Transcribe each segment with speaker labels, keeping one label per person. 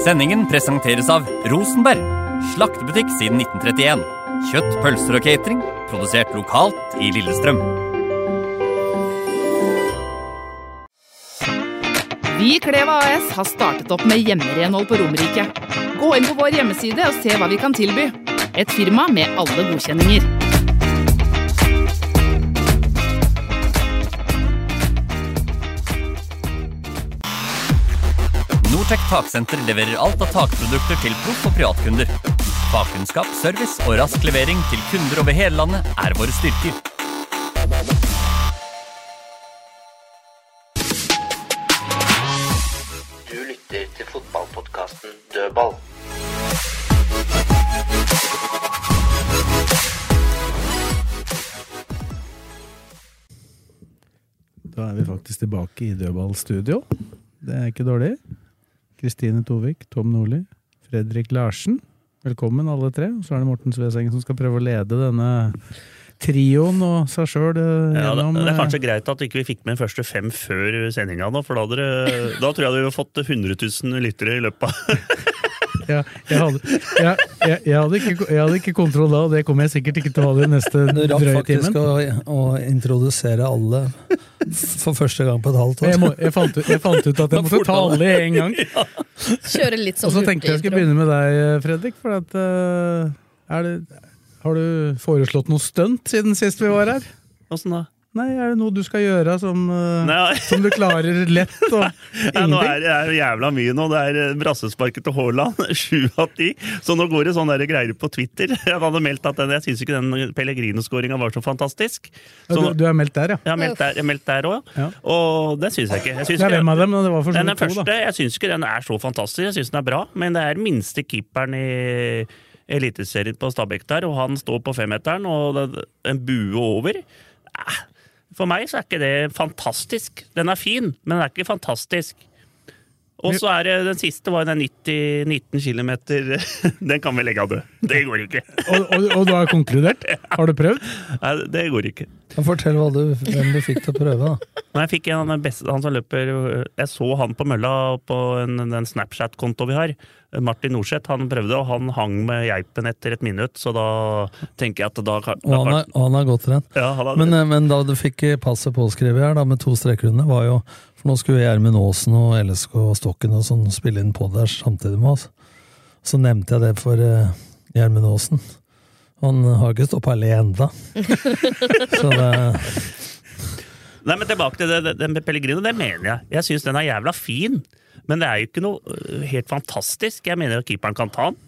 Speaker 1: Sendingen presenteres av Rosenberg, slaktebutikk siden 1931. Kjøtt, pølser og catering, produsert lokalt i Lillestrøm.
Speaker 2: Vi i Kleva AS har startet opp med hjemmerenhold på Romerike. Gå inn på vår hjemmeside og se hva vi kan tilby. Et firma med alle godkjenninger.
Speaker 1: Nortec taksenter leverer alt av takprodukter til proff- og privatkunder. Fagkunnskap, service og rask levering til kunder over hele landet er våre styrker.
Speaker 3: Du lytter til fotballpodkasten Dødball.
Speaker 4: Da er vi faktisk tilbake i dødballstudio. Det er ikke dårlig. Kristine Tovik, Tom Nordli, Fredrik Larsen. Velkommen, alle tre. Og så er det Morten Svesengen som skal prøve å lede denne trioen og seg sjøl
Speaker 5: Ja, det,
Speaker 4: gjennom
Speaker 5: det er
Speaker 4: eh,
Speaker 5: kanskje greit at ikke vi fikk med første fem før sendinga, nå, for da, hadde dere, da tror jeg dere hadde fått 100 000 lyttere i løpet av
Speaker 4: eh, Ja, jeg, hadde, ja, jeg, jeg, hadde ikke, jeg hadde ikke kontroll da, og det kommer jeg sikkert ikke til å ha de neste
Speaker 6: Du rakk
Speaker 4: drøye
Speaker 6: faktisk
Speaker 4: timen.
Speaker 6: å, å introdusere alle for første gang på et halvt
Speaker 4: Jeg,
Speaker 6: år.
Speaker 4: må, jeg, fant, ut- jeg fant ut at jeg måtte ta alle i en gang.
Speaker 2: Kjøre litt
Speaker 7: sånn
Speaker 4: Og så tenkte jeg jeg skulle begynne med deg, Fredrik. For at, eh, er det, har du foreslått noe stunt siden sist vi var her?
Speaker 5: Åssen da?
Speaker 4: Nei, er det noe du skal gjøre som, eh,
Speaker 5: Nei,
Speaker 4: som du klarer lett? Og
Speaker 5: Nei, nå er
Speaker 4: ingenting?
Speaker 5: det er jo jævla mye nå. Det er eh, brassesparket til Haaland, sju av ti. Så nå går det sånne der greier på Twitter. Jeg hadde meldt at den, jeg syns ikke den Pellegrino-skåringa var så fantastisk.
Speaker 4: Ja,
Speaker 5: Så
Speaker 4: du, du er meldt der, ja.
Speaker 5: sånn- jeg har meldt der, jeg har meldt der òg,
Speaker 4: Ja.
Speaker 5: og det syns jeg ikke. Jeg syns
Speaker 4: Det er hvem
Speaker 5: ikke
Speaker 4: av dem, men det var for så
Speaker 5: den
Speaker 4: vidt
Speaker 5: er
Speaker 4: to,
Speaker 5: første,
Speaker 4: da.
Speaker 5: jeg syns ikke den er så fantastisk. Jeg syns den er bra, men det er den minste keeperen i Eliteserien på Stabæk der, og han står på femmeteren og det er en bue over. Ah, For meg så er ikke det fantastisk. Den er fin, men den er ikke fantastisk. Og så er det den siste var den 90, 19 km. Den kan vi legge av død. Det går ikke.
Speaker 4: Og, og, og du har konkludert? Har du prøvd?
Speaker 5: Nei, det går ikke.
Speaker 6: Men Fortell hva du, hvem du fikk til å prøve. da.
Speaker 5: Når jeg fikk en av den beste, han som løper Jeg så han på mølla på en, den Snapchat-konto vi har. Martin Norseth. Han prøvde, og han hang med geipen etter et minutt, så da tenker jeg at da, kan-
Speaker 6: Og
Speaker 5: da
Speaker 6: han
Speaker 5: kan-
Speaker 6: er, og han er godt trent.
Speaker 5: ja, han hadde-
Speaker 6: Men, eh, men da du fikk passet påskrevet her, da, med to streker under, var jo For nå skulle Gjermund Aasen og LSK og Stokken og sånn spille inn på der samtidig med oss. Så nevnte jeg det for eh, Gjermund Aasen. Han har ikke stått på allé enda. Så det
Speaker 5: Nei, men tilbake til det, det, den med Pellegrino, det mener jeg. Jeg syns den er jævla fin, men det er jo ikke noe øh, helt fantastisk. Jeg mener at keeperen kan ta den.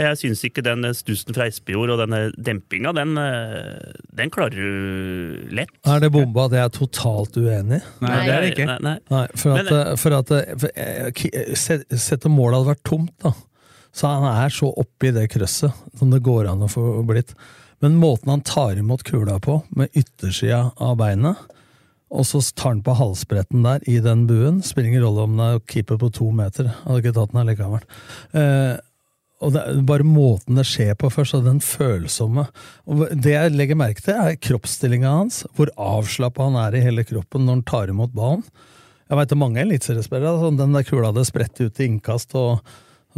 Speaker 5: Jeg syns ikke den stussen fra Espejord og den dempinga, den, øh, den klarer du lett.
Speaker 6: Er det bomba at jeg er totalt uenig?
Speaker 4: Nei, det er det ikke.
Speaker 5: Nei, nei.
Speaker 6: Nei, for at,
Speaker 5: Men-
Speaker 6: for at for, eh, ki- eh, se- Sett om målet hadde vært tomt, da. Så han er så oppi det krøsset som det går an å få blitt. Men måten han tar imot kula på, med yttersida av beinet, og så tar han på halsbretten der, i den buen Spiller ingen rolle om det er keeper på to meter. Hadde ikke tatt den allikevel. Eh, og det er bare måten det skjer på først, og den følsomme. Og det jeg legger merke til, er kroppsstillinga hans. Hvor avslappa han er i hele kroppen når han tar imot ballen. Jeg veit mange eliteseriespillere altså, den der kula hadde spredt ut i innkast, og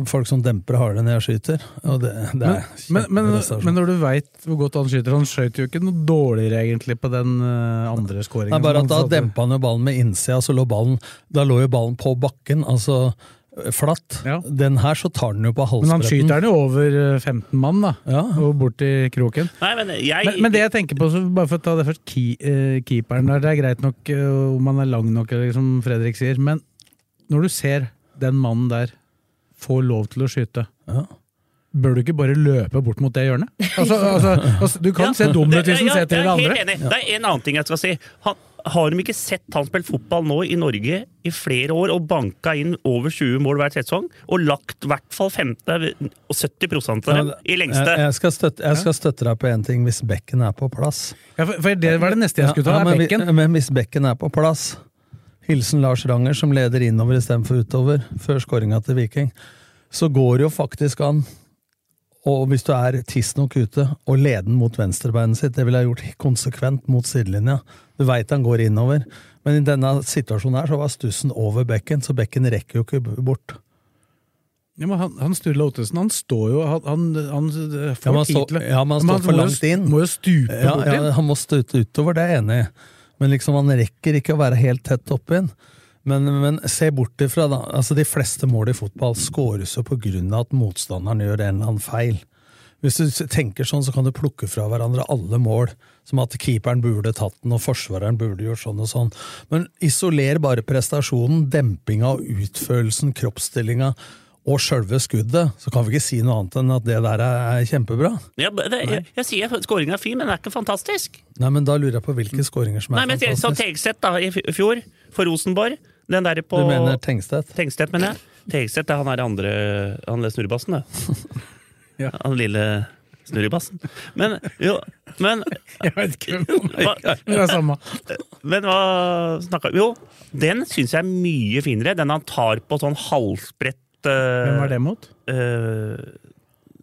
Speaker 6: folk som demper hardere når jeg skyter. Og det, det
Speaker 4: Men,
Speaker 6: er
Speaker 4: men, men,
Speaker 6: kjempeprestasjon.
Speaker 4: men når du veit hvor godt han skyter Han skøyt jo ikke noe dårligere egentlig på den eh, andre
Speaker 6: Nei,
Speaker 4: skåringen.
Speaker 6: bare
Speaker 4: som
Speaker 6: at Da
Speaker 4: han satte.
Speaker 6: dempa han jo ballen med innsida, så lå ballen Da lå jo ballen på bakken, altså eh, flatt.
Speaker 4: Ja.
Speaker 6: Den her så tar den jo på
Speaker 4: Men han
Speaker 6: halsbretten.
Speaker 4: skyter den jo over eh, 15 mann, da.
Speaker 6: Ja.
Speaker 4: Og bort i kroken.
Speaker 5: Nei, men jeg
Speaker 4: Men, men det jeg tenker på, så bare for å ta det først, key, eh, keeperen der, det er greit nok eh, om han er lang nok, eller som Fredrik sier, men når du ser den mannen der få lov til å skyte,
Speaker 6: Ja.
Speaker 4: bør du ikke bare løpe bort mot det hjørnet? Altså, altså, altså, du kan se dum ut hvis
Speaker 5: Ja,
Speaker 4: han
Speaker 5: ja,
Speaker 4: setter i det
Speaker 5: jeg er
Speaker 4: andre.
Speaker 5: Helt enig. Det er en annen ting jeg skal si. Han, Har de ikke sett han spille fotball nå i Norge i flere år og banka inn over 20 mål hver sesong og lagt i hvert fall 50 og 70 av dem i lengste?
Speaker 6: Jeg, jeg, skal støtte, jeg skal støtte deg på én ting hvis bekken er på plass.
Speaker 4: Ja, for, for det var det neste jeg skulle ta.
Speaker 6: Ja,
Speaker 4: er
Speaker 6: men, vi-
Speaker 4: bekken.
Speaker 6: men hvis bekken er på plass Hilsen Lars Ranger, som leder innover istedenfor utover, før skåringa til Viking. Så går det jo faktisk an, og hvis du er tidsnok ute, å lede den mot venstrebeinet sitt. Det ville jeg gjort konsekvent mot sidelinja. Du veit han går innover. Men i denne situasjonen her så var stussen over bekken, så bekken rekker jo ikke bort.
Speaker 4: Ja, men han, han Sturla Ottesen, han står jo Han, han, han får
Speaker 6: Ja, men han
Speaker 4: tid
Speaker 6: står-
Speaker 4: til det.
Speaker 6: ja, men han står
Speaker 4: han
Speaker 6: for
Speaker 4: må jo
Speaker 6: langt
Speaker 4: st-
Speaker 6: inn.
Speaker 4: Må jo stupe
Speaker 6: Ja,
Speaker 4: bort
Speaker 6: ja,
Speaker 4: inn.
Speaker 6: han må støte utover, det er jeg enig i. Men liksom, han rekker ikke å være helt tett opp inn. Men, men se bort ifra, da. Altså, de fleste mål i fotball skåres jo på grunn av at motstanderen gjør en eller annen feil. Hvis du s- tenker sånn, så kan du plukke fra hverandre alle mål. Som at keeperen burde tatt den, og forsvareren burde gjort sånn og sånn. Men isoler bare prestasjonen, dempinga og utførelsen, kroppsstillinga og sjølve skuddet, så kan vi ikke si noe annet enn at det der er kjempebra.
Speaker 5: Ja, men det, jeg, jeg sier skåringa er fin, men den er ikke fantastisk.
Speaker 6: Nei, men da lurer jeg på hvilke skåringer som
Speaker 5: Mm.
Speaker 6: er
Speaker 5: Nei, men jeg- Sånn
Speaker 6: fantastiske.
Speaker 5: Tegseth da, i f- fjor, for Rosenborg den der på,
Speaker 6: Du mener Tengstedt?
Speaker 5: Tengstedt, mener jeg. Tegseth er han er andre Han er snurrebassen, det. Han lille snurrebassen. Men jo, men
Speaker 4: Jeg vet ikke hvem han
Speaker 5: Hva-
Speaker 4: er, men altså- det er samme.
Speaker 5: Men hva snakka Jo, den syns jeg er mye finere. Den han tar på sånn halvspredt eh,
Speaker 4: Hvem var det mot?
Speaker 5: eh,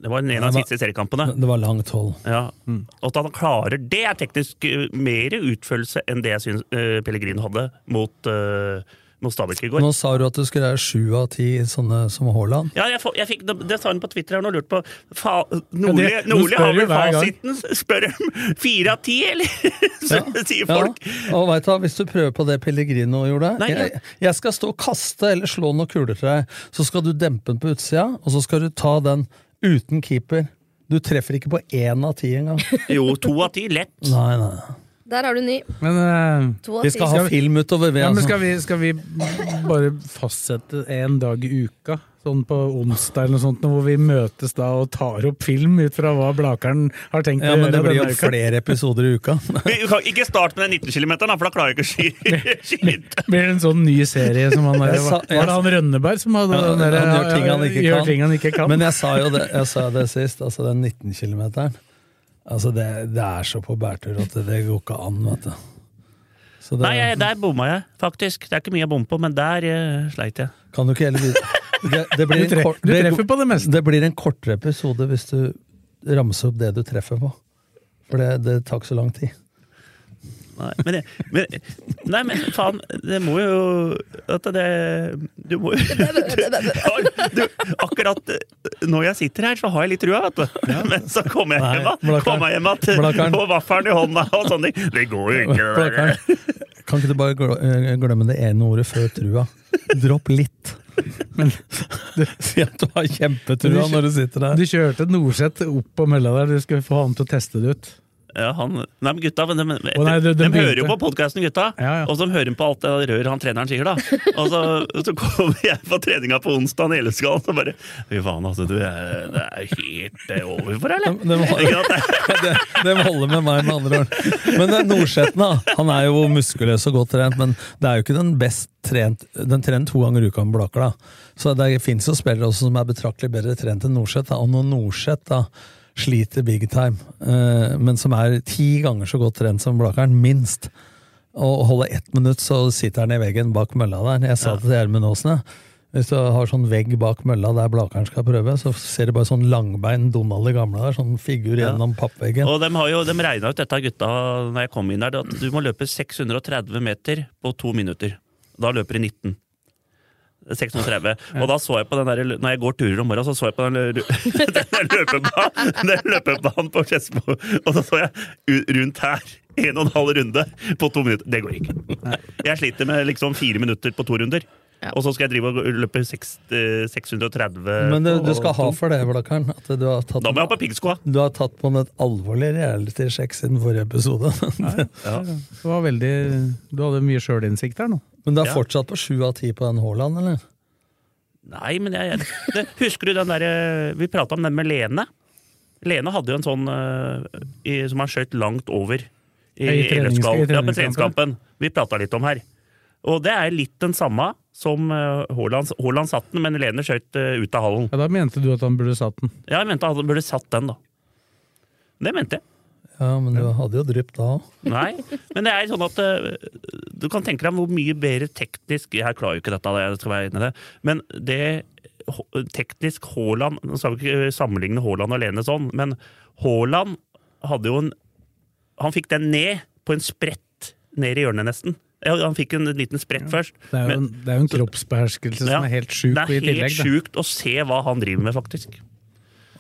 Speaker 5: det var en av de
Speaker 6: Det var-
Speaker 5: siste seriekampene.
Speaker 6: Det var langt hold.
Speaker 5: Ja,
Speaker 4: Mm.
Speaker 5: og At han klarer det, er teknisk eh, mer utførelse enn det jeg syns eh, Pellegrin hadde mot, eh, mot Stabæk i går.
Speaker 6: Nå sa du at du skulle være sju av ti sånne som Haaland.
Speaker 5: Ja, jeg, får- jeg fikk, det sa hun på Twitter her, og lurte på fa, Nordli,
Speaker 4: Ja, det- nå
Speaker 5: Nordli
Speaker 4: spør
Speaker 5: har
Speaker 4: du
Speaker 5: vel
Speaker 4: hver gang.
Speaker 5: fasiten? Spør de fire av ti, eller? Så, sier
Speaker 6: Ja,
Speaker 5: folk.
Speaker 6: og vet du, hva, Hvis du prøver på det Pellegrino gjorde
Speaker 5: Nei,
Speaker 6: jeg, jeg skal stå og kaste eller slå noen kuler til deg. Så skal du dempe den på utsida, og så skal du ta den uten keeper. Du treffer ikke på én av ti engang.
Speaker 5: Jo, to av ti, lett.
Speaker 4: Mm.
Speaker 6: Nei, nei.
Speaker 7: Der har du ny.
Speaker 4: Men, eh,
Speaker 7: To av
Speaker 6: Vi
Speaker 7: ti.
Speaker 6: skal ha film utover, vi.
Speaker 4: ja, men
Speaker 6: Altså.
Speaker 4: skal, vi, skal vi bare fastsette en dag i uka? Sånn på onsdag eller noe sånt, hvor vi møtes da og tar opp film ut fra hva Blakeren har tenkt
Speaker 6: Ja,
Speaker 4: å gjøre.
Speaker 6: men det blir
Speaker 4: denne
Speaker 6: jo
Speaker 4: uka.
Speaker 6: flere episoder i uka.
Speaker 5: Men du kan Ikke start med den 19 km, for da klarer jeg ikke å sky- skyte.
Speaker 4: Blir det en sånn ny serie som han der,
Speaker 6: Jeg sa-
Speaker 4: Var det han Rønneberg som hadde
Speaker 6: Ja,
Speaker 4: den der,
Speaker 6: han gjør ting han ikke
Speaker 4: gjør
Speaker 6: kan.
Speaker 4: ting han ikke kan?
Speaker 6: Men jeg sa jo det, jeg sa det sist, altså den 19 km. Altså det, det er så på bærtur at det, det går ikke an, vet du. Så det,
Speaker 5: Nei, jeg, der bomma jeg, faktisk. Det er ikke mye jeg bommer på, men der eh, sleit jeg.
Speaker 6: kan du ikke heller det, det, blir
Speaker 4: Du
Speaker 6: en
Speaker 4: tref-
Speaker 6: kort,
Speaker 4: du treffer på det meste.
Speaker 6: det blir en kortere episode hvis du ramser opp det du treffer på. For det, det tar ikke så lang tid.
Speaker 5: Nei, men, jeg, men, nei, men faen, det må jo at det, Du må jo du, du, Akkurat eh, når jeg sitter her, så har jeg litt trua, vet du. Men så kommer jeg hjem, da.
Speaker 6: Blakkaren.
Speaker 5: Kommer jeg hjem at,
Speaker 6: Blakkaren.
Speaker 5: og vaffelen i hånda og sånne ting. Det går jo ikke, det der.
Speaker 6: Plakkaren. Kan ikke du bare gl- eh, glemme det ene ordet før trua? Dropp litt. Si at du har kjempetrua når du sitter der.
Speaker 4: Du kjørte Norseth opp på mølla der, du skulle få han til å teste det ut.
Speaker 5: Ja, han, nei, men gutta, men de,
Speaker 4: Å, nei,
Speaker 5: de,
Speaker 4: de- de
Speaker 5: hører jo på
Speaker 4: begynte.
Speaker 5: podkasten, gutta.
Speaker 4: Ja, ja.
Speaker 5: Og så hører de på alt det rør han treneren sier, da. Og så, så kommer jeg på treninga på onsdag i Eleskallen og bare Fy faen, altså. Du, eh, det er helt eh, over for deg, eller?
Speaker 6: De, de,
Speaker 5: Ikke sant? Det-
Speaker 6: det, det holder med meg, med andre ord. Men den Nordsjetten, da. Han er jo muskuløs og godt trent, men det er jo ikke den best trent Den trener to ganger i uka med Blaker, da. Så det fins jo spillere også som er betraktelig bedre trent enn Nordsjett. da. Og når Nordsjett da sliter big time, eh, men som er ti ganger så godt trent som Blakeren, minst, og holder ett minutt, så sitter han i veggen bak mølla der. Jeg sa det til Gjermund Aasen, jeg. Hvis du har sånn vegg bak mølla der Blakeren skal prøve, så ser du bare sånn langbein Donald i gamle der, sånn figur gjennom pappveggen.
Speaker 5: Og de har jo de regna ut dette, gutta, når jeg kom inn der, at du må løpe 630 meter på to minutter. Da løper du 19. 630. Og da så jeg på den der, når jeg går turer om morgenen, så så jeg på den, lø- den der løpebanen, den der løpebanen på Skedsmo, og så så jeg u- rundt her. En og en halv runde på to minutter. Det går ikke. Jeg sliter med liksom fire minutter på to runder. Og så skal jeg drive og gå- løpe seks- eh, 630
Speaker 6: Men du, du
Speaker 5: på
Speaker 6: skal ha
Speaker 5: to.
Speaker 6: for det, Blakeren, at du har tatt,
Speaker 5: Da må jeg ha på piggskoa!
Speaker 6: du har tatt på en et alvorlig reality-sjekk siden forrige episode.
Speaker 5: Ja.
Speaker 4: Det var veldig, du hadde mye sjølinnsikt der nå.
Speaker 6: Men du er
Speaker 5: Ja.
Speaker 6: fortsatt på sju av ti på den Haaland, eller?
Speaker 5: Nei, men jeg, jeg, det, Husker du den derre Vi prata eh, om den med Lene. Lene hadde jo en sånn eh, i, som han skjøt langt over. I,
Speaker 4: I
Speaker 5: i Lørenskog.
Speaker 4: treningskampen.
Speaker 5: Ja, på treningskampen. Vi prata litt om her. Og det er litt den samme som eh, Haaland Haaland satt den, men Lener skjøt eh, ut av hallen.
Speaker 4: Ja, Da mente du at han burde satt den.
Speaker 5: Ja, jeg mente han burde satt den, da. Det mente jeg.
Speaker 6: Ja, men du hadde jo drypp da òg.
Speaker 5: Nei, men det er sånn at eh, du kan tenke deg hvor mye bedre teknisk Jeg klarer jo ikke dette, jeg skal være enig i det. Men det H- teknisk Haaland Nå skal vi ikke eh, sammenligne Haaland alene sånn, men Haaland hadde jo en Han fikk den ned på en sprett ned i hjørnet, nesten. Ja, Han fikk en liten sprett først.
Speaker 4: Det er jo en, det er jo en kroppsbeherskelse som er helt sjuk.
Speaker 5: Det er
Speaker 4: i
Speaker 5: helt
Speaker 4: tillegg, da.
Speaker 5: sjukt å se hva han driver med, faktisk.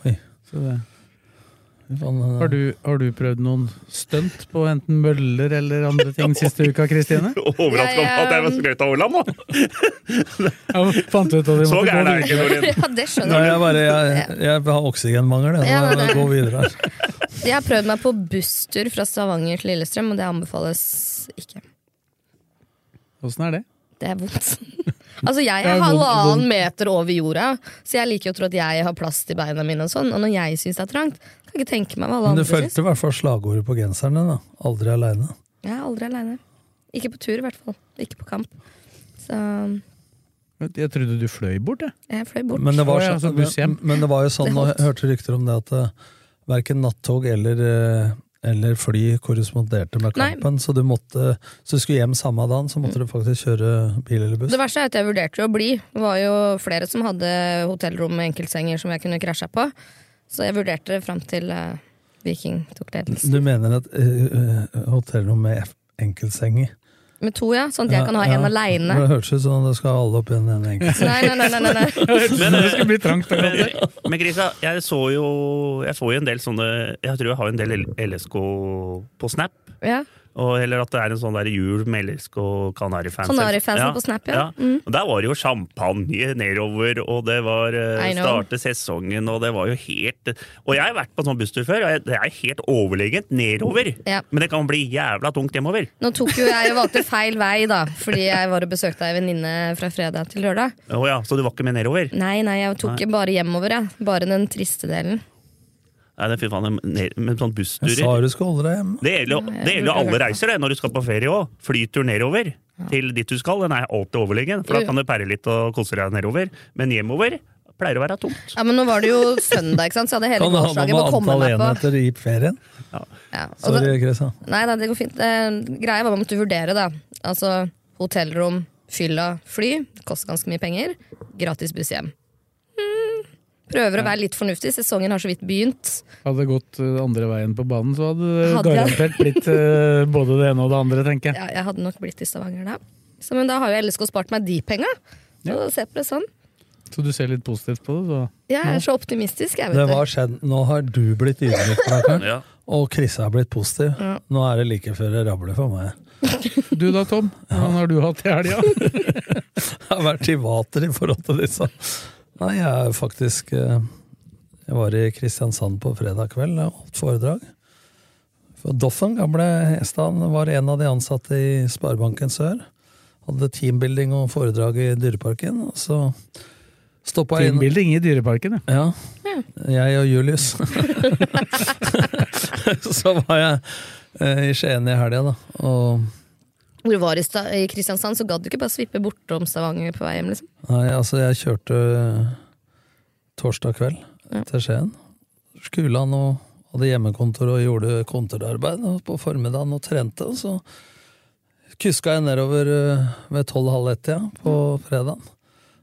Speaker 4: Så det.
Speaker 6: eh.
Speaker 4: Har, du, har du prøvd noen stunt på enten møller eller andre ting siste uka, Kristine?
Speaker 5: Overraska om at jeg var skrøyt av Haaland, nå!
Speaker 4: Jeg fant ut at vi måtte
Speaker 5: Så
Speaker 4: gå
Speaker 5: gæren er jeg ikke,
Speaker 4: videre.
Speaker 5: Nordin.
Speaker 7: Ja, det
Speaker 6: Nei,
Speaker 7: skjønner
Speaker 6: jeg, bare, jeg,
Speaker 7: Ja.
Speaker 6: jeg har oksygenmangel. Jeg,
Speaker 7: Ja,
Speaker 6: jeg,
Speaker 7: det-
Speaker 6: gå videre her.
Speaker 7: Jeg har prøvd meg på busstur fra Stavanger til Lillestrøm, og det anbefales ikke.
Speaker 4: Åssen er det?
Speaker 7: Det er vondt. Altså, jeg
Speaker 4: Det er
Speaker 7: er
Speaker 4: vondt-
Speaker 7: halvannen
Speaker 4: vondt.
Speaker 7: meter over jorda, så jeg liker jo å tro at jeg har plass til beina mine og sånn. Og når jeg syns det er trangt, kan jeg ikke tenke meg hva alle
Speaker 6: Men du
Speaker 7: andre syns.
Speaker 6: fulgte i hvert fall slagordet på genseren din. da. Aldri aleine.
Speaker 7: Jeg er aldri aleine. Ikke på tur, i hvert fall. Ikke på kamp. Så
Speaker 4: Jeg trodde du fløy bort, jeg.
Speaker 7: jeg fløy bort.
Speaker 6: Men det var,
Speaker 4: Å, ja, altså,
Speaker 6: sånn-
Speaker 4: så buss hjem.
Speaker 6: men, men det var jo sånn,
Speaker 7: Det
Speaker 6: nå
Speaker 7: holdt.
Speaker 6: hørte rykter om det at uh, verken nattog eller, eh, eller fly korresponderte med
Speaker 7: Nei. Mm.
Speaker 6: kampen, så du måtte, så du skulle hjem samme dagen, så måtte du faktisk kjøre bil eller buss.
Speaker 7: Det verste er at jeg vurderte jo å bli. Det var jo flere som hadde hotellrom med enkeltsenger som jeg kunne krasja på. Så jeg vurderte det fram til eh, Viking tok ledelsen.
Speaker 6: Du mener at eh, eh, hotellrom med f- enkeltseng i
Speaker 7: Med to, ja. Sånn at jeg kan ha en aleine.
Speaker 6: Det høres ut som om det skal alle opp i en ene enkeltseng.
Speaker 7: Nei, nei, nei, nei, nei, nei.
Speaker 5: Men,
Speaker 4: det skulle bli trangt. da.
Speaker 5: Men, men Grisa, jeg så jo Jeg får jo en del sånne Jeg tror jeg har en del L- LSK på Snap.
Speaker 7: Ja.
Speaker 5: Og, eller at det er en sånn der jul med LSK og Kanarifansen.
Speaker 7: Kanarifansen på Snap, ja. Mm.
Speaker 5: Og der var det jo champagne nedover, og det var eh,
Speaker 7: I know.
Speaker 5: starte sesongen, og det var jo helt Og jeg har vært på en sånn busstur før, og jeg, det er helt overlegent nedover.
Speaker 7: Ja.
Speaker 5: Men det kan bli jævla tungt hjemover.
Speaker 7: Nå tok jo jeg og valgte feil vei, da, fordi jeg var og besøkte ei venninne fra fredag til lørdag.
Speaker 5: Å ja, så du var ikke med nedover?
Speaker 7: Nei, nei, jeg tok bare hjemover, jeg. Bare den triste delen.
Speaker 5: Nei, det- fy faen, ned- men sånn bussturer
Speaker 6: Jeg sa du skulle holde deg hjemme.
Speaker 5: Det gjelder jo, det gjelder jo alle reiser Mm, det, når du skal på ferie òg. Flytur nedover til dit du skal, den er alltid overlegen. For da kan du pære litt og kose deg nedover. Men hjemover pleier å være tomt.
Speaker 7: Ja, Men nå var det jo søndag, ikke sant, så jeg hadde hele
Speaker 6: Kan det handle
Speaker 7: gårsdagen på å
Speaker 6: om
Speaker 7: komme
Speaker 6: antall
Speaker 7: meg på.
Speaker 6: enheter i ferien?
Speaker 7: Ja, og da-
Speaker 6: Sorry, Kristian.
Speaker 7: Nei da, det går fint. Eh, greia var man måtte vurdere, da. Altså hotellrom, fylla, fly. Det Koster ganske mye penger. Gratis buss hjem. Mm. Prøver å være litt fornuftig. Sesongen har så vidt begynt.
Speaker 4: Hadde det gått eh, andre veien på banen, så hadde det
Speaker 7: Hadde jeg-
Speaker 4: garantert blitt eh, både det ene og det andre, tenker jeg.
Speaker 7: Ja, jeg hadde nok blitt i Stavanger da. Så, men da har jo LSK spart meg de penga. Så se på det sånn.
Speaker 4: Så du ser litt positivt på det, så
Speaker 7: Jeg er så optimistisk, jeg,
Speaker 6: Det
Speaker 7: vet du.
Speaker 6: var skjedd. Nå har du blitt ydmyk, Blakkaren,
Speaker 5: Ja.
Speaker 6: og Krisse har blitt positiv. Nå er det like før det rabler for meg.
Speaker 4: Du da, Tom? Hvordan har du hatt det i helga?
Speaker 6: Jeg har vært i vater i forhold til disse. Nei, jeg er faktisk eh, Jeg var i Kristiansand på fredag kveld og holdt foredrag. For Doffen, gamle Hestad, var en av de ansatte i Sparebanken Sør. Hadde teambuilding og foredrag i Dyreparken. Og så stoppa jeg inn
Speaker 4: Teambuilding i Dyreparken, ja.
Speaker 6: Ja. Jeg og Julius. så var jeg eh, i Skien i helga, da. Og
Speaker 7: Hvor du var i, Sta i Kristiansand, så gadd du ikke bare svippe bortom Stavanger på vei hjem, liksom.
Speaker 6: nei, altså, jeg kjørte torsdag kveld til Skien. Skula nå hadde hjemmekontor og gjorde kontorarbeid og på formiddagen og trente. Og så kuska jeg nedover eh, ved tolv-halv ett-tida på fredagen.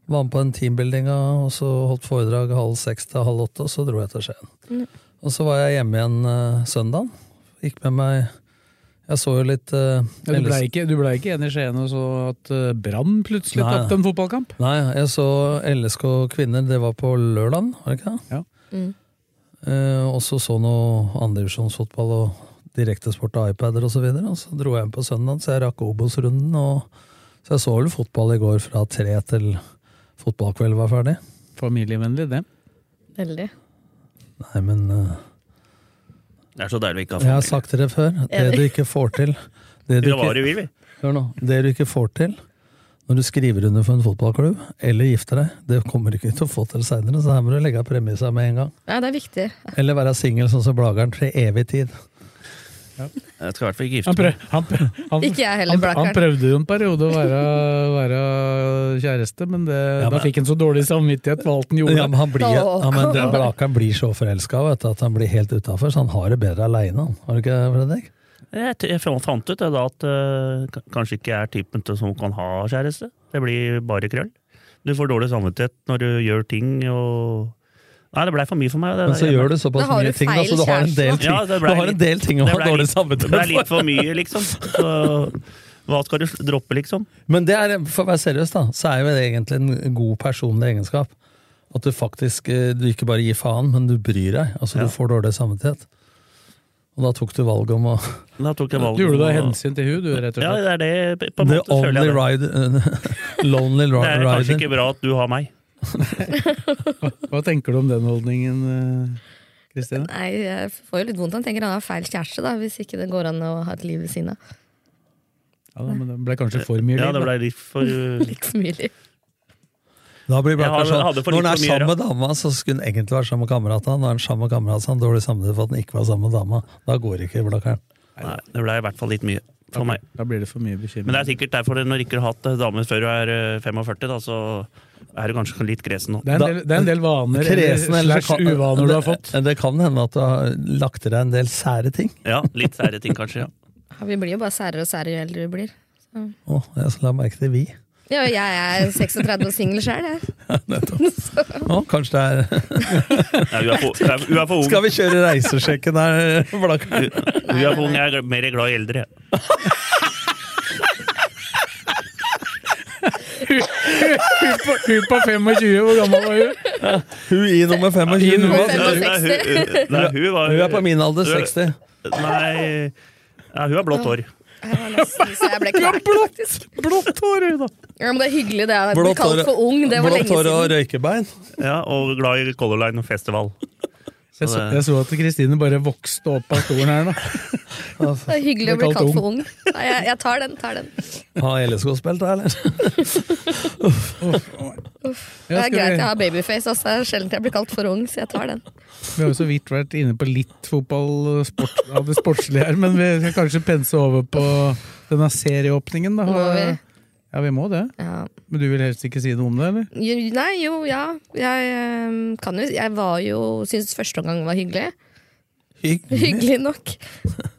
Speaker 6: Var med på en teambuilding og så holdt foredrag halv seks til halv åtte, og så dro jeg til Skien. Og så var jeg hjemme igjen uh, søndagen. Gikk med meg Jeg så jo litt eh,
Speaker 4: Ja, Du blei
Speaker 6: LS
Speaker 4: ikke, du ble ikke enig i Skien og så at eh, Brann plutselig
Speaker 6: Nei.
Speaker 4: tapte en fotballkamp?
Speaker 6: Nei, jeg så LSK kvinner. Det var på lørdag, var det ikke det?
Speaker 4: Ja.
Speaker 7: Mm.
Speaker 6: Eh, og så så noe andredivisjonsfotball og direktesport av iPader osv. Og, så videre, og så dro jeg hjem på søndag, så jeg rakk Obos-runden. Og, så jeg så vel fotball i går fra tre til fotballkveld var ferdig.
Speaker 4: Familievennlig, det.
Speaker 7: Veldig.
Speaker 6: Nei, men eh,
Speaker 5: Det er så deilig å ikke
Speaker 6: jeg
Speaker 5: ha
Speaker 6: har sagt til dere før. Det
Speaker 7: Enig.
Speaker 6: du ikke får til det
Speaker 5: familie.
Speaker 6: du
Speaker 5: Hva
Speaker 6: ikke,
Speaker 5: du vil, vi.
Speaker 6: hør nå, det du ikke får til når du skriver under for en fotballklubb eller gifter deg, det kommer du ikke til å få til seinere, så her må du legge av premissa med en gang.
Speaker 7: Ja, det er viktig.
Speaker 6: Eller være singel sånn som Blageren til evig tid.
Speaker 5: Jeg skal i hvert fall ikke
Speaker 4: Han,
Speaker 5: gifte
Speaker 4: prøv,
Speaker 5: meg.
Speaker 4: han, prøv- han,
Speaker 7: Ikke jeg heller,
Speaker 4: han,
Speaker 7: Blakkaren.
Speaker 4: han prøvde jo en periode å være, være kjæreste, men, det, da fikk han så dårlig samvittighet for alt han gjorde.
Speaker 6: Ja, men han blir,
Speaker 4: Åh,
Speaker 6: ja, men
Speaker 4: kom.
Speaker 6: Blakeren blir så forelska at han blir helt utafor, så han har det bedre aleine. Har du ikke Fredrik?
Speaker 5: Jeg, t- jeg fant ut det da at eh, k- kanskje ikke jeg er typen til som kan ha kjæreste. Det blir bare krøll. Du får dårlig samvittighet når du gjør ting og Nei, det blei for mye for meg. Det,
Speaker 6: Men så gjør du såpass
Speaker 5: Da har
Speaker 6: mye
Speaker 5: du
Speaker 6: ting, da,
Speaker 5: feil
Speaker 6: så du har en del
Speaker 5: kjæreste.
Speaker 6: ting,
Speaker 5: Ja, det
Speaker 6: du
Speaker 5: ble
Speaker 6: har
Speaker 5: litt-
Speaker 6: en del ting å
Speaker 5: det
Speaker 6: ha
Speaker 5: ble
Speaker 6: dårlig
Speaker 5: litt-
Speaker 6: samvittighet
Speaker 5: Det ble litt for mye, liksom. Så, hva skal du sl- droppe, liksom?
Speaker 6: Men det er, for å være seriøs, da, så er jo det egentlig en god personlig egenskap. At du faktisk eh, du ikke bare gir faen, men du bryr deg. Altså, du får dårlig samvittighet. Og da tok du valget om å
Speaker 5: Da tok jeg valget.
Speaker 6: Du gjorde
Speaker 5: om
Speaker 6: da
Speaker 5: å-
Speaker 6: hensyn til hun, du, rett og
Speaker 5: Ja, det
Speaker 6: slett.
Speaker 5: er det. På en
Speaker 6: The
Speaker 5: måte føler
Speaker 6: only
Speaker 5: jeg det.
Speaker 6: ride eh, Lonely
Speaker 5: Det er kanskje
Speaker 6: rider.
Speaker 5: ikke bra at du har meg.
Speaker 4: Hva tenker du om den holdningen, eh, Kristine?
Speaker 7: Nei, jeg får jo litt vondt. Han tenker han har feil kjæreste, da, hvis ikke det går an å ha et liv ved siden av.
Speaker 4: Ja, da, men det ble kanskje for mye liv,
Speaker 5: Ja, det
Speaker 4: da.
Speaker 5: ble litt for
Speaker 7: Litt for mye liv.
Speaker 6: Da blir
Speaker 5: Jeg har-
Speaker 6: Blakkaren sånn,
Speaker 5: hadde for
Speaker 6: Når han
Speaker 5: litt
Speaker 6: er
Speaker 5: for mye
Speaker 6: sammen med dama, så skulle han egentlig være sammen med kameratene. Når han er sammen med kameratene, har han dårlig samvittighet for at han ikke var sammen med dama. Da går ikke Blakkaren.
Speaker 5: Nei, det ble i hvert fall litt mye for meg.
Speaker 4: Da blir det for mye bekymring.
Speaker 5: Men det er sikkert derfor det, når ikke du har hatt eh, dame før du er eh, 45, da, så er du kanskje litt gresen nå.
Speaker 4: Det er en del, det er en del vaner
Speaker 6: Kresen
Speaker 4: eller
Speaker 6: eller
Speaker 4: slags uvaner du har fått.
Speaker 6: Det, det kan hende at du har lagt til deg en del sære ting.
Speaker 5: Ja, litt sære ting kanskje, ja.
Speaker 7: Ja, Vi blir jo bare særere og særere jo eldre vi blir. Så.
Speaker 6: Å, jeg skal la merke til vi.
Speaker 7: Ja, jeg er 36 og singel sjøl, jeg.
Speaker 6: Å, kanskje det er
Speaker 5: Nei, du er for, du er, du er for ung.
Speaker 6: Skal vi kjøre reisesjekken her, Blakkaren?
Speaker 5: Du er for ung, jeg er gl- mer glad i eldre. jeg.
Speaker 4: Hun på 25, hvor gammel var hun?
Speaker 6: Hun i nummer 25.
Speaker 4: I nummer
Speaker 5: Nei, nei, hun- nei, hun var-
Speaker 6: Hun er på min alder, 60.
Speaker 5: Nei, ja, hun har blått hår.
Speaker 7: Jeg var nesten så jeg ble kvalt, faktisk.
Speaker 4: Blått hår, hun, da!
Speaker 7: Ja, men det er hyggelig, det. Jeg ble kalt for ung, det var lenge
Speaker 6: hår og
Speaker 7: siden.
Speaker 6: røykebein.
Speaker 5: Ja, og glad i Color Line og festival.
Speaker 4: Jeg så, jeg så at Kristine bare vokste opp av stolen her nå.
Speaker 6: altså.
Speaker 7: Det er hyggelig å
Speaker 6: Ble
Speaker 7: bli
Speaker 6: kalt
Speaker 7: kalt for ung. Nei, jeg, jeg tar den. tar den.
Speaker 6: Har LSK spilt der, eller?
Speaker 7: Uff. Det
Speaker 4: Ja,
Speaker 7: er
Speaker 4: skal
Speaker 7: greit
Speaker 4: vi-
Speaker 7: jeg har babyface, altså. Det er sjelden jeg blir kalt for ung, så jeg tar den.
Speaker 4: Vi har jo så vidt vært inne på litt fotball eh, sport, av det sportslige her, men vi skal kanskje pense over på denne serieåpningen. Da.
Speaker 7: Må vi?
Speaker 4: Ja, vi må det. Men du vil helst ikke si noe om det, eller?
Speaker 7: Jo, nei, jo, ja. Jeg eh, kan jo Jeg var jo Syns første omgang var hyggelig.
Speaker 6: Hyggelig.
Speaker 7: Hyggelig nok.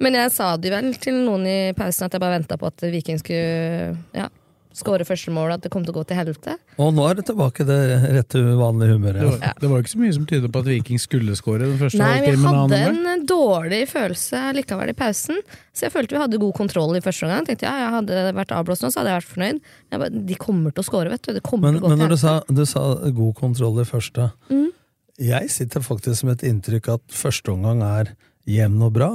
Speaker 7: Men jeg sa det vel til noen i pausen at jeg bare venta på at Viking skulle eh, ja, skåre første mål, at det kom til å gå til helvete.
Speaker 6: Og nå er det tilbake det rette vanlige humøret.
Speaker 4: Det var, det var jo ikke så mye som tydet på at Viking skulle skåre den første
Speaker 7: Nei, men jeg
Speaker 4: halvtimen. av
Speaker 7: hadde
Speaker 4: andre omgang.
Speaker 7: en dårlig følelse likevel i pausen. Så jeg følte vi hadde god kontroll i første omgang. Tenkte ja, jeg hadde det vært avblåst nå, så hadde jeg vært fornøyd. Men Jeg bare, de kommer til å skåre, vet du. Det kommer
Speaker 6: Men,
Speaker 7: til å gå
Speaker 6: men
Speaker 7: til
Speaker 6: når du
Speaker 7: helvete.
Speaker 6: sa, du sa god kontroll i første
Speaker 7: Mm.
Speaker 6: Jeg sitter faktisk med et inntrykk at første omgang er jevn og bra.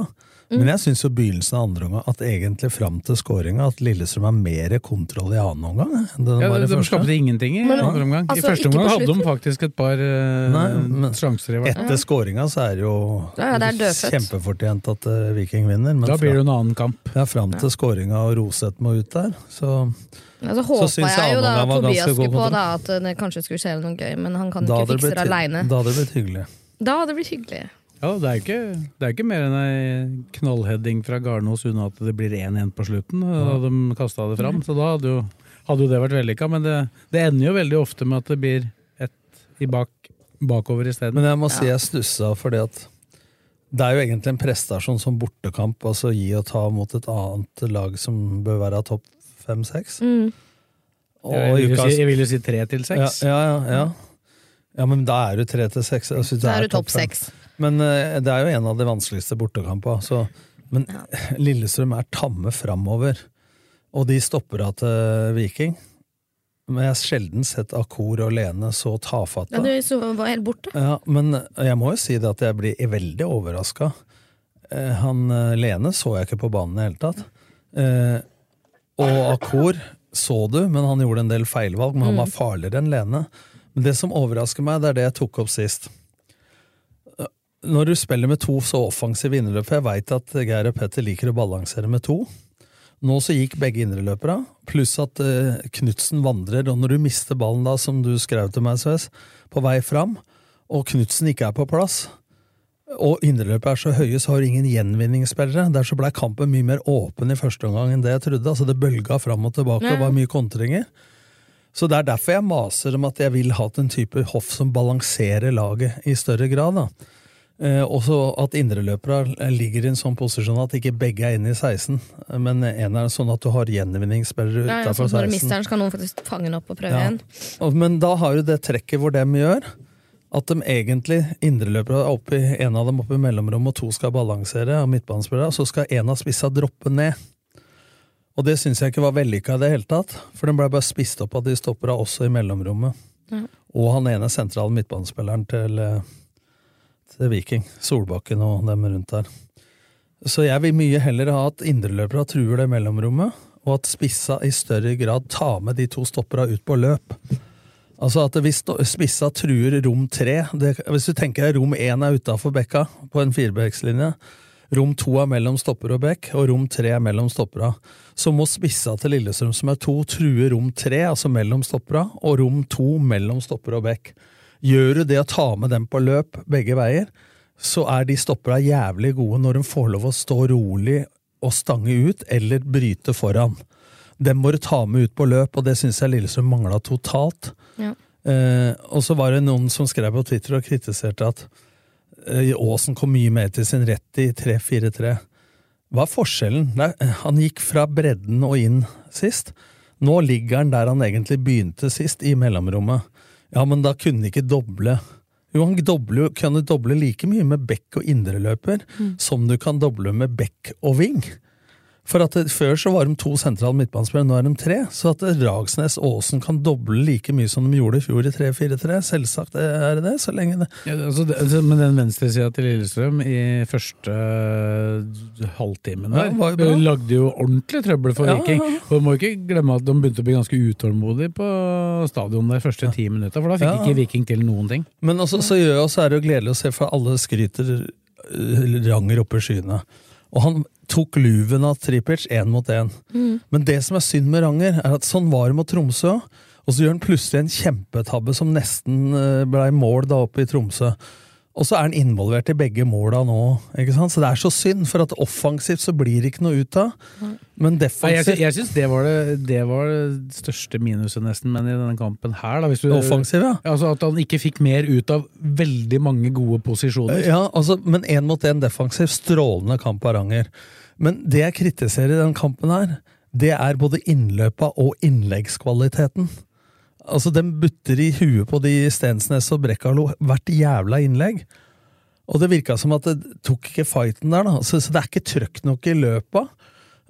Speaker 7: Mm.
Speaker 6: Men jeg syns begynnelsen av andre omgang, at egentlig fram til skåringa, at Lillestrøm har mer kontroll i annen omgang. enn det
Speaker 4: Ja,
Speaker 6: var
Speaker 4: de,
Speaker 6: i
Speaker 4: de
Speaker 6: første.
Speaker 4: skapte ingenting i
Speaker 6: Men-
Speaker 4: andre omgang.
Speaker 6: Altså,
Speaker 4: I første
Speaker 6: ikke
Speaker 4: omgang
Speaker 6: på
Speaker 4: hadde de
Speaker 6: slutten.
Speaker 4: faktisk et par eh,
Speaker 6: Nei, men
Speaker 4: sjanser. i hvert fall.
Speaker 6: Etter skåringa så er det jo
Speaker 4: Ja, ja, det er dødfødt.
Speaker 6: kjempefortjent at eh, Viking vinner. Men
Speaker 4: Da blir det jo en annen kamp.
Speaker 6: Ja, fram til skåringa og Roseth må ut der, så
Speaker 7: Ja, så håpa
Speaker 6: syns
Speaker 7: jeg jo da
Speaker 6: annen omgang
Speaker 7: at
Speaker 6: var
Speaker 7: Tobias
Speaker 6: ganske god
Speaker 7: skulle på
Speaker 6: kontroll.
Speaker 7: da, at eh, det kanskje skulle skje noe gøy, men han kan
Speaker 6: Da
Speaker 7: ikke
Speaker 6: hadde det
Speaker 7: fikse
Speaker 6: blitt-
Speaker 7: det aleine.
Speaker 6: Da hadde det blitt hyggelig.
Speaker 7: Da hadde det blitt hyggelig.
Speaker 4: Ja, det er jo ikke, det er ikke mer enn ei knallheading fra Garnås unna at det blir 1-1 på slutten. eh, Da hadde de kasta det fram. Så da hadde jo, hadde jo det vært vellykka. Men det, det ender jo veldig ofte med at det blir ett i bak, bakover isteden.
Speaker 6: Men jeg må si jeg stussa fordi at det er jo egentlig en prestasjon som bortekamp, altså gi og ta mot et annet lag som bør være topp fem-seks.
Speaker 7: Mm.
Speaker 4: Jeg vil jo si- jeg vil jo si tre til seks.
Speaker 6: Ja, ja, ja, ja. ja, men da er du tre til seks. Jeg synes det
Speaker 7: Da er du topp
Speaker 6: fem.
Speaker 7: seks.
Speaker 6: Men eh, det er jo en av de vanskeligste bortekampene. Så. Men Lillestrøm er tamme framover, og de stopper av til Viking. Men jeg har sjelden sett Akor og Lene så tafatte.
Speaker 7: Ja, du så, var helt borte.
Speaker 6: Ja, men jeg må jo si det at jeg blir veldig overraska. Han eh, Lene så jeg ikke på banen i det hele tatt. Eh, Og Akor så du, men han gjorde en del feilvalg, men han var farligere enn Lene. Men det som overrasker meg, det er det jeg tok opp sist. Eh, Når du spiller med to så offensive innløp, for jeg veit at Geir og Petter liker å balansere med to. Nå så gikk begge indreløpere, pluss at uh, Knutsen vandrer. Og når du mister ballen, da, som du skrev til meg, Sves, på vei fram, og Knutsen ikke er på plass, og indreløpet er så høye, så har ingen gjenvinningsspillere. Derfor blei kampen mye mer åpen i første omgang enn det jeg trodde. Altså Det bølga fram og tilbake, og
Speaker 8: Ja.
Speaker 6: var mye kontringer. Så det er derfor jeg maser om at jeg vil ha en type hoff som balanserer laget i større grad. da. Eh, også at indreløpere ligger i en sånn posisjon at ikke begge er inne i 16, men en er sånn at du har gjenvinningsspillere
Speaker 7: Nei, altså,
Speaker 6: utafor
Speaker 7: når du
Speaker 6: 16.
Speaker 7: mister den, så kan noen faktisk fange den opp og prøve
Speaker 6: Ja.
Speaker 7: igjen.
Speaker 6: Og- Men da har du det trekket hvor dem gjør at de egentlig, indreløpere, er oppe i- en av dem oppe i mellomrommet, og to skal balansere, og midtbanespillere, og så skal en av spissa droppe ned. Og det syns jeg ikke var vellykka i det hele tatt, for den ble bare spist opp av de stoppera også i mellomrommet.
Speaker 7: Ja.
Speaker 6: Og han ene sentrale midtbanespilleren til, eh, til Viking, Solbakken og dem rundt der. Så jeg vil mye heller ha at indreløpere truer det mellomrommet, og at spissa i større grad tar med de to stoppera ut på løp. Altså at hvis sto- spissa truer rom tre det, Hvis du tenker deg rom én er utafor bekka på en firebeckslinje, rom to er mellom stopper og bekk, og rom tre er mellom stoppera, så må spissa til Lillestrøm, som er to, true rom tre, altså mellom stoppera, og rom to mellom stopper og bekk. Gjør du det å ta med dem på løp begge veier, så er de stoppera jævlig gode når de får lov å stå rolig og stange ut, eller bryte foran. Dem må du ta med ut på løp, og det syns jeg Lillestrøm mangla totalt.
Speaker 7: Ja.
Speaker 6: Eh, og så var det noen som skrev på Twitter og kritiserte at eh, Aasen kom mye mer til sin rett i 3-4-3. Hva er forskjellen? Nei, han gikk fra bredden og inn sist. Nå ligger han der han egentlig begynte sist, i mellomrommet. Ja, men da kunne han ikke doble. Jo, han doble, kan jo doble like mye med bekk og indreløper som du kan doble med bekk og ving. For at det, Før så var de to sentrale midtbanespillere, nå er de tre. Så at Ragsnes og Aasen kan doble like mye som de gjorde i fjor i 3-4-3, selvsagt er det det. så lenge det...
Speaker 4: Ja, altså, det- altså, men den venstresida til Lillestrøm i første eh, halvtimen der
Speaker 6: Ja, var jo bra.
Speaker 4: lagde jo ordentlig trøbbel for
Speaker 6: Ja,
Speaker 4: Viking.
Speaker 6: ja, ja.
Speaker 4: Og du må ikke glemme at de begynte å bli ganske utålmodige på stadion de første ti minutta, for da fikk
Speaker 6: Ja.
Speaker 4: ikke Viking til noen ting.
Speaker 6: Men også, så gjør jeg, også er det jo gledelig å se, for alle skryter øh, Ranger oppe i skyene. Og han tok luven av Tripic én mot én.
Speaker 8: Mm.
Speaker 6: Men det som er synd med Ranger, er at sånn var det mot Tromsø. Og så gjør han plutselig en kjempetabbe som nesten øh, ble mål da oppe i Tromsø. Og så er han involvert i begge måla nå. ikke sant? Så det er så synd, for at offensivt så blir det ikke noe ut av. Men
Speaker 4: Nei, jeg, sy-
Speaker 6: defensivt
Speaker 4: jeg syns det, var det, det var det største minuset, nesten, men i denne kampen her da, hvis du,
Speaker 6: Det offensive, ja.
Speaker 4: Altså At han ikke fikk mer ut av veldig mange gode posisjoner.
Speaker 6: Ja, altså, men én mot én defensiv, strålende kamp av Ranger. Men det jeg kritiserer i den kampen her, det er både innløpa og innleggskvaliteten. Altså, den butter i huet på de Stensnes og Brekkalo hvert jævla innlegg. Og det virka som at det tok ikke fighten der, da. Så, så det er ikke trøkk nok i løpa.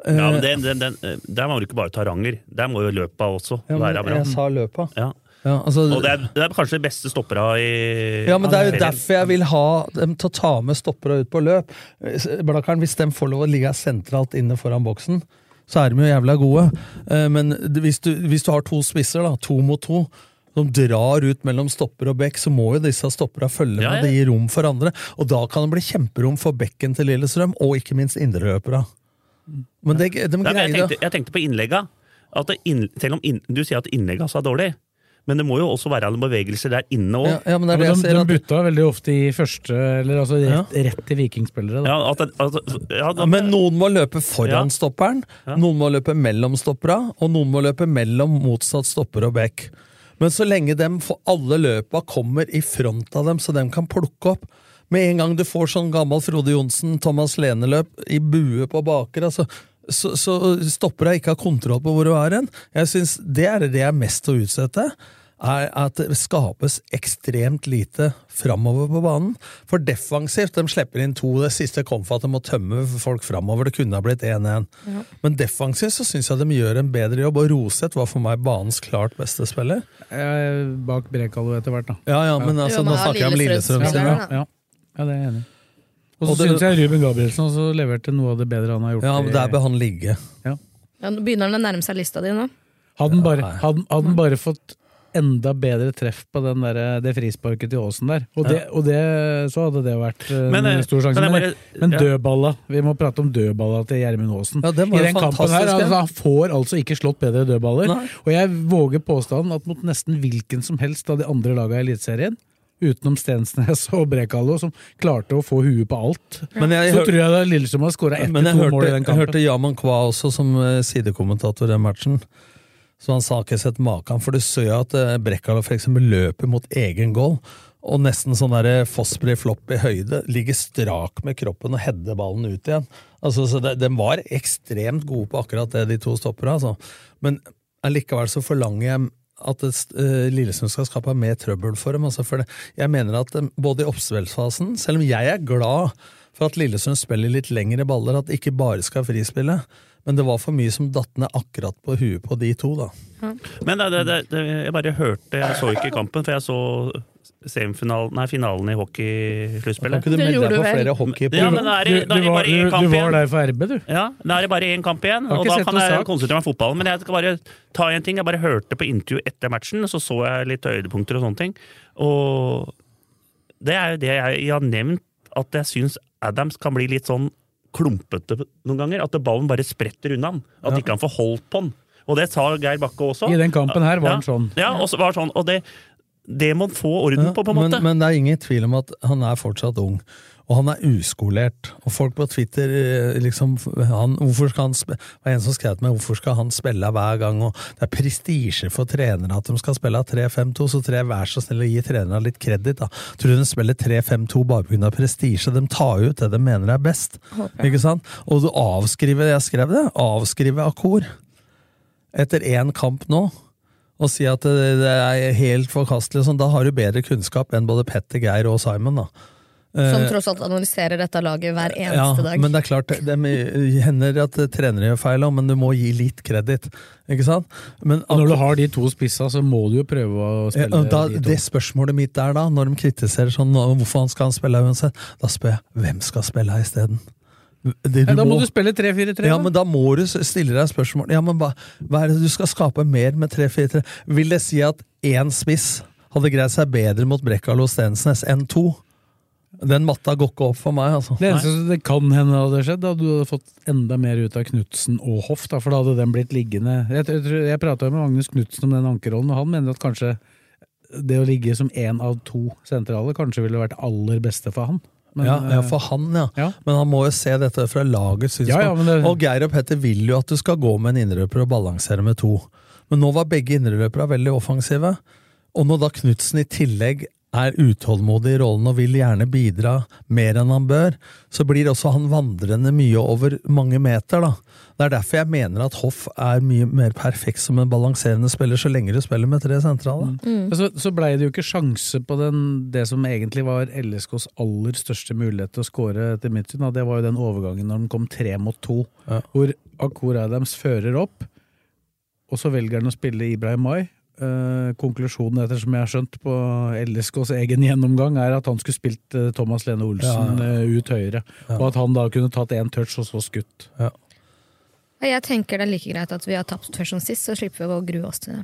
Speaker 5: Ja, men den, den, den, eh, Der må du ikke bare ta Ranger. Der må jo løpa også
Speaker 6: Ja, men
Speaker 5: være bra.
Speaker 6: jeg sa løpa.
Speaker 5: Ja.
Speaker 6: Ja, altså,
Speaker 5: Og det er, det er kanskje de beste stoppera i
Speaker 6: Ja, men Det er jo
Speaker 5: serien.
Speaker 6: derfor jeg vil ha dem til å ta med stoppere ut på løp. Blakkaren, Hvis de får lov å ligge sentralt inne foran boksen, så er de jo jævla gode. Eh, Men det- hvis du, hvis du har to spisser, da, to mot to, som drar ut mellom stopper og bekk, så må jo disse stoppera følge med.
Speaker 5: Ja, ja.
Speaker 6: Det gir rom for andre. Og da kan det bli kjemperom for bekken til Lillestrøm, og ikke minst indreløpera. Men det,
Speaker 5: Nei,
Speaker 6: de
Speaker 5: men jeg,
Speaker 6: greier det.
Speaker 5: tenkte, jeg tenkte på innlegga. At det inn, selv om inn, du sier at innlegga også er dårlig, men det må jo også være noen bevegelser der inne òg.
Speaker 4: Ja, men de, de butta veldig ofte i første, eller altså rett, rett til vikingspillere. Da.
Speaker 5: Ja, at, det- at, ja, da-
Speaker 6: Men noen må løpe foran stopperen, noen må løpe mellom stoppera, og noen må løpe mellom motsatt stopper og bekk. Men så lenge dem for alle løpa kommer i front av dem, så dem kan plukke opp Med en gang du får sånn gammel Frode Johnsen, Thomas Lene-løp i bue på baker, altså så, så stopper jeg ikke har kontroll på hvor du er hen. Jeg synes Det er det jeg er mest å utsette. Er at det skapes ekstremt lite framover på banen. For defensivt, de slipper inn to. Det siste kom for at de må tømme folk framover. Det kunne ha blitt 1-1.
Speaker 8: Ja.
Speaker 6: Men defensivt så syns jeg de gjør en bedre jobb. Og Roseth var for meg banens klart beste spiller.
Speaker 4: Eh, Bak Brekalo etter hvert, da.
Speaker 6: Ja, ja, men altså, Jo, men nå snakker jeg om Lillestrøm sin,
Speaker 4: Ja,
Speaker 6: da.
Speaker 4: ja. ja, det er jeg enig i. Og så
Speaker 6: Og det-
Speaker 4: syns jeg Ruben Gabrielsen også leverte noe av det bedre han har gjort.
Speaker 6: Ja, men der bør han ligge.
Speaker 7: Ja, nå begynner den å nærme seg lista di nå.
Speaker 4: Hadde han bare, hadde, hadde han bare fått enda bedre treff på den der, eh, det frisparket til Aasen der, og, det,
Speaker 5: Ja.
Speaker 4: og det, så hadde det vært eh, en
Speaker 5: Men, eh,
Speaker 4: stor sjanse.
Speaker 5: men
Speaker 4: Men,
Speaker 5: jeg
Speaker 4: men,
Speaker 5: bare- ja.
Speaker 4: dødballa Vi må prate om dødballa til Gjermund Aasen.
Speaker 6: Ja, den var
Speaker 4: I
Speaker 6: jo
Speaker 4: den kampen her,
Speaker 6: fantastisk, ja.
Speaker 4: altså, Han får altså ikke slått bedre dødballer.
Speaker 6: Nei.
Speaker 4: Og jeg våger påstanden at mot nesten hvilken som helst av de andre lagene i Eliteserien utenom Stensnes og Brekalo, som klarte å få huet på alt.
Speaker 6: Men jeg
Speaker 4: så
Speaker 6: hør-
Speaker 4: tror jeg da Lillestrøm har skåra ett
Speaker 6: Men
Speaker 4: eller
Speaker 6: jeg
Speaker 4: to
Speaker 6: hørte,
Speaker 4: mål i den
Speaker 6: jeg hørte
Speaker 4: kampen.
Speaker 6: Yaman Kwa også som eh, sidekommentator i den matchen. Så han sa ikke sett maken, for du så jo at eh, Brekkalo for eksempel løper mot egen goal, og nesten sånn der Fossbury flopp i høyde, ligger strak med kroppen og header ballen ut igjen. Altså, så det, De var ekstremt gode på akkurat det, de to stoppere. Altså. Men allikevel så forlanger jeg at det, eh, Lillesund skal skape mer trøbbel for dem. Altså, for det, jeg mener at eh, både i oppspillsfasen, selv om jeg er glad for at Lillesund spiller litt lengre baller, at det ikke bare skal frispille, men det var for mye som datt ned akkurat på huet på de to, da.
Speaker 5: Men det, det, det, det, jeg bare hørte Jeg så ikke kampen, for jeg så semifinalen, nei, finalen i
Speaker 6: Kan
Speaker 5: hockeysluttspillet.
Speaker 6: ikke du Det melde deg gjorde på du vel. flere hockeypod?
Speaker 5: Ja, men da er det,
Speaker 4: Du-
Speaker 5: da er
Speaker 4: du
Speaker 5: det
Speaker 4: var-
Speaker 5: bare én
Speaker 4: du-
Speaker 5: kamp
Speaker 4: du var
Speaker 5: igjen.
Speaker 4: der for RB, du.
Speaker 5: Ja, da er det bare én kamp igjen,
Speaker 4: Har
Speaker 5: og
Speaker 4: ikke
Speaker 5: da
Speaker 4: sett
Speaker 5: kan
Speaker 4: noe
Speaker 5: jeg
Speaker 4: sak.
Speaker 5: konsentrere meg om fotballen. Men jeg skal bare ta en ting. Jeg bare hørte på intervju etter matchen, så så jeg litt høydepunkter og sånne ting. Og det er jo det jeg, jeg har nevnt, at jeg syns Adams kan bli litt sånn klumpete noen ganger. At ballen bare spretter unna han. At ikke han får holdt på den. Og det sa Geir Bakke også.
Speaker 4: I den kampen her var
Speaker 5: ja,
Speaker 4: han sånn.
Speaker 5: Ja, og så var det sånn. Og det, det må han få orden på, på en måte.
Speaker 6: Men, men det er ingen tvil om at han er fortsatt ung, og han er uskolert. Og folk på Twitter eh, liksom han, hvorfor skal han spe, Det var en som skrev til meg hvorfor skal han spille hver gang, og det er prestisje for trenere at de skal spille 3-5-2, så tre, vær så snill å gi trenerne litt kreditt, da. Tror du de spiller 3-5-2 bare pga. prestisje? De tar ut det de mener er best,
Speaker 8: Håper jeg.
Speaker 6: ikke sant? Og du avskriver, jeg skrev det, avskriver Akkor etter én kamp nå og si at det det er helt forkastelig, og sånn, da har du bedre kunnskap enn både Petter, Geir og Simon. da.
Speaker 7: Som
Speaker 6: Eh,
Speaker 7: tross alt analyserer dette laget hver
Speaker 6: ja,
Speaker 7: eneste dag.
Speaker 6: Men det er klart, det- det hender at trenere gjør feil, også, men du må gi litt kreditt. Ikke sant? Men
Speaker 4: Og Når du har de to spissa, så må du jo prøve å
Speaker 6: Ja,
Speaker 4: spille
Speaker 6: og da,
Speaker 4: de to.
Speaker 6: det spørsmålet mitt der, da, når de kritiserer sånn «Nå, hvorfor han skal han spille uansett, da spør jeg hvem skal spille her isteden? Det
Speaker 4: Ja, da må du spille 3-4-3.
Speaker 6: Ja,
Speaker 4: da.
Speaker 6: men da må du s- stille deg spørsmål Ja, men hva, hva er det du skal skape mer med 3-4-3? Vil det si at én spiss hadde greid seg bedre mot Brekkalo og Stensnes enn to? Den matta går ikke opp for meg, altså.
Speaker 4: Det eneste som det kan hende hadde skjedd, da du hadde fått enda mer ut av Knutsen og Hoff, da, for da hadde den blitt liggende Jeg, jeg, tror- jeg prata med Magnus Knutsen om den ankerrollen, og han mener at kanskje det å ligge som én av to sentrale kanskje ville vært aller beste for han. Men,
Speaker 6: ja, ja,
Speaker 4: eh,
Speaker 6: for han, ja. Men han må jo se dette fra lagets synspunkt.
Speaker 4: Ja, ja, men det-
Speaker 6: Og Geir og Petter vil jo at du skal gå med en indreløper og balansere med to. Men nå var begge indreløperne veldig offensive. Og når da Knutsen i tillegg er utålmodig i rollen og vil gjerne bidra mer enn han bør, så blir også han vandrende mye over mange meter, da. Det er derfor jeg mener at Hoff er mye mer perfekt som en balanserende spiller, så lenge du spiller med tre sentrale.
Speaker 4: Men Så, så blei det jo ikke sjanse på den, det som egentlig var LSKs aller største mulighet til å skåre, etter mitt syn. da. Det var jo den overgangen når den kom tre mot to, hvor Akur Adams fører opp, og så velger han å spille Ibrahim Mai. Eh, konklusjonen, ettersom jeg har skjønt på LSKs egen gjennomgang, er at han skulle spilt eh, Thomas Lene Olsen
Speaker 6: Ja,
Speaker 4: eh, ut høyre,
Speaker 6: Ja.
Speaker 4: og at han da kunne tatt én touch og så skutt.
Speaker 7: Ja, Jeg tenker det er like greit at vi har tapt først som sist, så slipper vi å grue oss til det.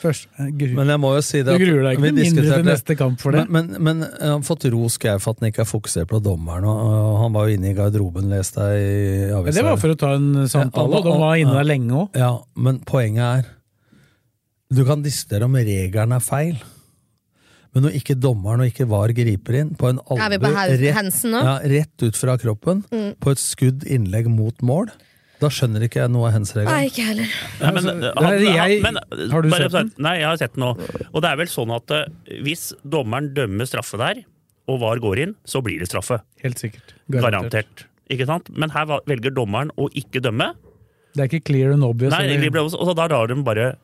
Speaker 4: Først, gru.
Speaker 6: Men jeg må jo si eh, det
Speaker 4: Du
Speaker 6: at
Speaker 4: gruer deg ikke
Speaker 6: vi
Speaker 4: noe mindre til
Speaker 6: diskuterte-
Speaker 4: neste kamp for det.
Speaker 6: Men, men, men jeg har fått ros Geir for at han ikke er fokusert på dommeren. Og, og han var jo inne i garderoben, leste jeg i
Speaker 4: Men
Speaker 6: avisa.
Speaker 4: det var for å ta en samtale, og de var inne der lenge òg.
Speaker 6: Ja, men poenget er Du kan diskutere om regelen er feil. Men når ikke dommeren og ikke VAR griper inn på en
Speaker 7: Er vi
Speaker 6: albu
Speaker 7: på Hau-
Speaker 6: rett,
Speaker 7: Hansen nå?
Speaker 6: Ja, rett ut fra kroppen,
Speaker 7: Mm.
Speaker 6: på et skudd innlegg mot mål, da skjønner ikke jeg noe av hens-regelen.
Speaker 7: Nei, ikke jeg heller.
Speaker 5: Nei, men,
Speaker 6: Altså,
Speaker 5: han,
Speaker 6: det er jeg-
Speaker 5: han, men,
Speaker 6: Har du
Speaker 5: bare
Speaker 6: sett den?
Speaker 5: sagt- Nei, jeg har sett den nå. Og det er vel sånn at eh, hvis dommeren dømmer straffe der, og VAR går inn, så blir det straffe.
Speaker 4: Helt sikkert.
Speaker 5: Garantert. Ikke sant? Men her va- velger dommeren å ikke dømme.
Speaker 4: Det er ikke clear and obvious.
Speaker 5: Nei,
Speaker 4: eller-
Speaker 5: det blir også- og så da lar de bare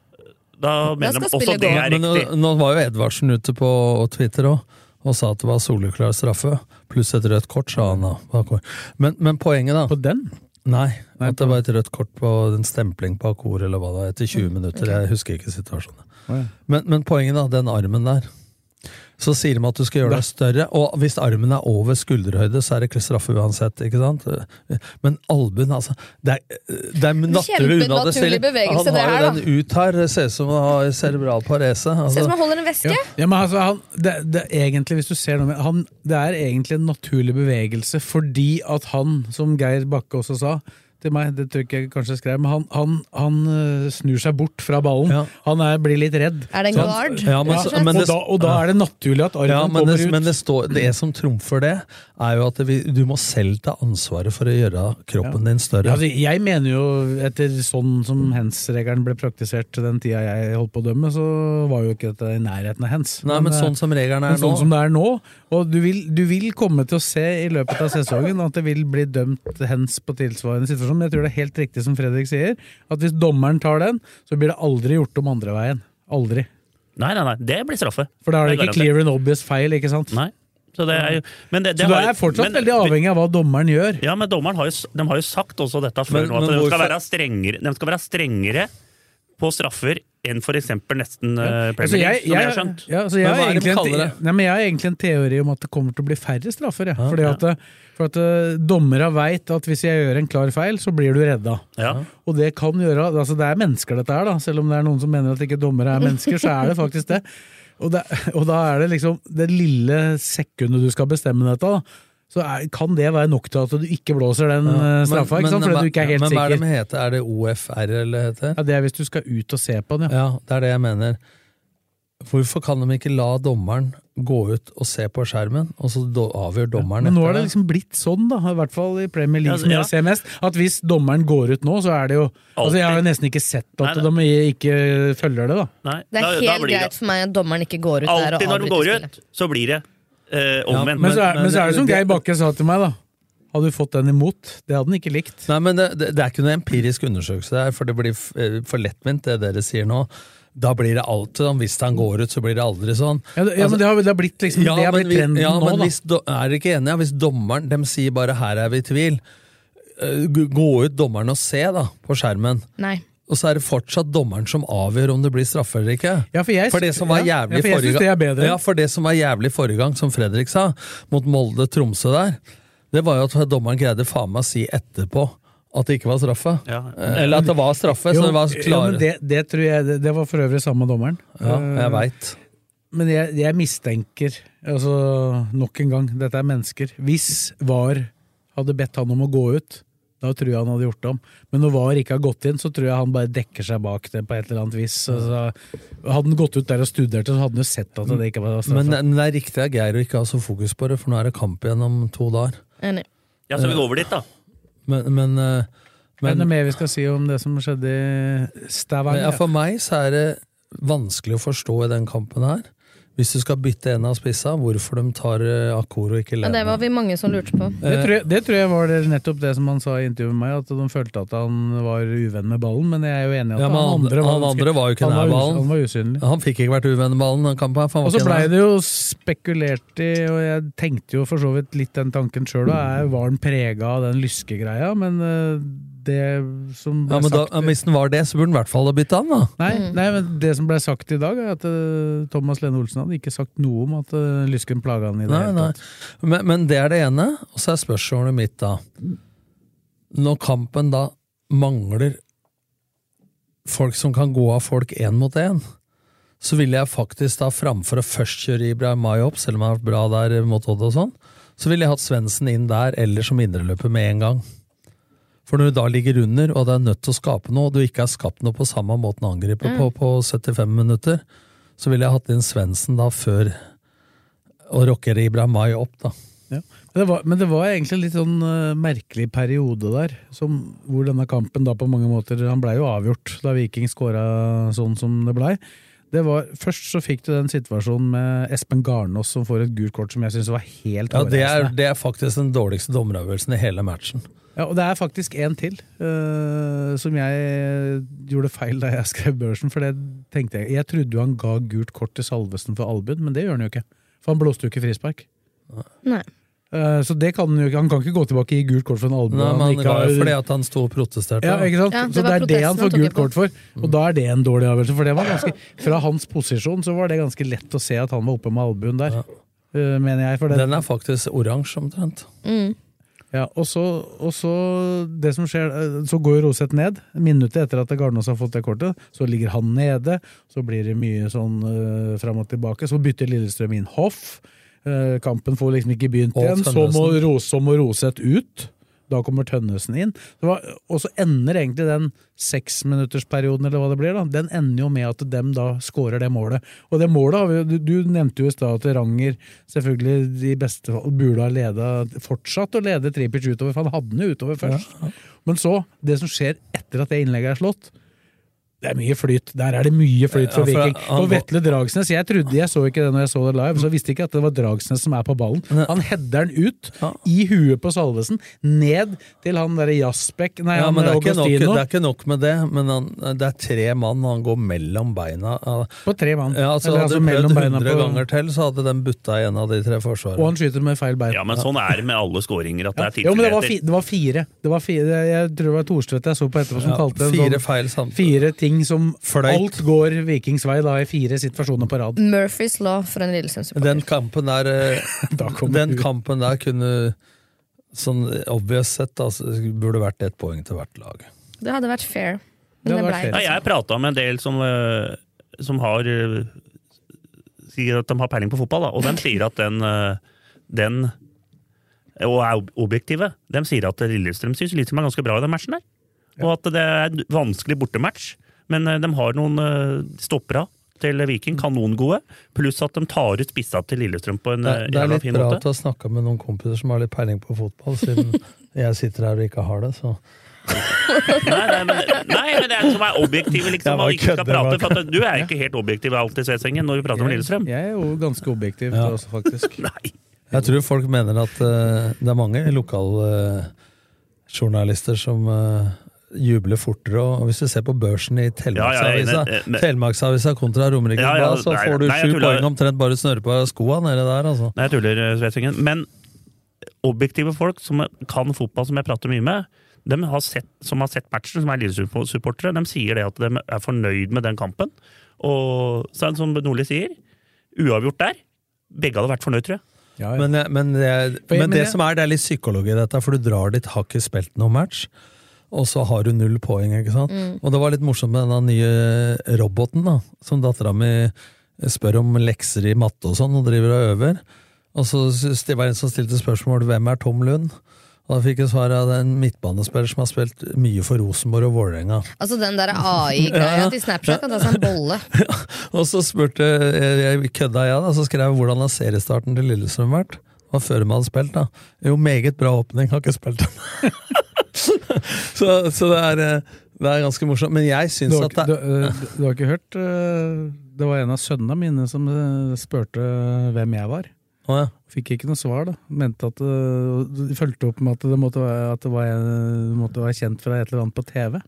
Speaker 5: Da mener de også det er
Speaker 6: Men nå,
Speaker 5: riktig.
Speaker 6: nå var jo Edvardsen ute på Twitter òg, og sa at det var soleklar straffe. Pluss et rødt kort, sa han da. Bakor. Men, men poenget, da På
Speaker 4: den?
Speaker 6: Nei, at det var et rødt kort på en stempling på Akor eller hva det var, etter 20 minutter. Jeg husker ikke situasjonen.
Speaker 4: Å, ja.
Speaker 6: Men, men poenget, da, den armen der. Så sier de at du skal gjøre deg større, og hvis armen er over skulderhøyde, så er det ikke straffe uansett. ikke sant? Men albuen, altså Det er, det er naturlig unna det
Speaker 7: Kjempenaturlig bevegelse,
Speaker 6: Han
Speaker 7: det
Speaker 6: har
Speaker 7: her,
Speaker 6: jo
Speaker 7: da.
Speaker 6: den ut her, det ser ut som han har cerebral parese.
Speaker 7: Ser ut som
Speaker 6: Altså.
Speaker 7: han holder en veske.
Speaker 4: Ja. ja, men altså, han, det, det, er egentlig, hvis du ser noe med, han, det er egentlig en naturlig bevegelse, fordi at han, som Geir Bakke også sa, til meg, det tror jeg ikke jeg kanskje jeg skrev, men han, han, han øh, snur seg bort fra ballen. Han er, blir litt redd.
Speaker 7: Er det en
Speaker 4: Så han-
Speaker 7: guard?
Speaker 4: Ja, men,
Speaker 7: rett og slett?
Speaker 4: og, da, og da er det naturlig at armen
Speaker 6: Ja, men
Speaker 4: kommer
Speaker 6: det,
Speaker 4: ut.
Speaker 6: men det, står, det som trumfer det, er jo at vi, du må selv ta ansvaret for å gjøre kroppen din større.
Speaker 4: Ja, altså, jeg mener jo, etter sånn som hands-regelen ble praktisert til den tida jeg holdt på å dømme, så var jo ikke dette i nærheten av hands.
Speaker 6: Nei, men sånn som regelen er
Speaker 4: men sånn
Speaker 6: nå-
Speaker 4: som det er nå, og du vil, du vil komme til å se i løpet av sesongen at det vil bli dømt hands på tilsvarende situasjon, men jeg tror det er helt riktig som Fredrik sier, at hvis dommeren tar den, så blir det aldri gjort om andre veien. Aldri.
Speaker 5: Nei, nei, nei, det blir straffe.
Speaker 4: For da er det
Speaker 5: Jeg
Speaker 4: ikke clear and obvious feil, ikke sant?
Speaker 5: Nei. Så det er jo men det, det
Speaker 4: Så du
Speaker 5: har-
Speaker 4: er fortsatt
Speaker 5: men-
Speaker 4: veldig avhengig av hva dommeren gjør.
Speaker 5: Ja, men dommeren har jo, s- de har jo sagt også dette før
Speaker 4: Men-
Speaker 5: nå, at
Speaker 4: men
Speaker 5: de, skal
Speaker 4: hvorfor-
Speaker 5: være strengere, de skal være strengere på straffer enn for eksempel nesten eh,
Speaker 4: Altså,
Speaker 5: Premier League, som jeg har skjønt.
Speaker 4: Ja, altså, jeg,
Speaker 5: Men hva
Speaker 4: har
Speaker 5: er det de
Speaker 4: egentlig en,
Speaker 5: kaller det?
Speaker 4: nei, men jeg har egentlig en teori om at det kommer til å bli færre straffer. Jeg. Fordi at, for at eh, dommere veit at hvis jeg gjør en klar feil, så blir du redda. Og det kan gjøre altså Det er mennesker dette her, da. Selv om det er noen som mener at ikke dommere er mennesker, så er det faktisk det. Og, det, og da er det liksom det lille sekundet du skal bestemme dette, da. Så er, kan det være nok til at du ikke blåser den eh,
Speaker 6: Men-
Speaker 4: straffa, ikke sant?
Speaker 6: men-
Speaker 4: fordi du ikke er helt
Speaker 6: men, hva er det
Speaker 4: sikker.
Speaker 6: de heter? Er det OFR eller heter?
Speaker 4: Ja, Det er hvis du skal ut og se på den,
Speaker 6: ja. Det er det jeg mener. Hvorfor kan de ikke la dommeren gå ut og se på skjermen, og så do- avgjør dommeren
Speaker 4: Men nå
Speaker 6: etter
Speaker 4: har det liksom blitt sånn, da, i hvert fall i Premier
Speaker 6: Ja,
Speaker 4: League, som
Speaker 6: ja.
Speaker 4: jeg ser mest, at hvis dommeren går ut nå, så er det jo Altså, Jeg har jo nesten ikke sett at de ikke følger det, da.
Speaker 5: Nei,
Speaker 7: Det er
Speaker 5: da- da
Speaker 7: helt
Speaker 5: blir det-
Speaker 7: greit for meg at dommeren ikke går ut der og
Speaker 5: Alltid når de
Speaker 7: avbryter
Speaker 5: går
Speaker 7: spillet.
Speaker 5: ut, så blir det eh,
Speaker 4: Ja,
Speaker 5: omvendt.
Speaker 4: men, så er, men så er det som Geir Bakke sa til meg, da. Hadde du fått den imot? Det hadde den ikke likt.
Speaker 6: Nei, men det, det, det er ikke noen empirisk undersøkelse der, for det blir f- eh, for lettvint, det dere sier nå. Da blir det alltid sånn. Hvis han går ut, så blir det aldri sånn.
Speaker 4: Ja, det- ja, men det har- det har blitt liksom- det har
Speaker 6: men
Speaker 4: blitt trenden
Speaker 6: ja,
Speaker 4: nå,
Speaker 6: men
Speaker 4: da.
Speaker 6: Hvis, do- er dere ikke enige? ja? Hvis dommeren dem sier bare 'her er vi i tvil', eh, g- gå ut dommeren og se da, på skjermen.
Speaker 7: Nei.
Speaker 6: Og så er det fortsatt dommeren som avgjør om det blir straffe eller ikke.
Speaker 4: Ja, for jeg-
Speaker 6: det som var
Speaker 4: ja, ja, for
Speaker 6: jævlig
Speaker 4: jeg
Speaker 6: forrige
Speaker 4: synes det er bedre.
Speaker 6: Ja, for det som var jævlig forrige gang, som Fredrik sa, mot Molde-Tromsø der, det var jo at dommeren greide faen meg å si etterpå at det ikke var straffe. Eh, Eller at det var straffe,
Speaker 4: Jo,
Speaker 6: så det var
Speaker 4: ja,
Speaker 6: klare
Speaker 4: men det, det tror jeg Det, det var for øvrig samme dommeren.
Speaker 6: Ja, jeg
Speaker 4: Eh,
Speaker 6: veit.
Speaker 4: Men jeg, jeg mistenker, altså nok en gang, dette er mennesker. Hvis VAR hadde bedt han om å gå ut, da tror jeg han hadde gjort det om. Men når VAR ikke har gått inn, så tror jeg han bare dekker seg bak det på et eller annet vis. Altså, hadde han gått ut der og studert det, så hadde han jo sett at det ikke var altså.
Speaker 6: Men,
Speaker 4: straffe.
Speaker 6: men det er riktig av Geir å ikke ha så fokus på det, for nå er det kamp igjen om to dager.
Speaker 5: Ja, så vi går over dit, da.
Speaker 6: Men, men,
Speaker 4: Men,
Speaker 6: eh,
Speaker 4: er
Speaker 6: men
Speaker 4: det mer vi skal si om det som skjedde i Stavanger?
Speaker 6: Ja, for meg så er det vanskelig å forstå i den kampen her. Hvis du skal bytte en av spissa, hvorfor de tar eh, Akor og ikke
Speaker 7: Ja, det
Speaker 6: Lene.
Speaker 7: var vi mange som lurte på.
Speaker 6: Eh,
Speaker 4: Det tror, jeg, det tror jeg var det, nettopp det som han sa i intervjuet med meg, at de følte at han var uvenn med ballen, men jeg er jo enig i at
Speaker 6: Ja, men
Speaker 4: han andre var,
Speaker 6: han andre var jo ikke
Speaker 4: han
Speaker 6: nær ballen.
Speaker 4: Han var usynlig.
Speaker 6: Eh, Han fikk ikke vært uvenn med ballen. den kampen her, for han
Speaker 4: Og
Speaker 6: var
Speaker 4: så
Speaker 6: ikke
Speaker 4: blei
Speaker 6: nær.
Speaker 4: det jo spekulert i, og jeg tenkte jo for så vidt litt den tanken sjøl, var den prega av den lyskegreia, men eh, det som
Speaker 6: ja,
Speaker 4: ble
Speaker 6: men da,
Speaker 4: sagt
Speaker 6: ja, Hvis den var det, så burde den i hvert fall ha bytta han, da.
Speaker 4: Nei, nei, men det som ble sagt i dag, er at eh, Thomas Lene Olsen hadde ikke sagt noe om at eh, lysken plaga han i det
Speaker 6: Nei,
Speaker 4: hele
Speaker 6: nei.
Speaker 4: tatt.
Speaker 6: Men, men det er det ene. Og så er spørsmålet mitt da Når kampen da mangler folk som kan gå av folk én mot én, så ville jeg faktisk da framfor å først kjøre Ibrahimay opp, selv om han har vært bra der mot Odd og sånn, så ville jeg hatt Svendsen inn der eller som indreløper med en gang. For når du da ligger under, og det er nødt til å skape noe, og du ikke har skapt noe på samme måten angriper på på 75 minutter, så ville jeg hatt inn Svendsen da før og rocker Ibrahimay opp, da.
Speaker 4: Ja. Men, det var, men det var egentlig en litt sånn eh, merkelig periode der, som, hvor denne kampen da på mange måter Han blei jo avgjort da Viking skåra sånn som det blei. Det var, først så fikk du den situasjonen med Espen Garnås som får et gult kort som jeg syns var helt
Speaker 6: Ja, det er,
Speaker 4: hårreisende.
Speaker 6: det er faktisk den dårligste dommeravgjørelsen i hele matchen.
Speaker 4: Ja, og det er faktisk en til eh, som jeg gjorde feil da jeg skrev børsen. For det tenkte jeg Jeg trodde jo han ga gult kort til Salvesen for albuen, men det gjør han jo ikke. For han blåste jo ikke frispark.
Speaker 7: Nei.
Speaker 4: Eh, så det kan han jo ikke. Han kan ikke gå tilbake og gi gult kort for en albue.
Speaker 6: Nei, men han
Speaker 4: ikke
Speaker 6: ga jo
Speaker 4: har-
Speaker 6: fordi at han sto og protesterte.
Speaker 4: ja,
Speaker 6: da.
Speaker 4: ikke sant? så det er det han får gult kort for,
Speaker 6: Mm.
Speaker 4: og da er det en dårlig avgjørelse. For det var ganske, Fra hans posisjon så var det ganske lett å se at han var oppe med albuen der, øh, mener jeg. For det.
Speaker 6: Den er faktisk oransje, omtrent.
Speaker 4: Ja, og så, og så det som skjer, øh, så går jo Roseth ned. Minuttet etter at Garnås har fått det kortet, så ligger han nede. Så blir det mye sånn øh, fram og tilbake. Så bytter Lillestrøm inn Hoff. Øh, kampen får liksom ikke begynt
Speaker 6: Og
Speaker 4: igjen. Så må,
Speaker 6: Tønnesen.
Speaker 4: Ros- så må Roseth ut. Da kommer Tønnesen inn. Det var, og så ender egentlig den seksminuttersperioden, eller hva det blir, da, den ender jo med at dem da scorer det målet. Og det målet, har vi jo- du, du nevnte jo i stad at Ranger selvfølgelig i beste fall burde ha leda, fortsatt å lede Tripic utover, for han hadde den jo utover først. Men så, det som skjer etter at det innlegget er slått, det er mye flyt. Der er det mye flyt for
Speaker 6: Ja, for
Speaker 4: Viking.
Speaker 6: han-
Speaker 4: Og Vetle Dragsnes, jeg trodde jeg så ikke det når jeg så det live, så jeg visste ikke at det var Dragsnes som er på ballen. Han header den ut, i huet på Salvesen, ned til han derre Jaspek Nei,
Speaker 6: ja,
Speaker 4: han
Speaker 6: men det er, ikke nok,
Speaker 4: Augustino.
Speaker 6: det er ikke nok med det, men han, det er tre mann han går mellom beina.
Speaker 4: På tre mann.
Speaker 6: Ja, altså,
Speaker 4: Eller altså
Speaker 6: hadde du
Speaker 4: mellom
Speaker 6: prøvd
Speaker 4: beina
Speaker 6: 100
Speaker 4: på-
Speaker 6: ganger til, så hadde den butta i en av de tre forsvarene.
Speaker 4: Og han skyter med feil bein.
Speaker 5: Ja, men sånn er det med alle scoringer. At det er
Speaker 4: Jo, men det var, fi,
Speaker 5: tilfeldigheter.
Speaker 4: det var fire. Det var fire. Jeg tror det var Thorstvedt jeg så på etterpå som
Speaker 6: Ja,
Speaker 4: kalte det en
Speaker 6: fire
Speaker 4: sånn-
Speaker 6: feil samtidig.
Speaker 4: Fire ting som
Speaker 6: Fløyt.
Speaker 4: Alt går Vikings vei da, i fire situasjoner på rad.
Speaker 7: Murphys law for en Lillesund-supporter.
Speaker 6: Den kampen der eh, Den kampen der kunne Sånn obvious sett altså, burde vært ett poeng til hvert lag.
Speaker 7: Det hadde vært fair. Men det,
Speaker 5: Det hadde
Speaker 7: ble
Speaker 5: vært fett. Nei, jeg prata med en del som, eh, som har eh, Sier at de har peiling på fotball, da, og de sier at den, eh, den Og er ob- objektive. De sier at Lillestrøm syns Lillestrøm er ganske bra i den matchen der. Og at det er en vanskelig bortematch, men eh, de har noen eh, stopper av til Viking, kanongode, pluss at de tar ut spissa til Lillestrøm på en
Speaker 6: Det,
Speaker 5: eh,
Speaker 6: det er
Speaker 5: jævla
Speaker 6: litt
Speaker 5: fin
Speaker 6: bra
Speaker 5: måte.
Speaker 6: at du har snakka med noen kompiser som har litt peiling på fotball, siden jeg sitter her og ikke har det, så
Speaker 5: Nei, men det er som er objektiv, liksom.
Speaker 6: bare
Speaker 5: Man ikke skal
Speaker 6: kødder,
Speaker 5: prate,
Speaker 6: jeg bare
Speaker 5: for at du er ikke helt objektiv alltid, Svesengen, når vi prater om Lillestrøm.
Speaker 4: Jeg er jo ganske objektiv
Speaker 6: Ja.
Speaker 4: også, faktisk.
Speaker 6: Jeg tror folk mener at eh, det er mange lokaljournalister som eh, jubler fortere. Og hvis du ser på børsen i
Speaker 5: Ja, ja, jeg er
Speaker 6: Telemarksavisa
Speaker 5: enig, eh, men-
Speaker 6: Telemarksavisa kontra Romerike,
Speaker 5: Ja, ja,
Speaker 6: Blad, så
Speaker 5: nei,
Speaker 6: får du
Speaker 5: nei, jeg
Speaker 6: sju
Speaker 5: tuller.
Speaker 6: poeng omtrent bare du snører på skoa nede der. altså.
Speaker 5: Nei, jeg tuller, Svesengen. Men objektive folk som kan fotball, som jeg prater mye med, de har sett, som har sett matchen, som er Lillestrøm-supportere, de sier det at de er fornøyd med den kampen. Og så er det som Nordli sier, uavgjort der. Begge hadde vært fornøyd, tror jeg.
Speaker 6: Men, jeg- men, jeg,
Speaker 5: For jeg-
Speaker 6: men
Speaker 5: men
Speaker 6: det
Speaker 5: jeg-
Speaker 6: som er, det er litt psykologi i dette, for du drar dit, har ikke spilt noen match, og så har du null poeng, ikke sant?
Speaker 8: Mm.
Speaker 6: Og det var litt morsomt med denne nye roboten, da, som dattera mi spør om lekser i matte og sånn, og driver og øver. Og så s- det var en som stilte spørsmål hvem er Tom Lund? Og da fikk jeg svar av en midtbanespiller som har spilt mye for Rosenborg og Vålerenga.
Speaker 7: Altså den der AI-greia
Speaker 6: Ja, ja.
Speaker 7: til Snapchat kan ta seg en bolle.
Speaker 6: Og så spurte jeg, jeg kødda jeg da, så skrev jeg hvordan har seriestarten til Lillestrøm vært? Hva før de hadde spilt, da? Jo, meget bra åpning, har ikke spilt den. så så det, er, eh, det er ganske morsomt. Men jeg
Speaker 4: Du
Speaker 6: syns
Speaker 4: har,
Speaker 6: at
Speaker 4: ikke- du,
Speaker 6: det
Speaker 4: øh, du har ikke hørt øh, Det var en av sønnene mine som øh, spurte hvem jeg var. Fikk ikke noe svar, da. Mente at øh, De fulgte opp med at det måtte være, at det var en, måtte være kjent fra et eller annet på TV.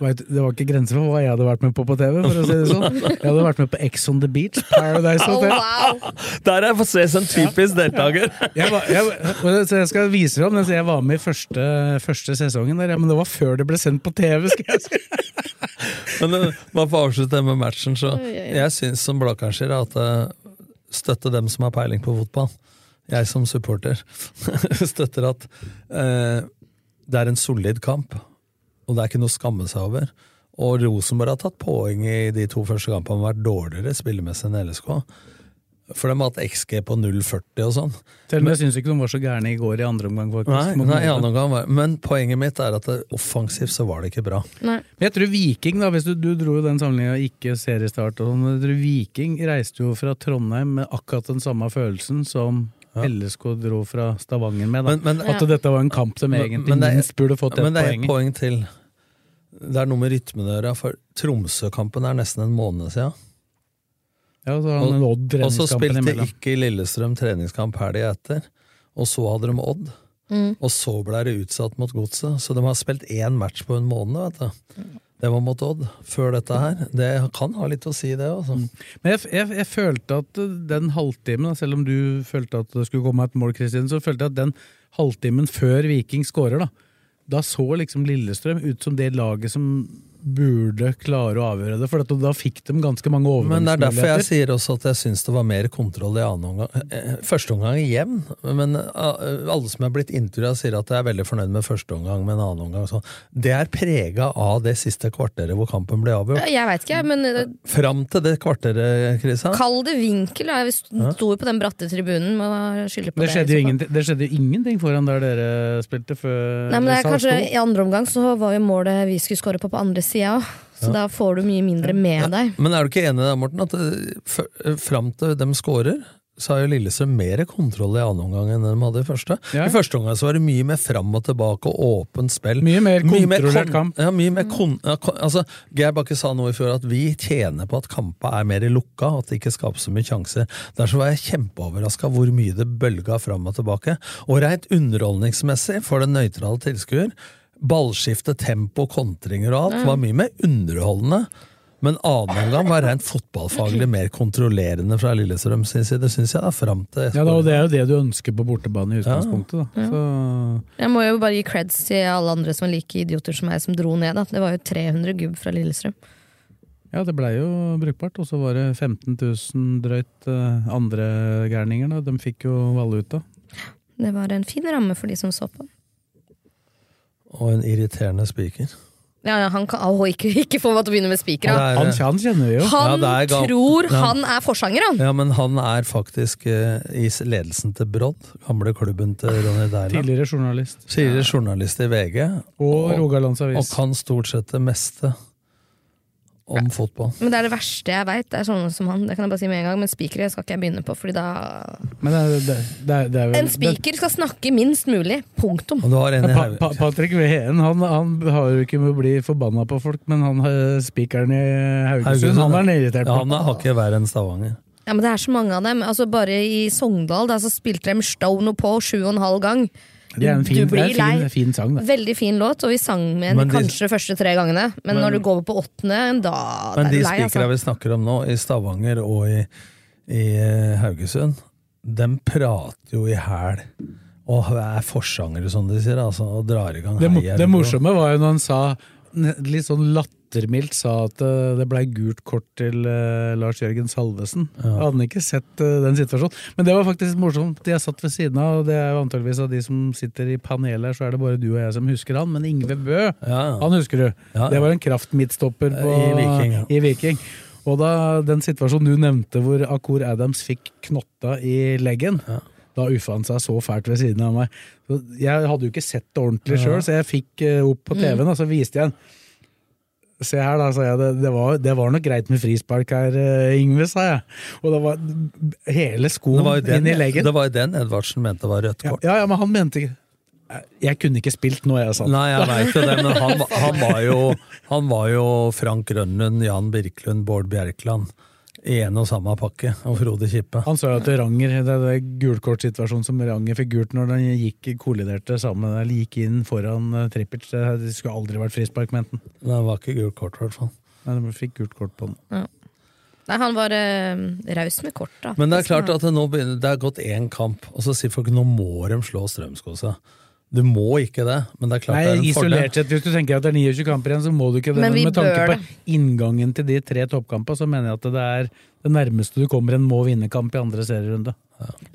Speaker 4: Vet du, Det var ikke grenser for hva jeg hadde vært med på på TV. For å si det sånn Jeg hadde vært med på Ex on the Beach. Paradise Hotel.
Speaker 6: Der er for ses en typisk deltaker!
Speaker 4: Jeg, var, jeg, var- så jeg skal vise deg om den, så jeg var med i første, første sesongen. Der, ja, men det var før det ble sendt på TV. Skal jeg si.
Speaker 6: Men eh, bare for å avslutte det med matchen, så
Speaker 4: Oi, oi, oi.
Speaker 6: jeg syns som Blakkernskjer at eh, støtte dem som har peiling på fotball. Jeg som supporter støtter at eh, det er en solid kamp, og det er ikke noe å skamme seg over. Og Rosenborg har tatt poeng i de to første kampene og vært dårligere spillemessig enn LSK. For de har hatt XG på 0,40 og sånn.
Speaker 4: Selv om jeg syns ikke de var så gærne i går i andre omgang. faktisk.
Speaker 6: Nei,
Speaker 4: mot
Speaker 6: nei, i
Speaker 4: Molde.
Speaker 6: annen omgang var- Men poenget mitt er at det, offensivt så var det ikke bra.
Speaker 4: Men jeg tror Viking, da, hvis du, du dro jo den sammenligninga ikke seriestart og sånn, men jeg tror Viking reiste jo fra Trondheim med akkurat den samme følelsen som LSK dro fra Stavanger med. Da.
Speaker 6: Men- men-
Speaker 4: At dette var en kamp som
Speaker 6: Men-
Speaker 4: egentlig
Speaker 6: men det er-
Speaker 4: minst burde fått ett
Speaker 6: Men det er
Speaker 4: poeng.
Speaker 6: ett
Speaker 4: i.
Speaker 6: poeng til. Det er noe med rytmen å gjøre, for Tromsø-kampen er nesten en måned siden.
Speaker 4: Ja, så har
Speaker 6: Og,
Speaker 4: han Odd
Speaker 6: og så
Speaker 4: treningskampen
Speaker 6: spilte
Speaker 4: imellom.
Speaker 6: ikke Lillestrøm treningskamp helga etter, og så hadde de Odd. Og så ble det utsatt mot Godset, så de har spilt én match på en måned. vet du. Det var mot Odd før dette her. Det kan ha litt å si, det.
Speaker 4: Mm.
Speaker 6: altså.
Speaker 4: Men jeg, jeg, jeg følte at den halvtimen, da, selv om du følte at det skulle komme et mål, Kristin, så følte jeg at den halvtimen før Viking skårer, da, da så liksom Lillestrøm ut som det laget som burde klare å avgjøre det, for at da fikk de ganske mange
Speaker 6: Men det er derfor jeg
Speaker 4: overgangsmuligheter.
Speaker 6: sier også at jeg syns det var mer kontroll i annen omgang. eh, Første omgang er jevn, men eh, alle som er blitt intervjua, sier at jeg er veldig fornøyd med første omgang, men annen omgang sånn. Det er prega av det siste kvarteret hvor kampen ble
Speaker 7: Ja,
Speaker 6: avgjort.
Speaker 7: Jeg veit ikke, jeg, men eh,
Speaker 6: Fram til det kvarteret, Kristian.
Speaker 7: kall det vinkel. da. Jeg sto jo på den bratte tribunen. Må skylde på det.
Speaker 4: Det
Speaker 7: liksom.
Speaker 4: skjedde, jo
Speaker 6: liksom
Speaker 4: ingenting, det skjedde jo ingenting foran der dere spilte før
Speaker 7: Nei, men det er
Speaker 4: Sars
Speaker 7: kanskje
Speaker 4: to.
Speaker 7: I andre omgang så var jo målet vi skulle skåre på på andre sida òg, så
Speaker 6: Ja.
Speaker 7: da får du mye mindre med deg.
Speaker 6: Men er du ikke enig i det, Morten, at eh, f- eh, fram til de scorer, så har jo Lillestrøm mer kontroll i annen omgang enn de hadde i første. I første omgang så var det mye mer fram og tilbake og åpent spill. Mye
Speaker 4: mer kontrollert
Speaker 6: kon-
Speaker 4: kamp.
Speaker 6: Ja, mye mer kon ja, kon altså, Geir Bakke sa noe i fjor at vi tjener på at kampa er mer lukka, at det ikke skapes så mye sjanser. Derfor var jeg kjempeoverraska hvor mye det bølga fram og tilbake. Og rent underholdningsmessig, for den nøytrale tilskuer, ballskifte, tempo, kontringer og alt
Speaker 8: Mm.
Speaker 6: var mye mer underholdende. Men annen omgang var rent fotballfaglig mer kontrollerende fra Lillestrøm sin side, syns jeg. da, fram til
Speaker 4: Ja, da, og det er jo det du ønsker på bortebane i utgangspunktet. Da.
Speaker 7: Ja.
Speaker 4: Så,
Speaker 7: Jeg må jo bare gi creds til alle andre som er like idioter som meg, som dro ned. Da. Det var jo 300 gubb fra Lillestrøm.
Speaker 4: ja, det blei jo brukbart. Og så var det 15 000 drøyt eh, andre gærninger. da. De fikk jo valuta.
Speaker 7: Det var en fin ramme for de som så på.
Speaker 6: Og en irriterende spiker.
Speaker 7: Ja, ja, han kan, Åh, ikke, ikke få meg til å begynne med spiker. da.
Speaker 4: Han, han kjenner vi jo.
Speaker 7: Han tror han er forsanger, han!
Speaker 6: Ja, men han er faktisk eh, i ledelsen til Brodd, gamle klubben til Ronny Deiland.
Speaker 4: Tidligere journalist.
Speaker 6: Tidligere journalist i VG.
Speaker 4: Og Rogalands Avis.
Speaker 6: Og kan stort sett det meste om fotball.
Speaker 7: Men det er det verste jeg veit. Det er sånne som han. Det kan jeg bare si med en gang. Men spikere skal ikke jeg begynne på, fordi da
Speaker 4: Men det, er- det, det, er- det er vel
Speaker 7: En spiker skal snakke minst mulig. Punktum.
Speaker 4: Ja, pa, pa, Patrick Wehen han, han har jo ikke med å bli forbanna på folk, men han eh, spikeren i Haugesund han er irritert
Speaker 6: Ja,
Speaker 4: på.
Speaker 6: han er hakket verre enn Stavanger.
Speaker 7: Ja, men det er så mange av dem. Altså, bare i Sogndal da, så spilte de Stono på sju og en halv gang.
Speaker 4: Det er en fin, det er en fin, fin sang, det.
Speaker 7: Veldig fin låt, og vi sang med
Speaker 6: Men
Speaker 7: den
Speaker 6: de-
Speaker 7: kanskje de første tre gangene. Men,
Speaker 6: Men-
Speaker 7: når du går over på åttende, da da
Speaker 6: Men
Speaker 7: er
Speaker 6: de
Speaker 7: du lei.
Speaker 6: spikere
Speaker 7: Altså.
Speaker 6: vi snakker om nå, i Stavanger og i, i eh, Haugesund, dem prater jo i hæl. Og er forsangere, som de sier, altså, og drar i gang
Speaker 4: Det, mo-
Speaker 6: heier-
Speaker 4: det morsomme var jo når han sa, n- litt sånn lattermildt sa at eh, det blei gult kort til eh, Lars Jørgen Salvesen. Jeg hadde ikke sett eh, den situasjonen. Men det var faktisk morsomt. Jeg satt ved siden av, og det er jo antageligvis av de som sitter i panelet her, så er det bare du og jeg som husker han, men Ingve Bø, han husker du. Det var en kraftmidtstopper på,
Speaker 6: I Viking, ja.
Speaker 4: i Viking. Og da den situasjonen du nevnte hvor Akor Adams fikk knotta i leggen, da uffa han seg så fælt ved siden av meg. Så Jeg hadde jo ikke sett det ordentlig
Speaker 6: Ja. Mm.
Speaker 4: sjøl, så jeg fikk eh, opp på TV-en, og så viste jeg den. Se her, da, sa jeg. Det, det, var, det var nok greit med frispark her, eh, Yngve, sa jeg. Og det var hele
Speaker 6: Det
Speaker 4: skoen
Speaker 6: var jo den,
Speaker 4: inn i leggen.
Speaker 6: det var jo den Edvardsen mente var rødt kort.
Speaker 4: Ja, ja, men han mente ikke Jeg kunne ikke spilt nå, jeg, sa han.
Speaker 6: Nei, jeg veit jo det, men han, han, var jo, han var jo Frank Rønnlund, Jan Birkelund, Bård Bjerkeland i en og samme pakke. Og Frode Kippe.
Speaker 4: Han sa jo at Ranger, det er det gulkortsituasjonen som Ranger fikk gult når den gikk kolliderte sammen, eller gikk inn foran eh, Trippic. Det her- det skulle aldri vært frispark, mente han.
Speaker 6: Det var ikke gult kort, i hvert fall.
Speaker 4: Nei, de fikk gult kort på den.
Speaker 7: Ja. Nei, han var eh, raus med kort, da.
Speaker 6: Men det er klart at det nå begynner, det er gått én kamp, og så sier folk nå må de slå Strømskosa. Du må ikke det, men det er klart
Speaker 4: Nei,
Speaker 6: det er en
Speaker 4: isolert
Speaker 6: fordel.
Speaker 4: sett, Hvis du tenker at det er 29 kamper igjen, så må du ikke det.
Speaker 6: Men
Speaker 4: Men
Speaker 6: vi
Speaker 4: med tanke
Speaker 6: bør
Speaker 4: på inngangen til de tre toppkampene, så mener jeg at det er det nærmeste du kommer en må-vinne-kamp i andre serierunde.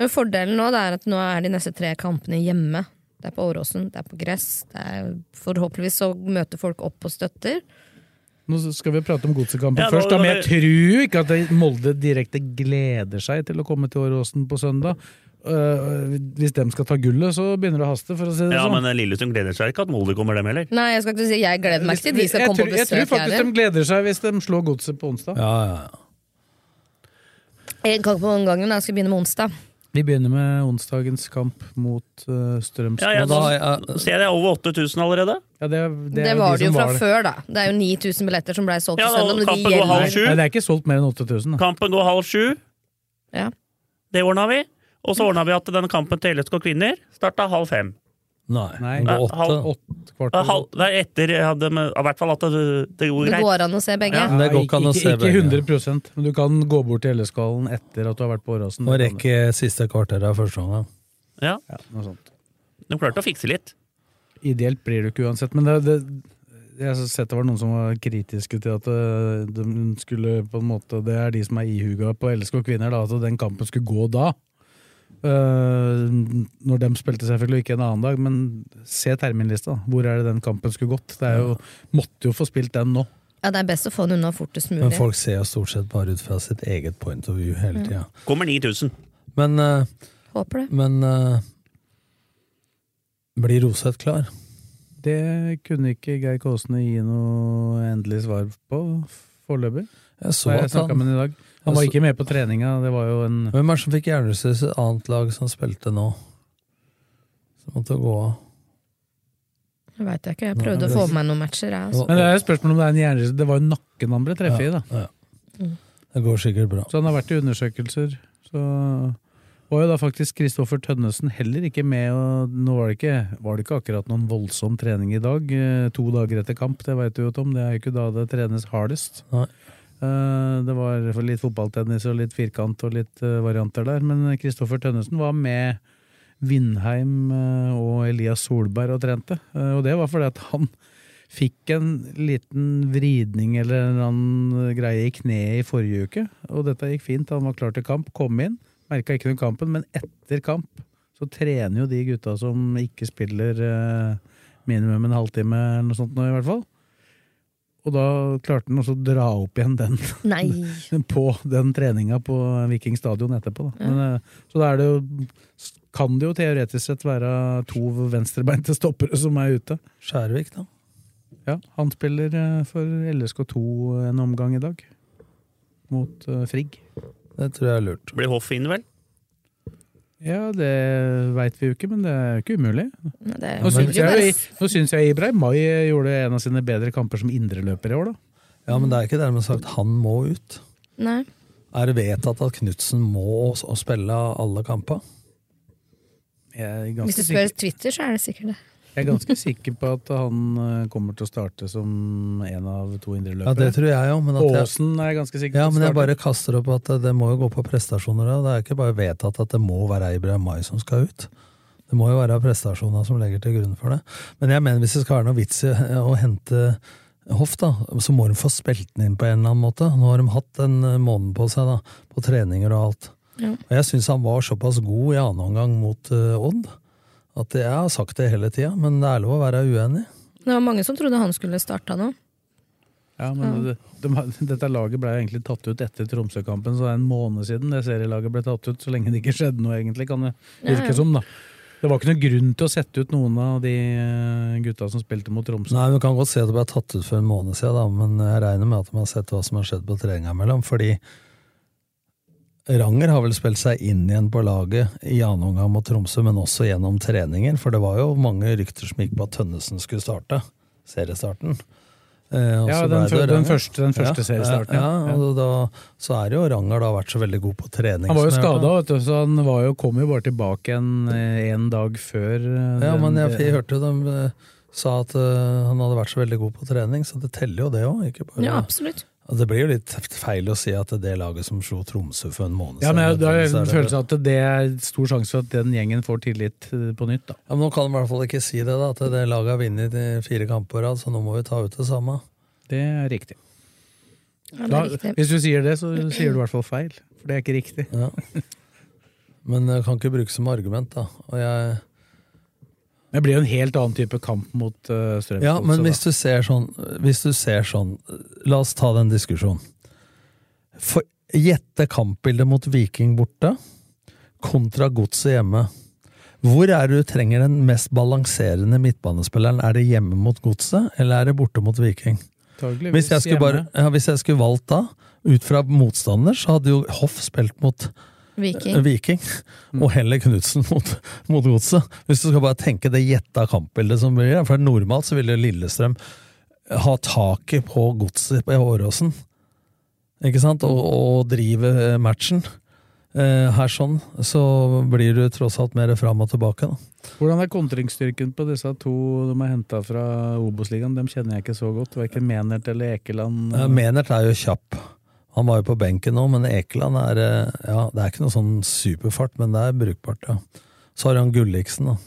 Speaker 7: Men fordelen nå det er at nå er de neste tre kampene hjemme. Det er på Åråsen, det er på gress. Det er, forhåpentligvis så møter folk opp og støtter.
Speaker 4: Nå skal vi prate om godsekampen
Speaker 7: Ja, da-
Speaker 4: først, da, men
Speaker 7: da-
Speaker 4: jeg tror ikke at det- Molde direkte gleder seg til å komme til Åråsen på søndag. Eh, hvis de skal ta gullet, så begynner det å haste, for å si det
Speaker 5: Ja,
Speaker 4: sånn.
Speaker 5: men Lillestrøm gleder seg ikke at Molde kommer dem heller.
Speaker 7: Nei, jeg skal ikke si jeg gleder meg ikke til de skal
Speaker 4: jeg,
Speaker 7: komme
Speaker 4: tror,
Speaker 7: på
Speaker 4: jeg tror
Speaker 7: besøk her.
Speaker 4: faktisk de gleder seg hvis de slår godset på onsdag.
Speaker 7: En kamp om gangen, jeg skal begynne med onsdag.
Speaker 4: Vi begynner med onsdagens kamp mot uh, Strømsgodset.
Speaker 5: Ja, jeg, ser det er over 8000 allerede.
Speaker 4: Ja, det,
Speaker 7: Det,
Speaker 4: er
Speaker 7: var
Speaker 4: de
Speaker 7: det jo
Speaker 4: som
Speaker 7: fra
Speaker 4: var det.
Speaker 7: før, da. Det er jo 9000 billetter som blei solgt
Speaker 5: Ja,
Speaker 7: på
Speaker 5: da,
Speaker 7: søndag. Men
Speaker 5: kampen
Speaker 7: de
Speaker 5: går halv
Speaker 7: gjelder
Speaker 5: sju.
Speaker 4: Nei, det er ikke solgt mer enn 8000. da.
Speaker 5: Kampen går halv sju.
Speaker 7: Ja.
Speaker 5: Det ordna vi. Og så ordna vi at den kampen til LSK kvinner starta halv fem.
Speaker 6: Nei,
Speaker 4: Nei,
Speaker 5: Nei,
Speaker 4: åtte.
Speaker 5: halv-
Speaker 4: Åtte, kvart
Speaker 5: Ja,
Speaker 4: over
Speaker 5: halv, det er etter jeg hadde med, I hvert fall at det, det går
Speaker 7: Det
Speaker 5: greit.
Speaker 7: går an å se begge.
Speaker 4: Ja,
Speaker 6: Det går ikke an å se
Speaker 4: ikke,
Speaker 6: begge.
Speaker 4: ikke 100 men du kan gå bort til LS-skallen etter at du har vært på Åråsen.
Speaker 6: Nå rekker siste kvarter av første omgang.
Speaker 5: Ja.
Speaker 4: noe sånt.
Speaker 5: De klarte å fikse litt.
Speaker 4: Ideelt blir du ikke uansett, men det, det, jeg har sett det var noen som var kritiske til at eh, de skulle på en måte, Det er de som er ihuga på LSK kvinner, da, at den kampen skulle gå da. Eh, når de spilte, selvfølgelig ikke en annen dag, men se terminlista. da. Hvor er det den kampen skulle gått? Det er jo, måtte jo få spilt den nå.
Speaker 7: Ja, det er best å få den unna fortest mulig.
Speaker 6: Men folk ser jo stort sett bare ut fra sitt eget point of view hele
Speaker 7: Ja.
Speaker 6: tida.
Speaker 5: Kommer 9000.
Speaker 6: Men, eh,
Speaker 7: Håper det.
Speaker 6: men eh, blir Roseth klar?
Speaker 4: Det kunne ikke Geir Kåsne gi noe endelig svar på foreløpig.
Speaker 6: Jeg så altså-
Speaker 4: Da
Speaker 6: at
Speaker 4: jeg snakket
Speaker 6: han-
Speaker 4: med han i dag.
Speaker 6: Jeg
Speaker 4: Han var
Speaker 6: så-
Speaker 4: ikke med på treninga. Det var jo en
Speaker 6: Hvem er det som fikk hjernerystelse i et annet lag som spilte nå? Som måtte gå av?
Speaker 7: Det vet jeg ikke. Jeg
Speaker 6: Nei,
Speaker 7: prøvde
Speaker 6: det-
Speaker 7: å få med meg noen matcher. Jeg, altså.
Speaker 4: Men det er jo spørsmål om det er en hjernerystelse. Det var jo nakken han ble treffet i, da.
Speaker 7: Mm.
Speaker 6: Det går sikkert bra.
Speaker 4: Så han har vært i undersøkelser. Så var jo da faktisk Kristoffer Tønnesen heller ikke med. Og nå var det ikke, var det ikke akkurat noen voldsom trening i dag, eh, to dager etter kamp. Det veit du jo, Tom. Det er jo ikke da det trenes hardest.
Speaker 6: Nei.
Speaker 4: Eh, Det var for litt fotballtennis og litt firkant og litt eh, varianter der. Men Kristoffer Tønnesen var med Vindheim eh, og Elias Solberg og trente. Eh, Og det var fordi at han fikk en liten vridning eller en eller annen greie i kneet i forrige uke. Og dette gikk fint. Han var klar til kamp, kom inn. Merka ikke noe kampen, men etter kamp så trener jo de gutta som ikke spiller eh, minimum en halvtime eller noe sånt nå, i hvert fall. Og da klarte han også å dra opp igjen den
Speaker 7: Nei.
Speaker 4: på den treninga på Viking stadion etterpå. Da. Men, eh, så da er det jo, kan det jo teoretisk sett være to venstrebeinte stoppere som er ute.
Speaker 6: Skjærvik, da.
Speaker 4: Ja, han spiller eh, for LSK2 en omgang i dag. Mot eh, Frigg.
Speaker 6: Det tror jeg er lurt.
Speaker 5: Blir Hoff inn, vel?
Speaker 4: Ja, det veit vi jo ikke, men det er jo ikke umulig.
Speaker 7: det-
Speaker 4: Nå syns
Speaker 7: det er
Speaker 4: jeg,
Speaker 7: bare-
Speaker 4: nå syns jeg Ibrahim Mai gjorde en av sine bedre kamper som indreløper i år, da.
Speaker 6: Ja, men det er ikke dermed sagt han må ut.
Speaker 7: Nei.
Speaker 6: Er det vedtatt at Knutsen må s- å spille alle kamper?
Speaker 4: Jeg er
Speaker 7: Hvis
Speaker 4: ganske
Speaker 7: du spør
Speaker 4: sikker,
Speaker 7: Twitter, så er det sikkert det.
Speaker 4: jeg er ganske sikker på at han eh, kommer til å starte som en av to indreløpere.
Speaker 6: Ja, det tror jeg jo, men at jeg-
Speaker 4: Aasen er jeg ganske sikker
Speaker 6: Ja,
Speaker 4: på
Speaker 6: men jeg
Speaker 4: starter.
Speaker 6: bare kaster opp at det- det må jo gå på prestasjoner. da. Det er ikke bare vedtatt at det må være Ibrahim Mai som skal ut. Det må jo være prestasjoner som legger til grunn for det. Men jeg mener hvis det skal være noe vits i å hente Hoff, da, så må de få spilt den inn på en eller annen måte. Nå har de hatt en eh, måned på seg, da, på treninger og alt.
Speaker 7: Ja.
Speaker 6: Og jeg syns han var såpass god i annen omgang mot eh, Odd at jeg har sagt det hele tida, men det er lov å være uenig.
Speaker 7: Det var mange som trodde han skulle starta nå.
Speaker 4: Ja,
Speaker 7: Mm.
Speaker 4: men det- de, har- Dette laget ble jo egentlig tatt ut etter Tromsø-kampen, så det er en måned siden det serielaget ble tatt ut. Så lenge det ikke skjedde noe, egentlig, kan det
Speaker 7: Ja, ja.
Speaker 4: virke som. da. Det var ikke noen grunn til å sette ut noen av de eh, gutta som spilte mot Tromsø.
Speaker 6: Nei, Vi kan godt si at det ble tatt ut for en måned siden, da, men jeg regner med at de har sett hva som har skjedd på treninga imellom. Fordi Ranger har vel spilt seg inn igjen på laget i annen omgang mot Tromsø, men også gjennom treninger. For det var jo mange rykter som gikk på at Tønnesen skulle starte seriestarten. Eh, og
Speaker 4: Ja,
Speaker 6: så
Speaker 4: den
Speaker 6: ble det
Speaker 4: fø- den
Speaker 6: Ranger.
Speaker 4: første- den første seriestarten,
Speaker 6: Ja,
Speaker 4: ja.
Speaker 6: ja, og da, så er det jo Ranger da vært så veldig god på trening.
Speaker 4: Han var jo
Speaker 6: som jeg hørte.
Speaker 4: skada, vet du, så han var jo, kom jo bare tilbake en, eh, en dag før. eh,
Speaker 6: Ja, men jeg,
Speaker 4: den-
Speaker 6: jeg hørte jo de eh, sa at eh, han hadde vært så veldig god på trening, så det teller jo det òg.
Speaker 7: Ja, absolutt.
Speaker 6: Altså, Det blir jo litt feil å si at det er det laget som slo Tromsø for en måned
Speaker 4: Ja, men jeg, da har jeg
Speaker 6: så er
Speaker 4: en
Speaker 6: det-
Speaker 4: følelse av at det er stor sjanse for at den gjengen får tillit eh, på nytt. da.
Speaker 6: Ja, men Nå kan de i hvert fall ikke si det, da, at det laget har vunnet i fire kamper på rad, så nå må vi ta ut det samme.
Speaker 4: Det er riktig.
Speaker 7: Ja, det
Speaker 4: Da,
Speaker 7: er riktig.
Speaker 4: hvis du sier det, så sier du i hvert fall feil. For det er ikke riktig.
Speaker 6: Ja. Men jeg kan ikke brukes som argument, da. Og jeg,
Speaker 4: Det blir jo en helt annen type kamp mot uh, Strømsgodset.
Speaker 6: ja, men
Speaker 4: da.
Speaker 6: hvis du ser sånn, hvis du ser sånn La oss ta den diskusjonen. For- Gjette kampbildet mot Viking borte kontra Godset hjemme. Hvor er det du trenger den mest balanserende midtbanespilleren? Er det hjemme mot Godset, eller er det borte mot Viking?
Speaker 4: Antageligvis
Speaker 6: Hvis jeg skulle, bare,
Speaker 4: hjemme.
Speaker 6: ja, hvis jeg skulle valgt da, ut fra motstander, så hadde jo Hoff spilt mot
Speaker 7: Viking.
Speaker 6: eh, Viking, og heller Knutsen mot, mot Godset. Hvis du skal bare tenke det gjetta kampbildet som blir, for normalt så ville Lillestrøm eh, ha taket på Godset på Åråsen, ikke sant, og, og drive eh, matchen. Eh, Her sånn, så blir du tross alt mer fram og tilbake, da.
Speaker 4: Hvordan er kontringsstyrken på disse to de er henta fra Obos-ligaen? Dem kjenner jeg ikke så godt. Verken Menert eller Ekeland.
Speaker 6: Ja, Eh, Menert er jo kjapp. Han var jo på benken nå, men Ekeland er eh, Ja, det er ikke noe sånn superfart, men det er brukbart, ja. Så har han Gulliksen, da.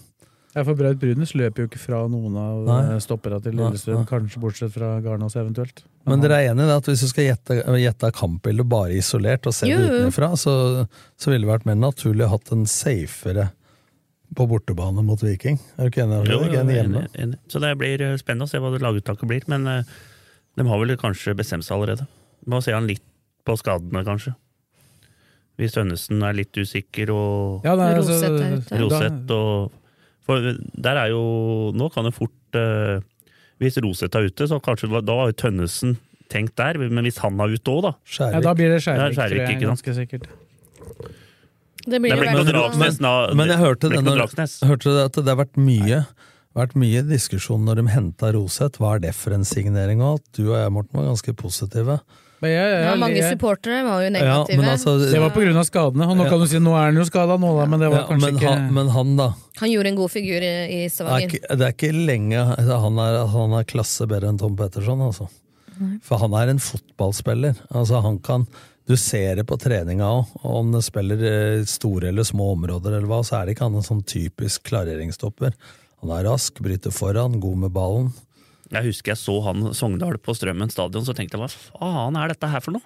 Speaker 4: Ja, for Braut Brunes løper jo ikke fra noen av
Speaker 6: Nei.
Speaker 4: eh, stoppera til
Speaker 6: Nei,
Speaker 4: Lillestrøm, kanskje bortsett fra Garnås eventuelt.
Speaker 6: Men dere er enig i det at hvis du skal gjette, gjette kampbildet bare isolert og se det
Speaker 4: Jo, jo.
Speaker 6: utenfra, så, så ville det vært mer naturlig å hatt en safere på bortebane mot Viking? Er du ikke enig?
Speaker 5: Jo,
Speaker 6: Jo,
Speaker 5: jo,
Speaker 6: enig hjemme?
Speaker 5: enig, enig. Så det blir eh, spennende å se hva det laguttaket blir. Men eh, de har vel kanskje bestemt seg allerede. Må se han litt på skadene, kanskje. Hvis Tønnesen er litt usikker og
Speaker 4: Ja, nei, altså, Roseth er ute.
Speaker 5: Roseth og For eh, der er jo Nå kan det fort eh, Hvis Roseth er ute, så kanskje det var- da har jo Tønnesen tenkt der. Men hvis han er ute òg, da
Speaker 4: Ja, da blir det
Speaker 5: Ja,
Speaker 4: Skjærvik, tror jeg,
Speaker 5: ikke sant?
Speaker 4: ganske sikkert.
Speaker 7: Det
Speaker 5: blir Det blir jo ikke noe veldig- Dragsnes da-
Speaker 6: Men jeg hørte,
Speaker 5: det blir
Speaker 6: det,
Speaker 5: ikke noe
Speaker 6: når, hørte du at det har vært mye, vært mye diskusjon når de henta Roseth. Hva er det for en signering? Og alt? Du og jeg, Morten, var ganske positive. altså,
Speaker 4: Men jeg, jeg,
Speaker 7: Ja,
Speaker 4: jeg,
Speaker 7: mange
Speaker 4: jeg,
Speaker 7: supportere var jo negative.
Speaker 4: det var pga. skadene. Og nå
Speaker 6: Ja.
Speaker 4: kan du si nå er han jo skada, nå da, men det var
Speaker 6: Ja,
Speaker 4: kanskje
Speaker 6: men,
Speaker 4: ikke
Speaker 6: han, men han, da?
Speaker 7: Han gjorde en god figur i, i
Speaker 6: Er
Speaker 7: Stavanger.
Speaker 6: ikke, det er ikke lenge altså, han er, han er klasse bedre enn Tom Petterson, altså.
Speaker 7: Nei.
Speaker 6: For han er en fotballspiller. Altså, han kan Du ser det på treninga òg. Om det spiller eh, store eller små områder, eller hva, så er det ikke han en sånn typisk klareringsstopper. Han er rask, bryter foran, god med ballen.
Speaker 5: Jeg husker jeg så han Sogndal på Strømmen stadion, så tenkte jeg hva faen er dette her for noe?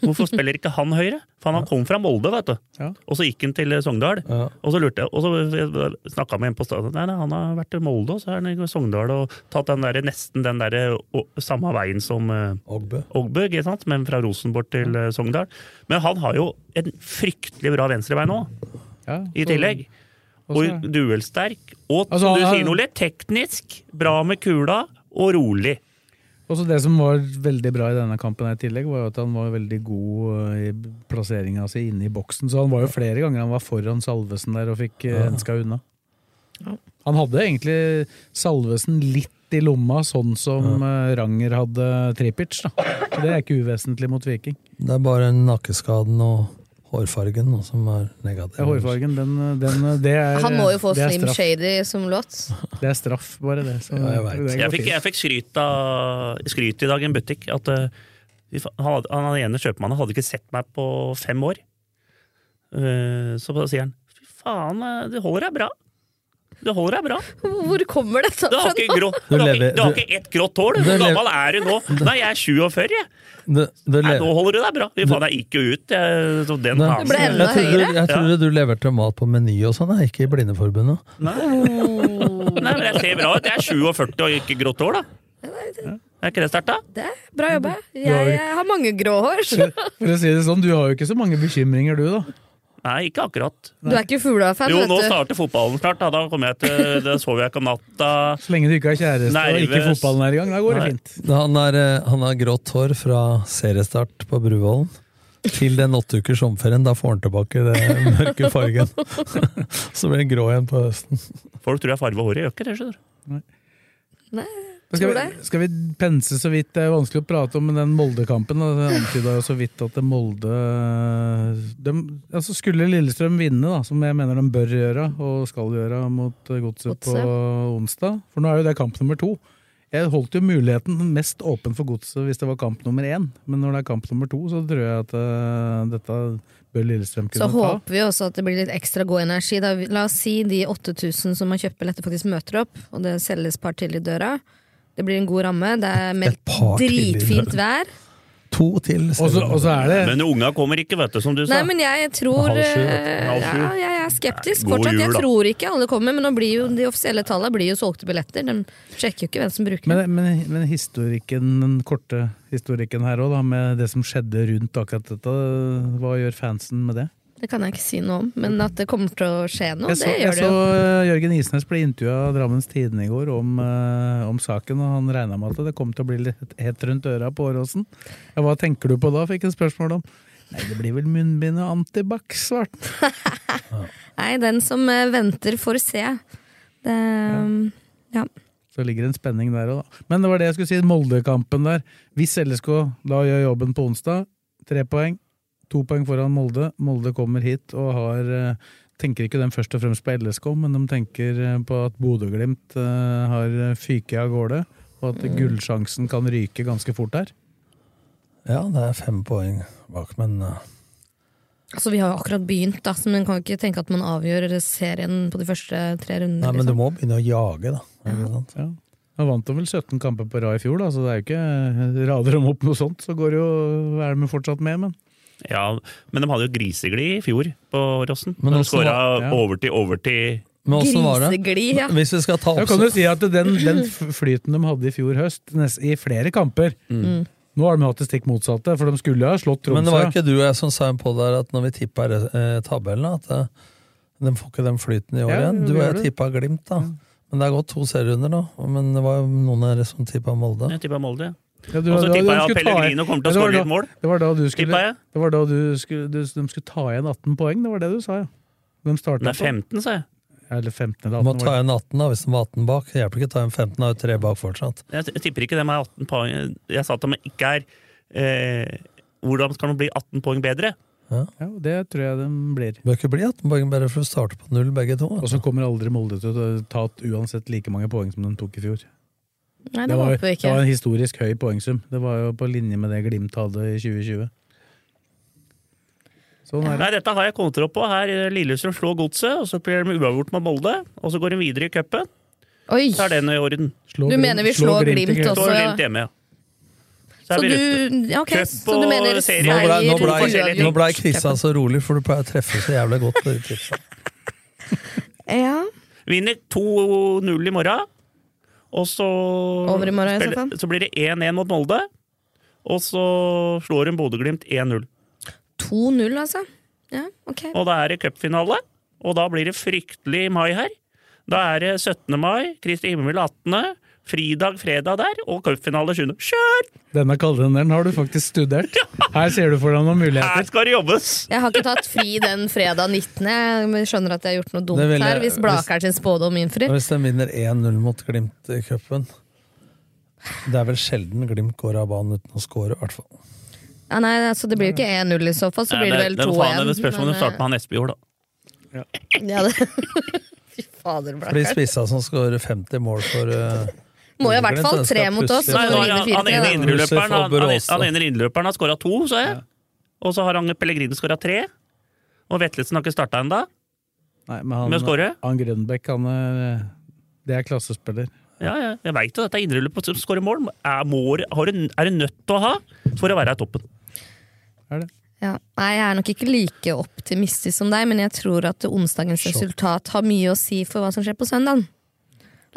Speaker 5: Hvorfor spiller ikke han høyre? For han kom fra Molde, vet du. Og så gikk han til Sogndal. Og så lurte jeg, og så snakka med en på stadion. Nei, nei, han har vært i Molde, og så er han i Sogndal og tatt den der, nesten den der, å- samme veien som eh,
Speaker 6: Ogbø.
Speaker 5: ikke sant? Men fra Rosenborg til eh, Sogndal. Men han har jo en fryktelig bra venstrevei nå,
Speaker 4: Ja,
Speaker 5: i
Speaker 4: så-
Speaker 5: tillegg.
Speaker 4: Også-
Speaker 5: Og duellsterk. Og
Speaker 4: Altså,
Speaker 5: som du
Speaker 4: han-
Speaker 5: sier, Ole, teknisk bra med kula og rolig.
Speaker 4: Også det som var veldig bra i denne kampen her i tillegg, var jo at han var veldig god øh, i plasseringa si inne i boksen. Så han var jo flere ganger han var foran Salvesen der og fikk øh,
Speaker 6: Ja.
Speaker 4: henska unna. Han hadde egentlig Salvesen litt i lomma, sånn som øh, Ranger hadde Tripic. Da. Så det er ikke uvesentlig mot Viking.
Speaker 6: Det er bare nakkeskaden og hårfargen nå, som er negativ.
Speaker 4: Ja, hårfargen, den, den det er,
Speaker 7: Han må jo få
Speaker 4: det er
Speaker 7: Slim
Speaker 4: straff.
Speaker 7: Shady som låt.
Speaker 4: Det er straff, bare det. Så,
Speaker 6: Ja, jeg vet.
Speaker 4: det går
Speaker 5: Jeg fikk,
Speaker 4: fint.
Speaker 5: jeg fikk skryt, av, skryt i dag i en butikk. At eh, fy faen, han, hadde- han ene kjøpmannen hadde ikke sett meg på fem år. Eh, så da sier han fy faen, eh, du holder deg bra. Du holder deg bra.
Speaker 7: Hvor kommer dette
Speaker 5: Du har ikke, grå, du
Speaker 6: Du
Speaker 5: har ikke,
Speaker 6: lever-
Speaker 5: du har
Speaker 6: du-
Speaker 5: ikke ett grått hår, du.
Speaker 6: du
Speaker 5: Hvor
Speaker 6: lever-
Speaker 5: gammel er du nå? Nei, jeg er 47, jeg.
Speaker 6: Du, du
Speaker 5: Nei,
Speaker 6: le-
Speaker 5: nå holder du deg bra. Fy faen, jeg gikk jo ut. Jeg, så den
Speaker 6: Nei,
Speaker 5: fasen.
Speaker 6: jeg, tror du, jeg tror du leverte mat på Meny og sånn, jeg, ikke i Blindeforbundet.
Speaker 5: Nei, men jeg ser bra ut. Jeg er 47 og ikke grått hår, da. Er ikke det sterkt, da?
Speaker 7: Bra jobba. Jeg, jeg har mange grå hår. så-
Speaker 4: For å si det sånn, du har jo ikke så mange bekymringer du, da.
Speaker 5: Nei, ikke akkurat.
Speaker 7: Du er ikke fugla-fan,
Speaker 5: Jo,
Speaker 7: vet
Speaker 5: nå
Speaker 7: du.
Speaker 5: starter fotballen snart. Da, da kommer jeg til Da sover jeg ikke om natta.
Speaker 4: Så lenge du ikke har kjæreste og ikke
Speaker 5: Nervøs.
Speaker 4: fotballen er i gang, da går det
Speaker 5: Nei.
Speaker 4: fint.
Speaker 6: Han, er, eh, han har grått hår fra seriestart på Bruvollen til den åtte ukers sommerferien. Da får han tilbake den mørke fargen. Så blir han grå igjen på høsten.
Speaker 5: Folk tror jeg farver håret. Jeg gjør ikke det, skjønner du.
Speaker 4: Skal
Speaker 5: Tror
Speaker 4: vi, skal vi pense så vidt? Det er vanskelig å prate om men den Molde-kampen. da, Det antyda jo så vidt at det Molde de, altså Skulle Lillestrøm vinne, da, som jeg mener de bør gjøre og skal gjøre mot eh, Godset på onsdag For nå er jo det kamp nummer to. Jeg holdt jo muligheten mest åpen for Godset hvis det var kamp nummer én, men når det er kamp nummer to, så tror jeg at eh, dette bør Lillestrøm
Speaker 7: Så
Speaker 4: kunne ta.
Speaker 7: håper vi også at det blir litt ekstra god energi. Da, vi- la oss si de 8000 som har kjøpt billetter, faktisk møter opp, og det selges par til i døra. Det blir en god ramme. Det er meldt
Speaker 5: par til i
Speaker 7: dritfint
Speaker 5: døra.
Speaker 7: vær.
Speaker 6: To til.
Speaker 4: Og så- og så er det
Speaker 5: Men unga kommer ikke, vet du, som du sa.
Speaker 7: Nei, men jeg tror
Speaker 5: Halv sju,
Speaker 7: eh,
Speaker 5: halv sju.
Speaker 7: ja, Jeg er skeptisk
Speaker 5: God
Speaker 7: fortsatt.
Speaker 5: jul,
Speaker 7: Jeg
Speaker 5: da.
Speaker 7: tror ikke alle kommer, men nå blir jo de offisielle tallene blir jo solgte billetter. De sjekker jo ikke hvem som bruker
Speaker 4: Men,
Speaker 7: dem.
Speaker 4: men, men historikken, den korte historikken her òg, med det som skjedde rundt akkurat dette, hva gjør fansen med det?
Speaker 7: Det kan jeg ikke si noe om, men at det kommer til å skje noe,
Speaker 4: jeg så,
Speaker 7: det gjør
Speaker 4: jeg
Speaker 7: det
Speaker 4: så
Speaker 7: jo.
Speaker 4: eh, Jørgen Isnes ble intervjua av Drammens Tidende i går om, eh, om saken, og han regna med at det kom til å bli litt hett rundt øra på Åråsen. Ja, Hva tenker du på da, fikk han spørsmål om. Nei, det blir vel munnbind og antibac, svarte han.
Speaker 7: Nei, den som eh, venter, får se. Det, ja.
Speaker 4: Så ligger det en spenning der òg, da. Men det var det jeg skulle si. Molde-kampen der. Hvis LSK da gjør jobben på onsdag, tre poeng. To poeng foran Molde. Molde kommer hit og har eh, Tenker ikke de først og fremst på LSK, men de tenker eh, på at Bodø-Glimt eh, har fyket av gårde, og at
Speaker 6: Mm.
Speaker 4: gullsjansen kan ryke ganske fort der.
Speaker 6: Ja, det er fem poeng bak, men eh,
Speaker 7: Altså, vi har jo akkurat begynt, da, så man kan ikke tenke at man avgjør serien på de første tre rundene.
Speaker 6: Nei, men du
Speaker 7: liksom.
Speaker 6: må begynne å jage, da. Er det sant?
Speaker 4: Ja. Han vant vel 17 kamper på rad i fjor, da, så det er jo ikke eh, rader om opp noe sånt. Så går det jo, er de jo fortsatt med, men
Speaker 5: Ja, men de hadde jo griseglid i fjor på Rossen.
Speaker 4: Men
Speaker 5: De
Speaker 4: også
Speaker 5: skåra
Speaker 4: var- ja.
Speaker 5: overtid, overtid.
Speaker 6: Men åssen var det?
Speaker 7: Griseglid, ja.
Speaker 6: Hvis vi skal ta
Speaker 4: Da
Speaker 6: opp
Speaker 4: kan du si at den, den f- flyten de hadde i fjor høst, nes- i flere kamper
Speaker 6: Mm.
Speaker 4: Nå har de hatt det stikk motsatte, for de skulle ha slått
Speaker 6: Men det var
Speaker 4: Tromsø.
Speaker 6: ikke du og jeg som sa på der at når vi tippa eh, tabellen, at eh, de får ikke den flyten i år
Speaker 4: Ja,
Speaker 6: igjen. Du
Speaker 4: vi
Speaker 6: og
Speaker 4: gjør
Speaker 6: jeg
Speaker 4: det. Mm.
Speaker 6: tippa Glimt, da. Men det er gått to serierunder nå. Men det var jo noen av dere som tippa Molde.
Speaker 5: Jeg tippa Molde.
Speaker 4: Ja, du-
Speaker 5: Og så
Speaker 4: da-
Speaker 5: tippa
Speaker 4: de
Speaker 5: jeg
Speaker 4: skulle ta
Speaker 5: at
Speaker 4: igjen-
Speaker 5: Pellegrino kommer
Speaker 4: Ja,
Speaker 5: til å
Speaker 4: det var
Speaker 5: skåre
Speaker 4: da-
Speaker 5: litt mål.
Speaker 4: Det var da du skulle,
Speaker 5: Tippa jeg.
Speaker 4: det var da du skulle du, De skulle ta igjen 18 poeng, det var det du sa, ja. De startet
Speaker 5: Nei,
Speaker 4: på-
Speaker 5: 15, sa jeg.
Speaker 4: Eller 15 eller 18.
Speaker 6: Du må
Speaker 4: var
Speaker 6: ta
Speaker 4: det.
Speaker 6: en 18 da, hvis de var 18 bak. Det hjelper ikke å ta en 15, da er jo tre bak fortsatt.
Speaker 5: Jeg t- jeg tipper ikke dem er 18 poeng. Jeg sa at de ikke er eh, Hvordan skal de bli 18 poeng bedre?
Speaker 4: Ja, det tror jeg de blir.
Speaker 6: Bør ikke bli 18 poeng bare for å starte på null, begge to.
Speaker 4: Og så kommer aldri Molde til å ta ut uansett like mange poeng som de tok i fjor.
Speaker 7: Nei, det,
Speaker 4: var,
Speaker 7: håper vi
Speaker 4: det
Speaker 7: ikke.
Speaker 4: var en historisk høy poengsum. Det var jo på linje med det Glimt hadde i 2020. Sånn er det.
Speaker 5: Nei, dette har jeg kontroll på. Her eh, Lillestrøm slår Godset, og så blir de uavgjort med Molde. Og så går de videre i cupen.
Speaker 7: Oi!
Speaker 5: Så er den i orden.
Speaker 4: Slå
Speaker 7: Du mener vi slå slår Glimt Glimt i cupen. også,
Speaker 5: Slår
Speaker 7: ja.
Speaker 5: Glimt hjemme, ja.
Speaker 7: Så
Speaker 5: er vi
Speaker 7: du, ja, ok,
Speaker 5: Cup
Speaker 7: så du
Speaker 5: og
Speaker 7: mener
Speaker 5: serie.
Speaker 6: Nå ble,
Speaker 7: seier
Speaker 6: nå ble,
Speaker 7: uavgjort.
Speaker 6: nå ble Kristian så rolig, for du pleier å treffe så jævlig godt. på de tipsa.
Speaker 7: Ja.
Speaker 5: Vinner 2-0 i morgen. Og så,
Speaker 7: Over i morgen, i så
Speaker 5: spiller,
Speaker 7: fall.
Speaker 5: så blir det 1-1 mot Molde. Og så slår hun Bodø-Glimt 1-0.
Speaker 7: 2-0, altså. Ja, ok.
Speaker 5: Og da er det cupfinale. Og da blir det fryktelig mai her. Da er det 17. mai, Kristi himmelvill 18. Fridag, fredag der, og cupfinale 7. Kjør!
Speaker 4: Denne kalenderen har du faktisk studert. Her ser du for deg noen
Speaker 5: Her
Speaker 4: muligheter.
Speaker 5: skal det jobbes!
Speaker 7: Jeg har ikke tatt fri den fredag 19. Jeg skjønner at jeg har gjort noe
Speaker 6: Det
Speaker 7: dumt
Speaker 6: ville-
Speaker 7: her, hvis Blakeren sin spådom
Speaker 6: Og
Speaker 7: innfrir.
Speaker 6: Hvis de vinner 1-0 mot Glimt i cupen Det er vel sjelden Glimt går av banen uten å score, i hvert fall.
Speaker 7: Ja, nei, altså, det blir jo ikke 1-0 i så fall, så
Speaker 5: Nei,
Speaker 7: blir det vel
Speaker 5: det er faen,
Speaker 7: 2-1.
Speaker 5: det spørs om de
Speaker 7: men,
Speaker 5: starter med han Espejord, da.
Speaker 7: eh, ja, det- Fy fader,
Speaker 6: For de
Speaker 7: Blakeren.
Speaker 6: spissa som skårer 50 mål for eh,
Speaker 7: Må jo i hvert
Speaker 6: Glimt,
Speaker 7: fall
Speaker 6: den skal
Speaker 7: tre mot oss,
Speaker 6: plutselig-
Speaker 5: Nei, nå, har han, han ene indreløperen han, han, han ene innløperen har skåra to, sa jeg. Og så har han Pellegrino skåra tre. Og Vetlesen har ikke starta ennå.
Speaker 4: Nei, men han,
Speaker 5: Med å score?
Speaker 4: han Grønbekk, han er Det er klassespiller.
Speaker 5: Ja, ja, jeg veit jo dette er innreløper som skårer mål. Er, må, har du, er du nødt til å ha for å være i toppen?
Speaker 7: Ja. Nei, jeg er nok ikke like optimistisk som deg, men jeg tror at onsdagens resultat har mye å si for hva som skjer på søndagen.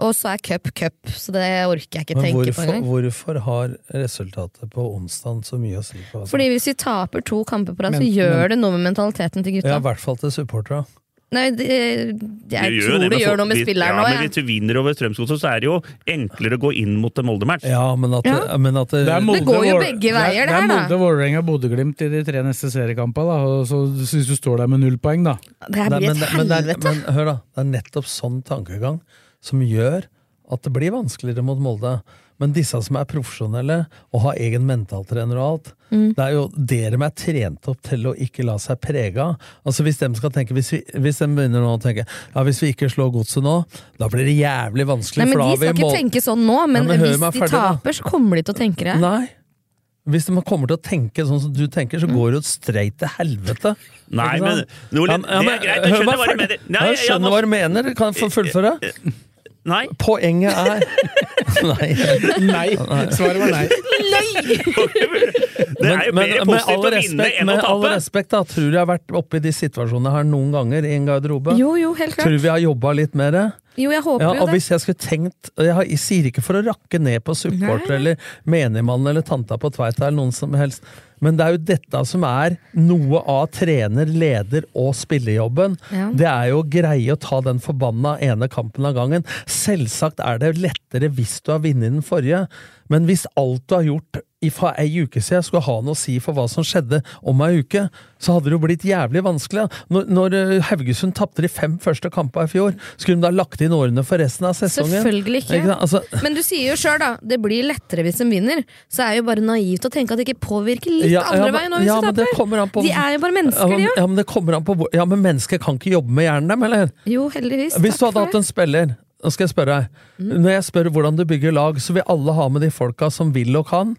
Speaker 7: Og så er cup cup, så det orker jeg ikke
Speaker 6: Men
Speaker 7: tenke på
Speaker 6: hvorfor,
Speaker 7: engang.
Speaker 6: hvorfor har resultatet på onsdag så mye å si på? altså?
Speaker 7: Fordi hvis vi taper to kamper på rad, så
Speaker 6: Men-
Speaker 7: gjør
Speaker 6: men-
Speaker 7: det noe med mentaliteten til gutta.
Speaker 6: Ja, I hvert fall til supporterne.
Speaker 7: Nei, det, jeg
Speaker 5: Du gjør jo
Speaker 7: tror det,
Speaker 5: med
Speaker 7: gjør
Speaker 5: folk-
Speaker 7: noe med
Speaker 5: hvis-
Speaker 7: spilleren
Speaker 5: ja,
Speaker 7: nå,
Speaker 5: Men
Speaker 7: jeg.
Speaker 5: hvis du vinner over Strømsgodset, så er det jo enklere å gå inn mot en Molde-match.
Speaker 6: Ja, men at,
Speaker 7: Ja.
Speaker 6: Men at
Speaker 4: er
Speaker 7: Det går jo
Speaker 4: Vål-
Speaker 7: begge
Speaker 4: det er-
Speaker 7: veier, det
Speaker 4: Det er
Speaker 7: her, da.
Speaker 4: Molde, Vålerenga og Bodø-Glimt i de tre neste seriekampene. da, og Så hvis du står der med null poeng, da.
Speaker 7: Det her
Speaker 6: Nei,
Speaker 7: blir
Speaker 6: men,
Speaker 7: et
Speaker 6: men, det er,
Speaker 7: helvete.
Speaker 6: men hør da, det er nettopp sånn tankegang som gjør at det blir vanskeligere mot Molde. Men disse som er profesjonelle og har egen mentaltrener og alt,
Speaker 7: Mm.
Speaker 6: det er jo det de er trent opp til å ikke la seg prege av. Altså hvis de skal tenke, hvis, vi, hvis de begynner nå å tenke ja, hvis vi ikke slår godset nå, da blir det jævlig vanskelig.
Speaker 7: Nei, men
Speaker 6: for da
Speaker 7: De
Speaker 6: har vi
Speaker 7: skal ikke
Speaker 6: Molde-
Speaker 7: tenke sånn nå, men,
Speaker 6: Ja, men hør
Speaker 7: hvis
Speaker 6: meg
Speaker 7: de
Speaker 6: ferdig, da.
Speaker 7: taper, så kommer de til å tenke det.
Speaker 6: Nei. Hvis de kommer til å tenke sånn som du tenker,
Speaker 7: Mm.
Speaker 6: så går det jo streit til helvete.
Speaker 5: Nei,
Speaker 6: Ikke
Speaker 5: men
Speaker 6: sant?
Speaker 5: Nordlien,
Speaker 6: Ja, men-
Speaker 5: det er greit, jeg
Speaker 6: hør
Speaker 5: skjønner
Speaker 6: meg
Speaker 5: hva du
Speaker 6: ferdig.
Speaker 5: mener.
Speaker 6: Ja,
Speaker 5: Nei,
Speaker 6: jeg
Speaker 5: jeg må-
Speaker 6: skjønner
Speaker 5: Eh,
Speaker 6: hva du mener. Kan jeg få fullføre?
Speaker 5: Nei.
Speaker 6: Poenget er Nei.
Speaker 4: Nei! Svaret var nei.
Speaker 5: Det er jo mer positivt å vinne enn å
Speaker 6: med all
Speaker 5: tape.
Speaker 6: respekt da, tror du jeg har vært oppe i de situasjonene her noen ganger i en garderobe?
Speaker 7: Jo, jo, helt klart.
Speaker 6: Tror du vi har jobba litt mer?
Speaker 7: Jo, jeg håper
Speaker 6: Ja,
Speaker 7: jo
Speaker 6: og
Speaker 7: det.
Speaker 6: hvis jeg skulle tenkt og Jeg, har, jeg sier ikke for å rakke ned på supporter eller menigmannen eller tanta på Tveita eller noen som helst, men det er jo dette som er noe av trener, leder og spillejobben.
Speaker 7: Ja.
Speaker 6: Det er jo å greie å ta den forbanna ene kampen av gangen. Selvsagt er det lettere hvis du har vunnet den forrige, men hvis alt du har gjort i- fra ei uke siden skulle ha noe å si for hva som skjedde om ei uke, så hadde det jo blitt jævlig vanskelig. Når, når eh, Haugesund tapte de fem første kampene i fjor, skulle de da lagt inn årene for resten av sesongen?
Speaker 7: Selvfølgelig ikke.
Speaker 6: sant? altså,
Speaker 7: Men du sier jo sjøl, da. Det blir lettere hvis de vinner. Så er jo bare naivt å tenke at det ikke påvirker litt
Speaker 6: Ja, ja,
Speaker 7: andre
Speaker 6: men-
Speaker 7: veien nå hvis
Speaker 6: ja,
Speaker 7: de
Speaker 6: men det kommer an
Speaker 7: taper.
Speaker 6: på-
Speaker 7: De er jo bare
Speaker 6: ja,
Speaker 7: mennesker,
Speaker 6: men,
Speaker 7: de òg.
Speaker 6: ja, men det kommer an på hvor- Ja, men mennesker kan ikke jobbe med hjernen dem, eller?
Speaker 7: Jo, heldigvis.
Speaker 6: Hvis du
Speaker 7: Takk
Speaker 6: hadde
Speaker 7: for
Speaker 6: hatt
Speaker 7: det.
Speaker 6: en
Speaker 7: Mm.
Speaker 6: spiller Nå skal jeg spørre deg. Når jeg spør hvordan du bygger lag, så vil alle ha med de folka som vil og kan.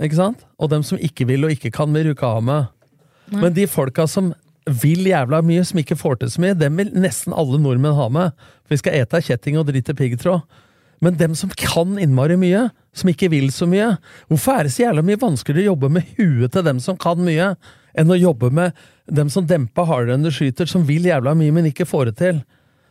Speaker 6: Ikke sant? Og dem som ikke vil og ikke kan, vil du ikke ha med.
Speaker 7: Nei.
Speaker 6: Men de folka som vil jævla mye, som ikke får til så mye, dem vil nesten alle nordmenn ha med. For vi skal ete av kjetting og drite piggtråd. Men dem som kan innmari mye, som ikke vil så mye Hvorfor er det så jævla mye vanskeligere å jobbe med huet til dem som kan mye, enn å jobbe med dem som demper hardere enn du skyter, som vil jævla mye, men ikke får det til?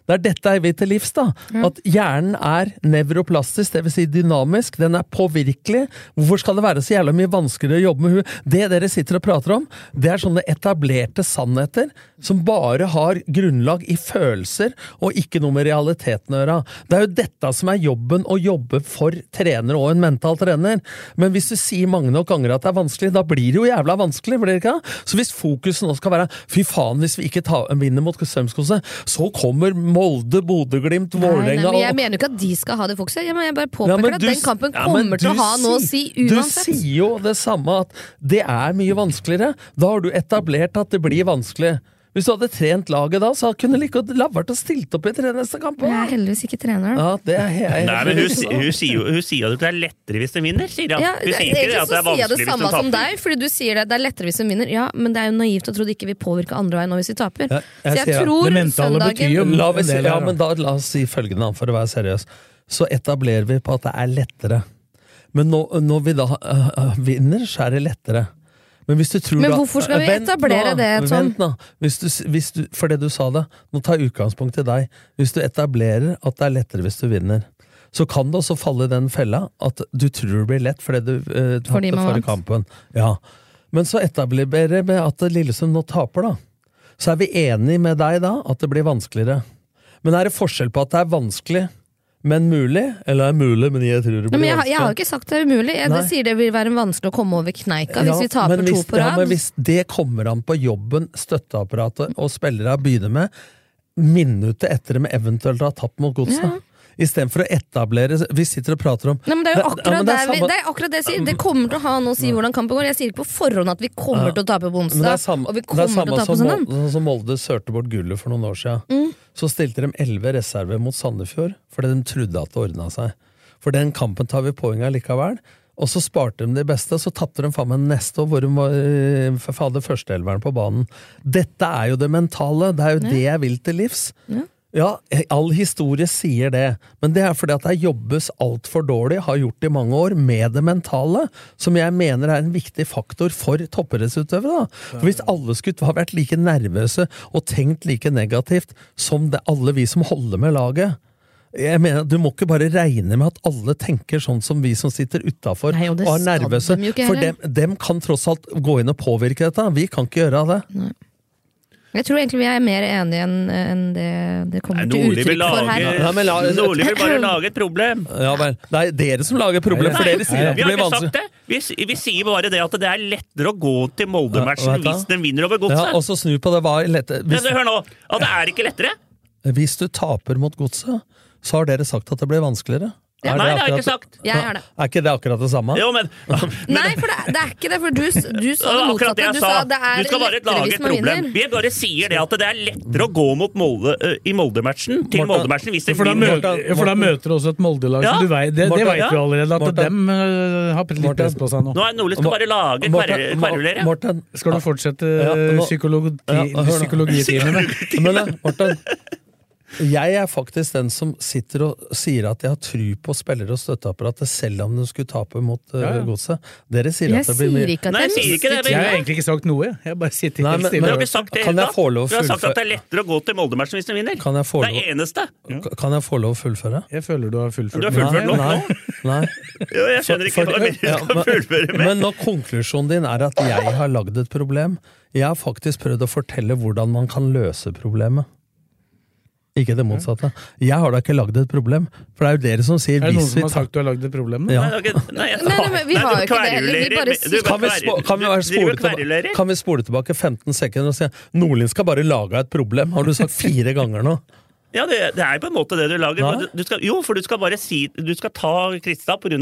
Speaker 6: Det er dette er vi til livs, da. At hjernen er nevroplastisk, dvs. Si dynamisk. Den er påvirkelig. Hvorfor skal det være så jævla mye vanskeligere å jobbe med huet? Det dere sitter og prater om, det er sånne etablerte sannheter som bare har grunnlag i følelser og ikke noe med realiteten å gjøre. Det er jo dette som er jobben å jobbe for trener og en mental trener. Men hvis du sier mange nok ganger at det er vanskelig, da blir det jo jævla vanskelig, blir det ikke? det? Så hvis fokuset nå skal være fy faen, hvis vi ikke tar, vinner mot Strømskose, så kommer Molde, Bodø, Glimt,
Speaker 7: Nei,
Speaker 6: Vålerenga
Speaker 7: men jeg
Speaker 6: og
Speaker 7: mener jo ikke at de skal ha det fokuset. Jeg, mener, jeg bare
Speaker 6: Ja,
Speaker 7: påpeker
Speaker 6: men
Speaker 7: at
Speaker 6: du
Speaker 7: den
Speaker 6: s-
Speaker 7: kampen
Speaker 6: Ja, men
Speaker 7: kommer til å
Speaker 6: du
Speaker 7: ha noe å si
Speaker 6: sier-
Speaker 7: uansett.
Speaker 6: Du sier jo det samme, at det er mye vanskeligere. Da har du etablert at det blir vanskelig. Hvis du hadde trent laget da, så kunne du like godt la vært å stilt opp i tre neste kamper.
Speaker 7: Jeg er heldigvis ikke trener, da.
Speaker 6: Ja, det er jeg
Speaker 5: Nei, men hun, si-
Speaker 6: enig i.
Speaker 5: hun, sier jo, hun sier jo at det er lettere hvis den vinner, sier hun.
Speaker 7: Ja,
Speaker 5: Hun sier ikke det
Speaker 7: egentlig
Speaker 5: at
Speaker 7: så
Speaker 5: det er
Speaker 7: sier jeg det
Speaker 5: vanskelig hvis
Speaker 7: samme
Speaker 5: den
Speaker 7: som
Speaker 5: taper.
Speaker 7: deg, fordi du sier det, det er lettere hvis hun vinner. Ja, men det er jo naivt å tro det ikke vil påvirke andre veien nå hvis vi taper. så jeg tror søndagen
Speaker 6: La meg si, Ja, men da la oss si følgende, for å være seriøs. Så etablerer vi på at det er lettere. Men nå, når vi da øh, øh, vinner, så er det lettere. Men, hvis du tror
Speaker 7: Men
Speaker 6: da-
Speaker 7: hvorfor skal vi
Speaker 6: Vent
Speaker 7: etablere
Speaker 6: nå,
Speaker 7: det, Tom?
Speaker 6: Vent nå. Hvis du, s- hvis du, for det du sa det, nå tar jeg utgangspunkt i deg. Hvis du etablerer at det er lettere hvis du vinner, så kan det også falle i den fella at du tror det blir lett fordi du eh, tapte
Speaker 7: Fordi man
Speaker 6: forrige
Speaker 7: vant.
Speaker 6: kampen. Ja. Men så etablerer vi at Lillesund nå taper, da. Så er vi enig med deg da at det blir vanskeligere. Men er det forskjell på at det er vanskelig, men mulig? Eller er mulig, men jeg tror
Speaker 7: Nei,
Speaker 6: det blir
Speaker 7: men jeg, har- jeg har jo
Speaker 6: vanskelig?
Speaker 7: ikke sagt det er umulig. Jeg, det
Speaker 6: Nei.
Speaker 7: sier det vil være vanskelig å komme over kneika
Speaker 6: Ja,
Speaker 7: hvis vi taper
Speaker 6: men hvis-
Speaker 7: to på
Speaker 6: Ja, men
Speaker 7: rad.
Speaker 6: hvis det kommer an på jobben støtteapparatet og spillere begynner med, minuttet etter de eventuelt har tapt mot
Speaker 7: Ja.
Speaker 6: godset. Istedenfor å etablere Vi sitter og prater om
Speaker 7: Nei, men det er jo
Speaker 6: Ja, men
Speaker 7: akkurat,
Speaker 6: det er
Speaker 7: der vi,
Speaker 6: samme-
Speaker 7: det er akkurat det jeg sier. Det kommer til å ha noe å si hvordan kampen går. Jeg sier ikke på forhånd at vi kommer
Speaker 6: Ja.
Speaker 7: til å tape på
Speaker 6: Men det er
Speaker 7: onsdag,
Speaker 6: samme,
Speaker 7: og vi
Speaker 6: det er
Speaker 7: kommer til
Speaker 6: samme
Speaker 7: å tape på sånn Mm.
Speaker 6: som,
Speaker 7: søndag.
Speaker 6: Molde, som Molde sørte bort gullet for noen år siden. Så stilte de elleve reserver mot Sandefjord fordi de trodde at det ordna seg. For den kampen tar vi poeng av likevel. Og så sparte de de beste, så tapte de faen meg neste år, hvor de var, øh, for faen, det førsteelveren på banen. Dette er jo det mentale. Det er jo
Speaker 8: Ja.
Speaker 6: det jeg vil til livs.
Speaker 8: Ja.
Speaker 6: Ja, eh, all historie sier det, men det er fordi at det jobbes altfor dårlig, har gjort i mange år, med det mentale, som jeg mener er en viktig faktor for toppidrettsutøvere. da. For hvis alle skulle ha vært like nervøse og tenkt like negativt som det alle vi som holder med laget, jeg mener, at Du må ikke bare regne med at alle tenker sånn som vi som sitter utafor
Speaker 7: Nei, og
Speaker 6: og
Speaker 7: det
Speaker 6: er
Speaker 7: skal
Speaker 6: nervøse.
Speaker 7: de jo ikke
Speaker 6: for
Speaker 7: heller.
Speaker 6: dem, dem kan tross alt gå inn og påvirke dette. Vi kan ikke gjøre det.
Speaker 7: Jeg tror egentlig vi er mer enige enn enn det det kommer til
Speaker 5: Nordli vil,
Speaker 7: uttrykk for
Speaker 5: lage,
Speaker 7: her.
Speaker 6: men la-
Speaker 5: Nordli vil bare lage et problem.
Speaker 6: Ja vel. Det er dere som lager problemer, for
Speaker 5: Nei,
Speaker 6: dere sier at
Speaker 5: vi
Speaker 6: det
Speaker 5: har
Speaker 6: blir
Speaker 5: ikke
Speaker 6: vanskelig.
Speaker 5: sagt det! Vi, s- vi sier bare det at det er lettere å gå til
Speaker 6: Ja,
Speaker 5: Molde-matchen
Speaker 6: vet du hva?
Speaker 5: hvis den vinner over
Speaker 6: Ja, og
Speaker 5: godset.
Speaker 6: så snu på det. Hva er lette?
Speaker 5: Men
Speaker 6: Hvis,
Speaker 5: Hør nå! At det er ikke lettere!
Speaker 6: hvis du taper mot godset, så har dere sagt at det blir vanskeligere.
Speaker 5: Ja, nei, det har jeg ikke sagt.
Speaker 7: Jeg er det.
Speaker 6: Er ikke det akkurat det samme?
Speaker 5: Jo, men
Speaker 7: Nei, for det, det er ikke det, for du, s- du sa det
Speaker 5: Ja, akkurat
Speaker 7: motsatte.
Speaker 5: det jeg
Speaker 7: Du
Speaker 5: sa.
Speaker 7: sa det er
Speaker 5: du skal bare
Speaker 7: lettere
Speaker 5: lage
Speaker 7: hvis
Speaker 5: et
Speaker 7: man
Speaker 5: problem.
Speaker 7: vinner.
Speaker 5: Vi bare sier det at det er lettere å gå mot Molde eh, i Molde-matchen til
Speaker 4: Martha,
Speaker 5: Molde-matchen hvis det
Speaker 4: for, da
Speaker 5: vinner.
Speaker 4: møter, ja, for da møter du også et Molde-lag.
Speaker 5: Ja.
Speaker 4: så du vet- Det, det
Speaker 5: Martha,
Speaker 4: veit vi
Speaker 5: ja.
Speaker 4: allerede, at
Speaker 5: Martha.
Speaker 4: dem øh, har litt press på seg nå.
Speaker 5: Nå er Nordli skal bare lage kverulere. kverulere.
Speaker 4: Skal du fortsette
Speaker 6: Ja,
Speaker 4: øh,
Speaker 6: nå-
Speaker 4: psykologi-
Speaker 6: Ja, hør nå.
Speaker 4: psykologitimene?
Speaker 6: Men da, Morten, jeg er faktisk den som sitter og sier at jeg har tru på spillere og støtteapparatet, selv om de skulle tape mot uh,
Speaker 4: Ja, ja.
Speaker 6: godset. Dere sier at det blir mye
Speaker 4: Jeg har egentlig ikke sagt noe. jeg. Jeg bare sitter
Speaker 6: Nei,
Speaker 4: helt
Speaker 6: men- men-
Speaker 4: stille.
Speaker 5: Du har ikke sagt det
Speaker 6: Kan
Speaker 5: hele
Speaker 6: jeg
Speaker 5: tatt.
Speaker 6: få lov å
Speaker 5: Du har sagt
Speaker 6: fullføre-
Speaker 5: at det er lettere å gå til Molde-matchen hvis den vinner.
Speaker 6: Kan jeg få
Speaker 5: Det
Speaker 6: lov-
Speaker 5: er eneste.
Speaker 6: Kan jeg få lov å fullføre?
Speaker 4: Jeg føler du har fullført.
Speaker 5: Du har fullført nå.
Speaker 6: Nei, nei.
Speaker 5: Jo, jeg skjønner ikke hva du mener.
Speaker 6: Ja,
Speaker 5: skal fullføre
Speaker 6: men
Speaker 5: med.
Speaker 6: når konklusjonen din er at jeg har lagd et problem Jeg har faktisk prøvd å fortelle hvordan man kan løse problemet. Ikke det motsatte. Jeg har da ikke lagd et problem, for det er jo dere som sier
Speaker 4: Er det noen
Speaker 6: hvis vi
Speaker 4: som har
Speaker 6: tar
Speaker 4: sagt du har lagd et problem?
Speaker 6: Ja.
Speaker 5: Nei, det er ikke- Nei, jeg-
Speaker 7: Nei, nei, men vi
Speaker 5: Nei,
Speaker 7: har
Speaker 5: du
Speaker 7: jo ikke det heller. Vi
Speaker 5: kverulerer.
Speaker 7: bare
Speaker 5: Du- du-
Speaker 6: kan vi, spo- kan, vi
Speaker 5: du-
Speaker 6: være
Speaker 5: du driver
Speaker 6: spole
Speaker 5: og
Speaker 6: tilbake,
Speaker 5: kverulerer.
Speaker 6: kan vi spole tilbake 15 sekunder og si Nordlien skal bare lage et problem? Har du sagt fire ganger nå?
Speaker 5: Ja, det, det er på en måte det du lager.
Speaker 6: Nei.
Speaker 5: men Du, du skal, jo, for du skal bare si Du skal ta Krista pga. at hun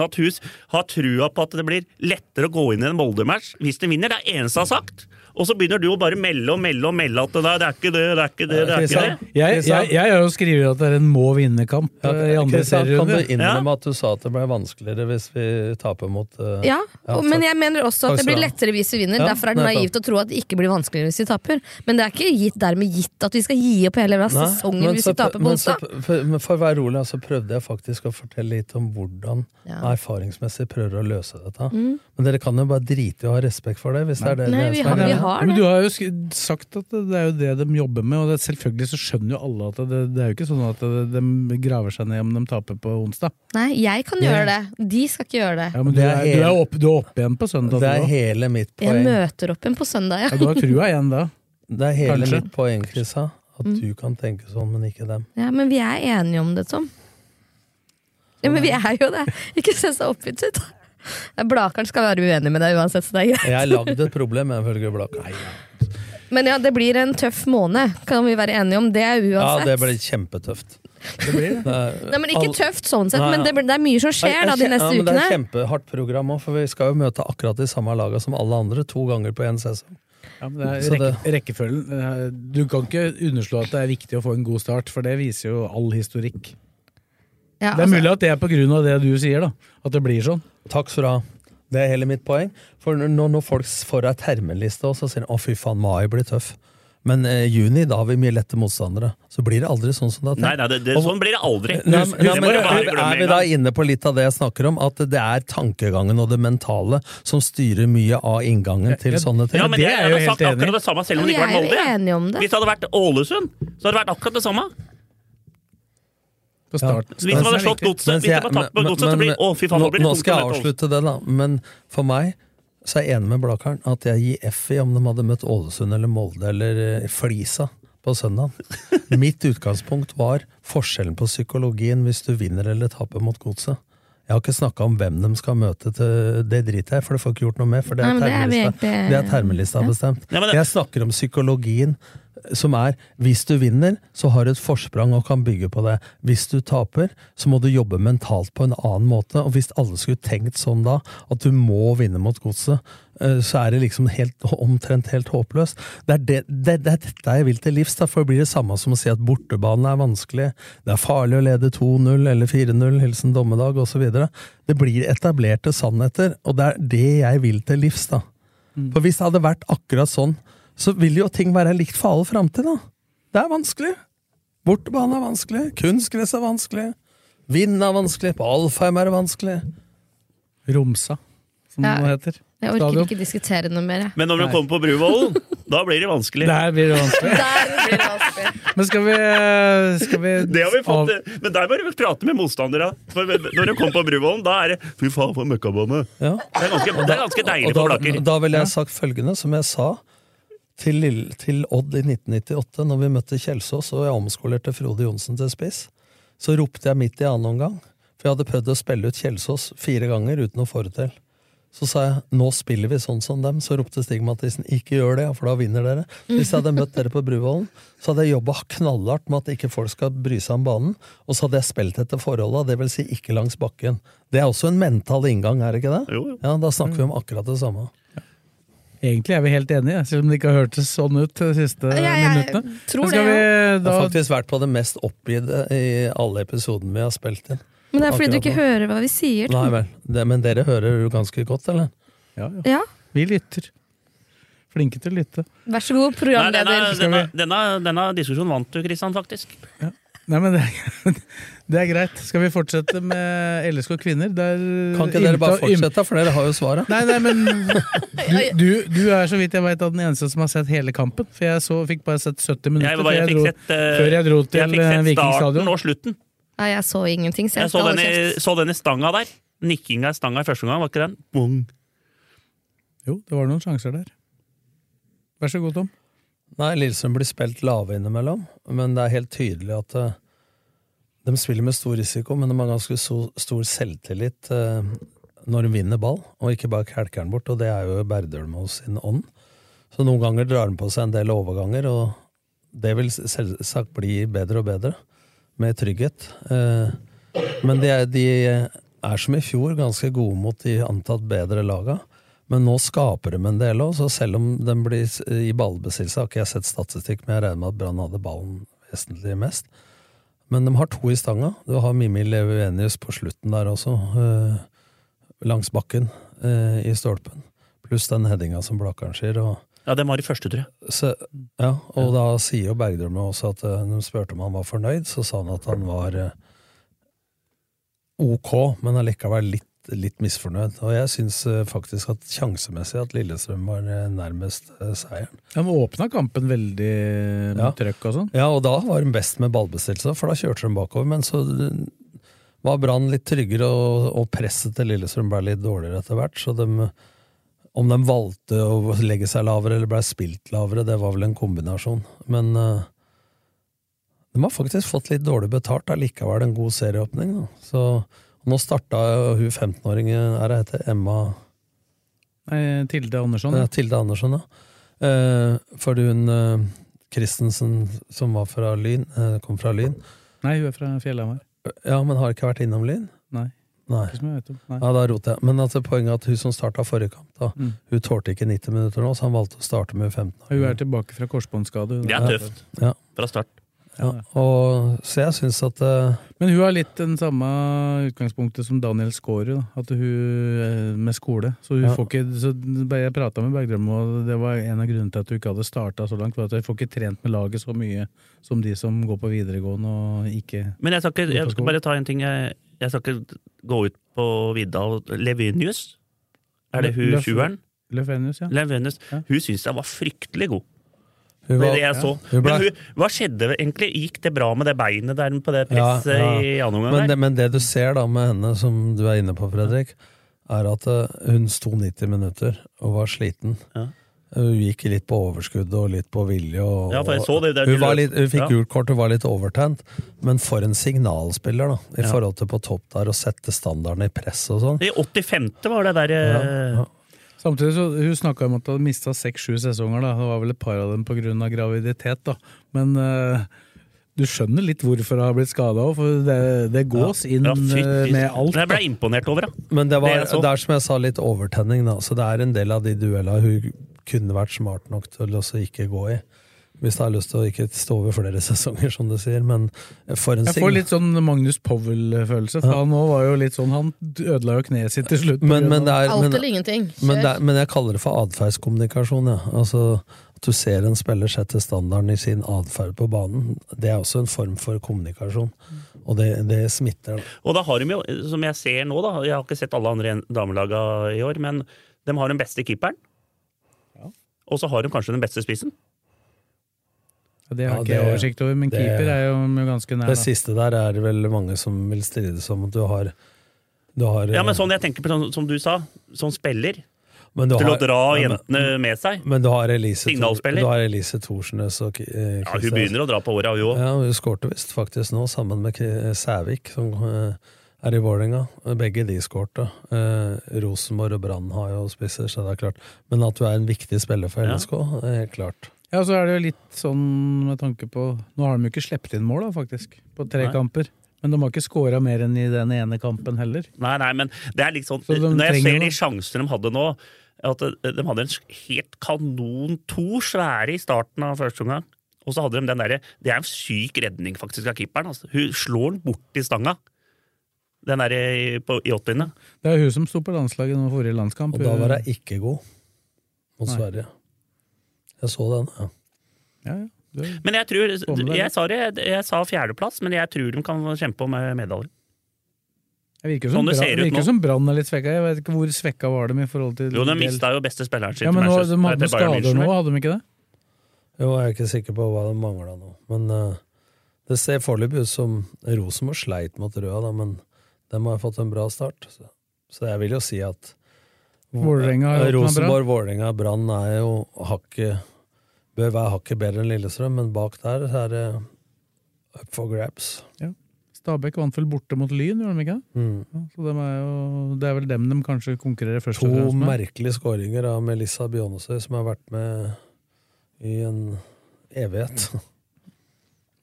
Speaker 5: har trua på at det blir lettere å gå inn i en Molde-match hvis de vinner. Det er eneste han har sagt. Og så begynner du å bare melde og melde og melde at det der, det er ikke det, det er ikke det, det er ikke
Speaker 4: Jeg,
Speaker 5: det.
Speaker 4: jeg, jeg har jo skrevet at det er en må vinne-kamp eh, i andre
Speaker 6: Kristian, kan du
Speaker 4: serierunde.
Speaker 6: innrømme at du sa at det ble vanskeligere hvis vi taper mot eh,
Speaker 7: Ja, og, men
Speaker 6: takk.
Speaker 7: jeg mener også
Speaker 6: Takk
Speaker 7: at det
Speaker 6: skal
Speaker 7: blir
Speaker 6: du ha.
Speaker 7: lettere hvis vi vinner.
Speaker 6: Ja,
Speaker 7: Derfor er det
Speaker 6: nettopp.
Speaker 7: naivt å tro at det ikke blir vanskeligere hvis vi taper. Men det er ikke gitt, dermed gitt at vi skal gi opp hele
Speaker 6: Nei,
Speaker 7: sesongen
Speaker 6: men
Speaker 7: hvis
Speaker 6: så
Speaker 7: vi taper
Speaker 6: pr-
Speaker 7: på
Speaker 6: men så
Speaker 7: onsdag.
Speaker 6: pr- for- Men for å være rolig, så prøvde jeg faktisk å fortelle litt om hvordan
Speaker 7: Ja.
Speaker 6: man erfaringsmessig prøver å løse dette.
Speaker 7: Mm.
Speaker 6: Men dere kan jo bare drite i å ha respekt for det, hvis det er det
Speaker 7: Nei,
Speaker 6: dere
Speaker 7: vi
Speaker 6: som er
Speaker 7: har- vi
Speaker 6: greia.
Speaker 7: har-
Speaker 4: Men
Speaker 7: det.
Speaker 4: du har jo sk- sagt at det er jo det de jobber med, og det, selvfølgelig så skjønner jo alle at det, det er jo ikke sånn at det, de graver seg ned om de taper på onsdag.
Speaker 7: Nei, jeg kan
Speaker 4: Det-
Speaker 7: gjøre det. De skal ikke gjøre det.
Speaker 4: Ja, men du
Speaker 6: Det er
Speaker 4: er, du er
Speaker 6: hele-
Speaker 4: oppe opp igjen på søndag.
Speaker 6: Det er
Speaker 4: nå.
Speaker 6: hele mitt
Speaker 7: Jeg
Speaker 6: poeng.
Speaker 7: møter opp igjen på søndag,
Speaker 4: Ja, du har trua igjen da.
Speaker 6: Det er hele
Speaker 4: Kanskje.
Speaker 6: mitt poeng, Krissa. At
Speaker 7: Mm.
Speaker 6: du kan tenke sånn, men ikke dem.
Speaker 7: Ja, men vi er enige om det, Tom. Ja, men vi er jo det. Ikke se så oppgitt ut. Blakeren skal være uenig med deg uansett, så det er
Speaker 6: Jeg har
Speaker 7: greit.
Speaker 6: lagd et problem, jeg, ifølge Blaker.
Speaker 7: Men ja, det blir en tøff måned, kan vi være enige om det
Speaker 6: Ja,
Speaker 7: uansett.
Speaker 6: det blir kjempetøft. Det blir det.
Speaker 7: Nei, men Ikke tøft sånn sett,
Speaker 6: Nei,
Speaker 7: men det,
Speaker 6: nei.
Speaker 7: blir- det er mye som
Speaker 6: Jeg-
Speaker 7: skjer da
Speaker 6: jeg
Speaker 7: de
Speaker 6: kjen-
Speaker 7: neste
Speaker 6: ja, men Det er
Speaker 7: ukene.
Speaker 6: kjempehardt program òg, for vi skal jo møte akkurat de samme laga som alle andre to ganger på én sesong.
Speaker 4: Ja, men det
Speaker 6: Så
Speaker 4: er rekke, rekkefølgen. eh, Du kan ikke underslå at det er viktig å få en god start, for det viser jo all historikk.
Speaker 7: Ja,
Speaker 4: det er
Speaker 7: altså-
Speaker 4: mulig at det er på grunn av det du sier, da. At det blir sånn.
Speaker 6: Takk skal du ha. Det er hele mitt poeng. For når, når folk får ei termeliste, og så sier de 'å, fy faen, mai blir tøff'. Men eh, juni, da har vi mye lette motstandere. Så blir det aldri sånn som det er
Speaker 5: Nei, nei, det, det, sånn blir det aldri.
Speaker 6: Nei, men-
Speaker 5: det
Speaker 6: nei,
Speaker 5: må
Speaker 6: men
Speaker 5: du bare glemme
Speaker 6: er, er vi
Speaker 5: en
Speaker 6: da
Speaker 5: gang.
Speaker 6: inne på litt av det jeg snakker om? At det er tankegangen og det mentale som styrer mye av inngangen til sånne ting?
Speaker 5: Ja, men jeg hadde sagt akkurat det samme selv om det ikke
Speaker 7: Vi er
Speaker 5: hadde vært
Speaker 7: jo
Speaker 5: Molde.
Speaker 7: enige om det.
Speaker 5: Hvis det hadde vært Ålesund, så hadde det vært akkurat det samme.
Speaker 4: På starten.
Speaker 5: Hvis man hadde slått godset, hvis
Speaker 6: Mens
Speaker 5: de
Speaker 6: jeg-
Speaker 5: hadde tatt på
Speaker 6: men-
Speaker 5: godset, så
Speaker 6: men-
Speaker 5: blir Å, fy faen,
Speaker 6: nå,
Speaker 5: nå blir det
Speaker 6: nå
Speaker 5: tungt
Speaker 6: skal
Speaker 5: å
Speaker 6: jeg
Speaker 5: møte Ålesund.
Speaker 6: avslutte det, da. Men for meg så er jeg enig med Blakeren at jeg gir F i om de hadde møtt Ålesund eller Molde eller eh, Flisa på søndag. Mitt utgangspunkt var forskjellen på psykologien hvis du vinner eller taper mot godset. Jeg har ikke snakka om hvem de skal møte. til Det driter jeg i, for det får jeg ikke gjort noe med. For det
Speaker 7: Nei,
Speaker 6: er
Speaker 7: men det er vi
Speaker 6: termelista,
Speaker 7: egentlig-
Speaker 6: det er termelista har bestemt. Jeg snakker om psykologien som er hvis du vinner, så har du et forsprang og kan bygge på det. Hvis du taper, så må du jobbe mentalt på en annen måte. Og hvis alle skulle tenkt sånn da, at du må vinne mot godset, eh, så er det liksom helt, omtrent helt håpløst. Det er, det, det, det er dette jeg vil til livs, da, for det blir det samme som å si at bortebane er vanskelig, det er farlig å lede 2-0 eller 4-0, hilsen dommedag osv. Det blir etablerte sannheter, og det er det jeg vil til livs, da. For hvis det hadde vært akkurat sånn, så vil jo ting være likt for alle framtid, da. Det er vanskelig. Bortebane er vanskelig, kunstgress er vanskelig, vind er vanskelig, på Alfheim er det vanskelig.
Speaker 4: Romsa, som
Speaker 7: Ja.
Speaker 4: det heter.
Speaker 7: Jeg orker ikke diskutere noe mer. jeg.
Speaker 5: Men når du
Speaker 4: Nei.
Speaker 5: kommer på Bruvollen, da blir det vanskelig.
Speaker 4: Der blir det vanskelig. Men skal vi, skal vi
Speaker 5: Det har vi fått, men der må du prate med motstandere. For når du kommer på Bruvollen, da er det Fy faen, for en møkkabane!
Speaker 6: Ja.
Speaker 5: Det er ganske, det er ganske deilig
Speaker 6: Og
Speaker 5: for
Speaker 6: da,
Speaker 5: Blaker.
Speaker 6: da ville jeg sagt følgende, som jeg sa til, Lill- til Odd i 1998, når vi møtte Kjelsås og jeg omskolerte Frode Johnsen til spiss. Så ropte jeg midt i annen omgang, for jeg hadde prøvd å spille ut Kjelsås fire ganger uten å få det til. Så sa jeg 'nå spiller vi sånn som dem', så ropte Stig Mathisen 'ikke gjør det, for da vinner dere'. Hvis jeg hadde møtt dere på Bruvollen, så hadde jeg jobba knallhardt med at ikke folk skal bry seg om banen, og så hadde jeg spilt etter forholda, dvs. Si ikke langs bakken. Det er også en mental inngang, er det ikke det? Ja, Da snakker vi om akkurat det samme.
Speaker 4: Egentlig er vi helt enige, selv om det ikke har hørtes sånn ut de siste minuttene. Men skal Vi,
Speaker 6: Jeg
Speaker 4: da,
Speaker 6: har faktisk vært på det mest oppgitte i alle episodene vi har spilt inn.
Speaker 7: Men det er fordi du
Speaker 6: Akkurat
Speaker 7: ikke
Speaker 6: nå.
Speaker 7: hører hva vi sier.
Speaker 6: Nei
Speaker 7: Tom.
Speaker 6: vel. Det, men dere hører jo ganske godt, eller?
Speaker 7: Ja,
Speaker 4: vi lytter. Flinke til å lytte.
Speaker 7: Vær så god,
Speaker 5: Nei, denne,
Speaker 7: programleder.
Speaker 5: denne, denne, denne diskusjonen vant du, Kristian, faktisk.
Speaker 4: Nei, men det, det er greit. Skal vi fortsette med LSK kvinner? Der,
Speaker 6: Kan ikke dere bare fortsette, for dere har jo svaret.
Speaker 4: Nei, nei, men du, du, du er så vidt jeg vet den eneste som har sett hele kampen. For jeg så, fikk bare sett 70 minutter
Speaker 5: Jeg,
Speaker 4: før, jeg
Speaker 5: bare, jeg, fikk
Speaker 4: dro,
Speaker 5: sett, eh,
Speaker 4: før jeg dro
Speaker 5: jeg
Speaker 4: til
Speaker 5: fikk
Speaker 4: eh,
Speaker 5: sett
Speaker 4: Viking
Speaker 5: starten
Speaker 4: stadion.
Speaker 5: og slutten.
Speaker 7: Ja, jeg så ingenting, så jeg,
Speaker 5: Jeg så
Speaker 7: skal holde
Speaker 5: denne,
Speaker 7: kjeft.
Speaker 5: så denne stanga der. Nikkinga i stanga i første omgang, var ikke den? Bong.
Speaker 4: Jo, det var noen sjanser der. Vær så god, Tom.
Speaker 6: Nei, Lillestrøm blir spilt lave innimellom, men det er helt tydelig at eh, de spiller med stor risiko, men de har ganske so stor selvtillit eh, når de vinner ball, og ikke bare kelker den bort, og det er jo Berdølmo sin ånd. Så noen ganger drar han på seg en del overganger, og det vil selvsagt bli bedre og bedre, med trygghet. Eh, Men de er, de er som i fjor ganske gode mot de antatt bedre laga. Men nå skaper de en del òg, så selv om den blir s- i ballbesittelse Har ikke jeg sett statistikk, men jeg regner med at Brann hadde ballen vesentlig mest. Men de har to i stanga. Du har Mimmi Levenius på slutten der også, eh, langs bakken eh, i stolpen. Pluss den headinga som Blakkaren sier. Og,
Speaker 5: Ja, den var i første, tror jeg.
Speaker 6: så, ja, og da sier jo Bergdølme også at eh, når de spurte om han var fornøyd, så sa han at han var eh, ok, men allikevel litt, litt misfornøyd. Og jeg syns eh, faktisk at sjansemessig at Lillestrøm var eh, nærmest eh, seieren.
Speaker 4: De åpna kampen veldig med trøkk og sånn.
Speaker 6: Ja, og da var de best med ballbestillelse, for da kjørte de bakover. Men så eh, var Brann litt tryggere, og, og presset til Lillestrøm ble litt dårligere etter hvert. Så de, om de valgte å legge seg lavere eller ble spilt lavere, det var vel en kombinasjon. Men eh, de har faktisk fått litt dårlig betalt, da likevel en god serieåpning. Da. Så nå starta jo hun 15-åringen, er det heter, Emma
Speaker 4: Nei, Tilde Andersson.
Speaker 6: ja, Tilde Andersson, ja. Eh, for hun eh, Christensen som var fra Lyn, eh, kom fra Lyn.
Speaker 4: Nei, hun er fra Fjellhamar.
Speaker 6: Ja, men har ikke vært innom Lyn?
Speaker 4: Nei.
Speaker 6: Nei.
Speaker 4: Ikke som jeg vet om. Nei.
Speaker 6: Ja, da roter jeg. Men altså, poenget er at hun som starta forrige kamp, da,
Speaker 4: Mm.
Speaker 6: hun tålte ikke 90 minutter nå, så han valgte å starte med 15.
Speaker 4: Hun er tilbake fra korsbåndskade. hun.
Speaker 5: Det er tøft.
Speaker 6: Ja.
Speaker 5: Fra start.
Speaker 6: Ja. Og, så jeg syns at eh,
Speaker 4: Men hun har litt den samme utgangspunktet som Daniel Skårud, da. at hun eh, med skole. Så hun
Speaker 6: Ja.
Speaker 4: får ikke så Jeg prata med Bergdrøm, og det var en av grunnene til at hun ikke hadde starta så langt. For at hun får ikke trent med laget så mye som de som går på videregående og ikke
Speaker 5: Men jeg skal,
Speaker 4: Gå
Speaker 5: ikke,
Speaker 4: på
Speaker 5: jeg skal
Speaker 4: skolen.
Speaker 5: bare ta en ting. Jeg, jeg skal ikke gå ut på vidda. og- Levenius? Er det hun
Speaker 4: Løf-
Speaker 5: sjueren?
Speaker 4: Løfenius, ja.
Speaker 5: Levenius. Hun syns jeg var fryktelig god.
Speaker 6: Hun
Speaker 5: det
Speaker 6: var-
Speaker 5: er det jeg
Speaker 6: ja.
Speaker 5: så.
Speaker 6: Hun ble-
Speaker 5: Men hun, hva skjedde egentlig? Gikk det bra med det beinet der på det
Speaker 6: Ja,
Speaker 5: presset
Speaker 6: ja.
Speaker 5: i andre
Speaker 6: men,
Speaker 5: omgang?
Speaker 6: det,
Speaker 5: der?
Speaker 6: men det du ser da med henne, som du er inne på, Fredrik, er at eh, hun sto 90 minutter og var sliten. Eh, Hun gikk litt på overskudd og litt på vilje. Og,
Speaker 5: Ja, for jeg så det der
Speaker 6: hun,
Speaker 5: de
Speaker 6: var
Speaker 5: løp.
Speaker 6: litt, hun fikk
Speaker 5: Ja.
Speaker 6: gult kort, hun var litt overtent. Men for en signalspiller, da, i
Speaker 5: Ja.
Speaker 6: forhold til på topp der, å sette standarden i press og sånn.
Speaker 5: I 85. var det der eh,
Speaker 4: Samtidig så Hun snakka om at hun hadde mista seks-sju sesonger. da, Det var vel et par av dem pga. graviditet. da. Men eh, du skjønner litt hvorfor hun har blitt skada òg, for det, det gås inn
Speaker 5: ja, fy-
Speaker 4: eh, med alt.
Speaker 5: Men jeg ble
Speaker 4: da.
Speaker 5: imponert over henne.
Speaker 6: Men det, var,
Speaker 5: Det jeg så.
Speaker 6: det er som jeg sa, litt overtenning, da. Så det er en del av de duellene hun kunne vært smart nok til å så ikke gå i. Hvis du har lyst til å ikke stå over flere sesonger, som du sier. Men for en
Speaker 4: Jeg får litt sånn Magnus Powell-følelse. for
Speaker 6: Ja.
Speaker 4: Han nå var jo litt sånn, han ødela jo kneet sitt til slutt. på grunn
Speaker 6: Men- men
Speaker 4: av-
Speaker 6: det er-
Speaker 7: Alt eller ingenting.
Speaker 6: Men, det, er-
Speaker 7: Kjør.
Speaker 6: men jeg kaller det for atferdskommunikasjon. Ja. Altså, at du ser en spiller sette standarden i sin atferd på banen, det er også en form for kommunikasjon. Og det, det smitter. da.
Speaker 5: Og da har de jo, som jeg ser nå, da Jeg har ikke sett alle andre en- damelaga i år, men de har den beste keeperen. Og så har de kanskje den beste spissen.
Speaker 4: Ja, Det har
Speaker 6: Ja,
Speaker 4: ikke jeg
Speaker 6: det-
Speaker 4: oversikt over, men
Speaker 6: det-
Speaker 4: keeper er jo ganske nær.
Speaker 6: Det
Speaker 4: da.
Speaker 6: siste der er det vel mange som vil strides om at du har, du har
Speaker 5: Ja, men sånn jeg tenker på, sånn, som du sa, som spiller.
Speaker 6: men du
Speaker 5: Til
Speaker 6: har-
Speaker 5: å dra
Speaker 6: Ja, men-
Speaker 5: jentene med seg.
Speaker 6: Men du har Elise, Thor-
Speaker 5: Signalspiller.
Speaker 6: du har Elise Thorsnes og eh,
Speaker 5: Ja, hun begynner å dra på åra, hun òg.
Speaker 6: Ja, hun skårte visst faktisk nå, sammen med K- Sævik, som eh, er i Vålerenga. Begge de skårte. Eh, Rosenborg og Brann har jo spisser, så det er klart. Men at du er en viktig spiller for
Speaker 4: Ja.
Speaker 6: LSK, er helt klart.
Speaker 4: Ja, så er det jo litt sånn med tanke på Nå har de jo ikke sluppet inn mål, da, faktisk, på tre
Speaker 5: Nei.
Speaker 4: kamper. Men de har ikke scora mer enn i den ene kampen heller.
Speaker 5: Nei, nei, men det er liksom
Speaker 4: Så de
Speaker 5: Når
Speaker 4: trenger
Speaker 5: jeg ser de
Speaker 4: noe.
Speaker 5: sjansene de hadde nå at eh, De hadde en helt kanon to svære i starten av første omgang. Og så hadde de den derre Det er en syk redning, faktisk, av keeperen. Altså. Hun slår den bort i stanga. Den derre i- på- i åttiende.
Speaker 4: Det er hun som sto på landslaget nå forrige landskamp.
Speaker 6: Og da var jeg ikke god
Speaker 4: Nei.
Speaker 6: mot Sverige. Jeg så den, ja.
Speaker 4: Ja, ja. Det-
Speaker 5: Men jeg tror
Speaker 4: Få med deg
Speaker 5: Jeg
Speaker 4: det.
Speaker 5: sa, det, jeg sa fjerdeplass, men jeg tror de kan kjempe om eh, medaljer.
Speaker 4: Det virker jo som,
Speaker 5: Sånn det
Speaker 4: Brann-
Speaker 5: ser ut
Speaker 4: virker
Speaker 5: nå.
Speaker 4: som Brann er litt svekka. Jeg vet ikke hvor svekka var de i forhold til
Speaker 5: Jo, de
Speaker 4: del-
Speaker 5: mista jo beste spilleren sin
Speaker 4: Ja, men
Speaker 5: til
Speaker 4: nå,
Speaker 5: Manchester-
Speaker 4: De hadde
Speaker 5: til
Speaker 4: noen
Speaker 5: Bayern
Speaker 4: skader
Speaker 5: München,
Speaker 4: nå,
Speaker 5: vel?
Speaker 4: hadde de ikke det?
Speaker 6: Jo, jeg er ikke sikker på hva det mangla nå. Men eh, det ser foreløpig ut som Rosenborg sleit mot Røa, da, men dem har fått en bra start. Så, så jeg vil jo si at
Speaker 4: Vålerenga har gjort noe bra.
Speaker 6: Rosenborg, Vålerenga, Brann er jo hakket Bør være hakket bedre enn Lillestrøm, men bak der er det up for grabs.
Speaker 4: Stabæk vant vel borte mot Lyn, gjorde de ikke det?
Speaker 6: Mm.
Speaker 4: Ja, så dem er jo, det er vel dem de kanskje konkurrerer først
Speaker 6: To
Speaker 4: og fremst med.
Speaker 6: merkelige skåringer av Melissa Bjonesøy, som har vært med i en evighet.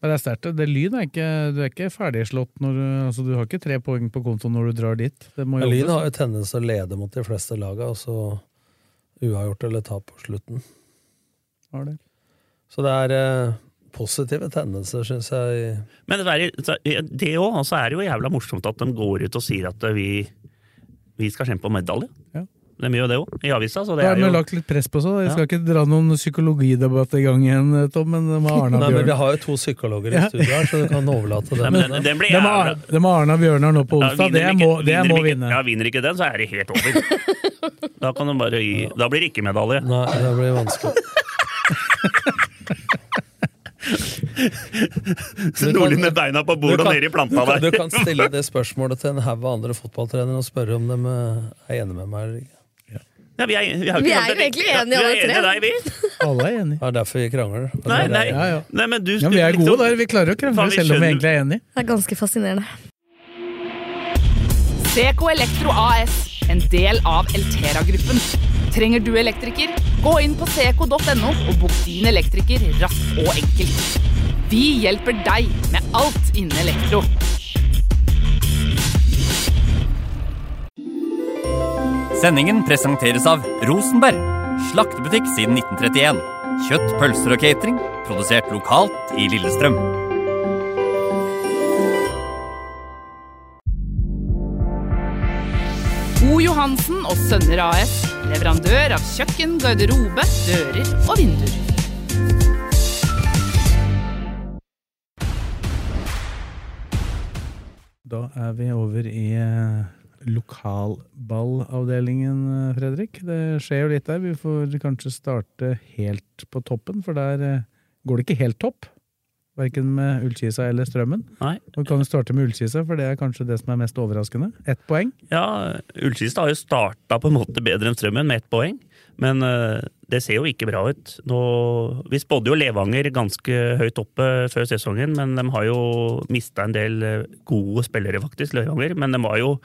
Speaker 4: Men det er sterkt. det. Det Lyn er ikke, du er ikke ferdigslått når du altså, Du har ikke tre poeng på kontoen når du drar dit. Det må
Speaker 6: Ja,
Speaker 4: jobbes.
Speaker 6: Lyn har jo tendens til å lede mot de fleste laga, og så uavgjort eller tap på slutten.
Speaker 4: Var det.
Speaker 6: Så det er eh, positive tendenser, syns jeg.
Speaker 5: Men det er, så- det òg, og så er det jo jævla morsomt at de går ut og sier at eh, vi, vi skal kjempe om medalje.
Speaker 4: Ja.
Speaker 5: De gjør jo det òg, i avisa. Så
Speaker 4: Da
Speaker 5: det
Speaker 4: har
Speaker 5: er
Speaker 4: de jo
Speaker 5: jo
Speaker 4: lagt litt press på seg. da. Jeg skal ikke dra noen psykologidebatt i gang igjen, Tom, men de har Arna
Speaker 6: Nei, men
Speaker 4: Bjørn.
Speaker 6: vi har jo to psykologer i
Speaker 4: Ja.
Speaker 6: studio her, så du kan overlate dem.
Speaker 5: Nei, men den- den blir
Speaker 4: De har,
Speaker 5: jævla-
Speaker 4: de har Arna Bjørnar nå på
Speaker 5: Ja,
Speaker 4: onsdag.
Speaker 5: vinner
Speaker 4: Det
Speaker 5: de
Speaker 4: må,
Speaker 5: ikke-
Speaker 4: det må
Speaker 5: vinner de ikke-
Speaker 4: vinne.
Speaker 5: Ja, vinner ikke den, så er det helt over. Da kan de bare gi Da blir det ikke medalje.
Speaker 6: Nei, det blir vanskelig.
Speaker 5: Så Nordli med beina på bordet og nede i planta
Speaker 6: du, kan,
Speaker 5: der.
Speaker 6: du kan stille det spørsmålet til en haug av andre fotballtrenere og spørre om de eh, er enige med meg eller ikke.
Speaker 5: Ja, vi, er, vi, har
Speaker 7: Vi er
Speaker 5: ikke sagt
Speaker 7: jo
Speaker 5: det.
Speaker 7: egentlig
Speaker 5: Ja,
Speaker 7: enige, alle
Speaker 5: Vi er
Speaker 7: tre.
Speaker 5: enige, deg, vi.
Speaker 4: Alle er enige.
Speaker 6: Det er derfor vi krangler.
Speaker 5: Nei, nei,
Speaker 4: Ja, ja.
Speaker 5: nei, men du liksom-
Speaker 4: Ja, men vi er gode der. Vi klarer å krangle
Speaker 5: Faen, vi
Speaker 4: selv om vi
Speaker 5: skjønner-
Speaker 4: egentlig er enige.
Speaker 7: Det er ganske fascinerende.
Speaker 2: CK Elektro AS, en del av Eltera-gruppen. Trenger du elektriker? Gå inn på ck.no og bok din elektriker raskt og enkelt. Vi hjelper deg med alt innen elektro.
Speaker 1: Sendingen presenteres av Rosenberg, slaktebutikk siden 1931. Kjøtt, pølser og catering, produsert lokalt i Lillestrøm.
Speaker 2: O. Johansen og Sønner AS, leverandør av kjøkken, garderobe, dører og vinduer.
Speaker 4: Da er vi over i eh, lokalballavdelingen, eh, Fredrik. Det skjer jo litt der. Vi får kanskje starte helt på toppen, for der eh, går det ikke helt topp. Verken med Ullkisa eller Strømmen.
Speaker 5: Nei.
Speaker 4: Og vi kan jo starte med Ullkisa, for det er kanskje det som er mest overraskende. Ett poeng.
Speaker 5: Ja, Ullkista har jo starta på en måte bedre enn Strømmen med ett poeng, men eh, det ser jo ikke bra ut. Nå, vi spådde jo Levanger ganske høyt oppe før sesongen, men de har jo mista en del eh, gode spillere, faktisk, Levanger. Men de var jo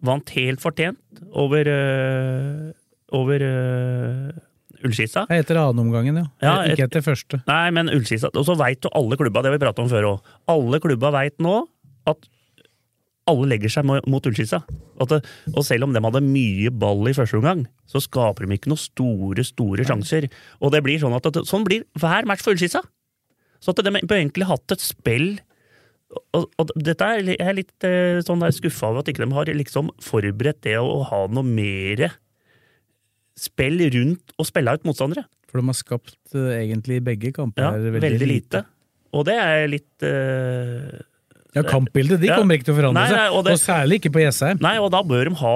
Speaker 5: vant helt fortjent over, eh, over eh, Ullkisa.
Speaker 4: Det er etter annenomgangen, ja.
Speaker 5: Ja,
Speaker 4: Ikke
Speaker 5: et-
Speaker 4: etter første.
Speaker 5: Nei, men Ullkisa Og så veit jo alle klubba, det har vi prata om før òg, alle klubba veit nå at alle legger seg mo- mot Ullkisa. At det, og selv om de hadde mye ball i første omgang, så skaper de ikke noen store store sjanser. Og det blir sånn at, at sånn blir hver match for Ullkisa. Så at de bør egentlig hatt et spill og, og dette er, li- jeg er litt eh, sånn der skuffa over at ikke de har liksom forberedt det å, å ha noe mere spill rundt og spille ut motstandere.
Speaker 4: For de har skapt eh, egentlig i begge kamper
Speaker 5: Ja,
Speaker 4: veldig,
Speaker 5: veldig, lite. Og det er litt eh,
Speaker 4: Ja, kampbildet de
Speaker 5: Ja.
Speaker 4: kommer ikke til å forandre
Speaker 5: Nei, nei,
Speaker 4: seg.
Speaker 5: og
Speaker 4: Og,
Speaker 5: det-
Speaker 4: særlig ikke på E Jessheim.
Speaker 5: Nei, og da bør de ha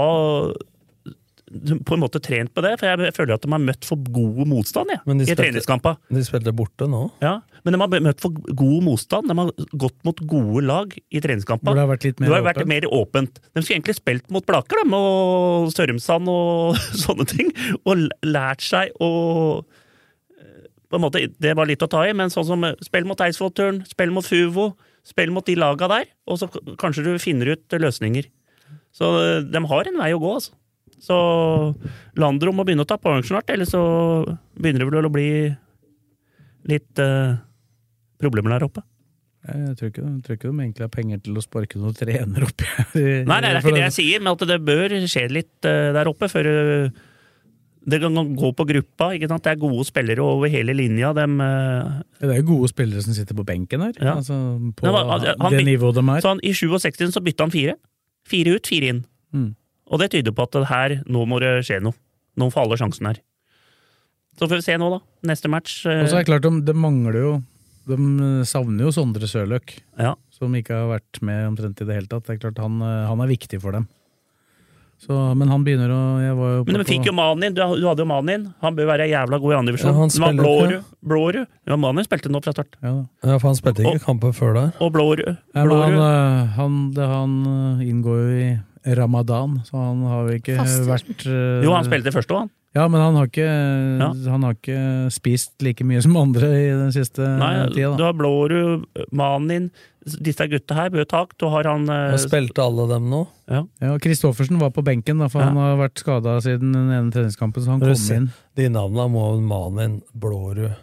Speaker 5: på en måte trent på det, for jeg føler at de har møtt for god motstand jeg,
Speaker 6: Men de
Speaker 5: i
Speaker 6: spilte-
Speaker 5: treningskampa.
Speaker 6: De spilte borte nå.
Speaker 5: Ja, men de har møtt for god motstand. De har gått mot gode lag i treningskampa.
Speaker 4: Hvor det har vært litt mer
Speaker 5: Det har vært
Speaker 4: åpent.
Speaker 5: mer åpent. De skulle egentlig spilt mot Blaker de, og Sørumsand og sånne ting, og l- lært seg å eh, på en måte, Det var litt å ta i, men sånn som eh, spill mot Eidsvollturen, spill mot Fuvo, spill mot de laga der, og så k- kanskje du finner ut eh, løsninger. Så eh, de har en vei å gå, altså. Så Landro må begynne å ta poeng snart, eller så begynner det vel å bli litt eh, problemer der oppe.
Speaker 4: Jeg tror ikke, de- jeg tror ikke de egentlig har penger til å sparke noen trener opp her. i-
Speaker 5: Nei, nei, det er
Speaker 4: for
Speaker 5: ikke det jeg sier, men at det bør skje litt eh, der oppe før eh, det kan gå på gruppa. ikke sant? Det er gode spillere over hele linja. Dem, eh,
Speaker 4: Det er jo gode spillere som sitter på benken her.
Speaker 5: Ja.
Speaker 4: Altså, på
Speaker 5: Nei, men, altså, han
Speaker 4: det
Speaker 5: byt-
Speaker 4: nivået de er.
Speaker 5: så han, I 67 så bytta han fire. Fire ut, fire inn.
Speaker 4: Mm.
Speaker 5: Og det tyder på at det her, nå må det skje noe. Nå får alle sjansen her. Så får vi se nå, da. Neste match. eh,
Speaker 4: Og så er det klart, de, de mangler jo De savner jo Sondre Sørløk,
Speaker 5: ja.
Speaker 4: som ikke har vært med omtrent i det hele tatt. Det er klart, han, eh, han er viktig for dem. Så, men han begynner å jeg var jo
Speaker 5: Men de fikk jo Manin. Du du hadde jo Manin. Han bør være jævla god i andre divisjon.
Speaker 6: Ja, han
Speaker 5: Det var
Speaker 6: spiller
Speaker 5: Blårud.
Speaker 6: ikke.
Speaker 5: Blårud. Ja, Manin spilte nå fra start.
Speaker 4: ja, da.
Speaker 6: Ja, for han spilte ikke kampen før der.
Speaker 5: Og Blårud.
Speaker 4: Ja, men han,
Speaker 5: Blårud.
Speaker 4: eh, han, det, han eh, inngår jo i ramadan, så han har jo ikke
Speaker 7: Faster.
Speaker 4: vært eh,
Speaker 5: Jo, han spilte først òg, han.
Speaker 4: Ja, men han har, ikke,
Speaker 5: Ja.
Speaker 4: han har ikke spist like mye som andre i den siste
Speaker 5: Nei,
Speaker 4: tida.
Speaker 5: du
Speaker 4: Eh, Da.
Speaker 5: har Blårud, Manin, disse gutta her, Bø Tak. Du har han eh,
Speaker 6: Og spilte alle dem nå.
Speaker 4: Ja, og Kristoffersen var på benken, da, for
Speaker 5: Ja.
Speaker 4: han har vært skada siden den ene treningskampen. Så han
Speaker 6: Når du
Speaker 4: kom
Speaker 6: ser-
Speaker 4: inn.
Speaker 6: De navnene må Manin, Blårud,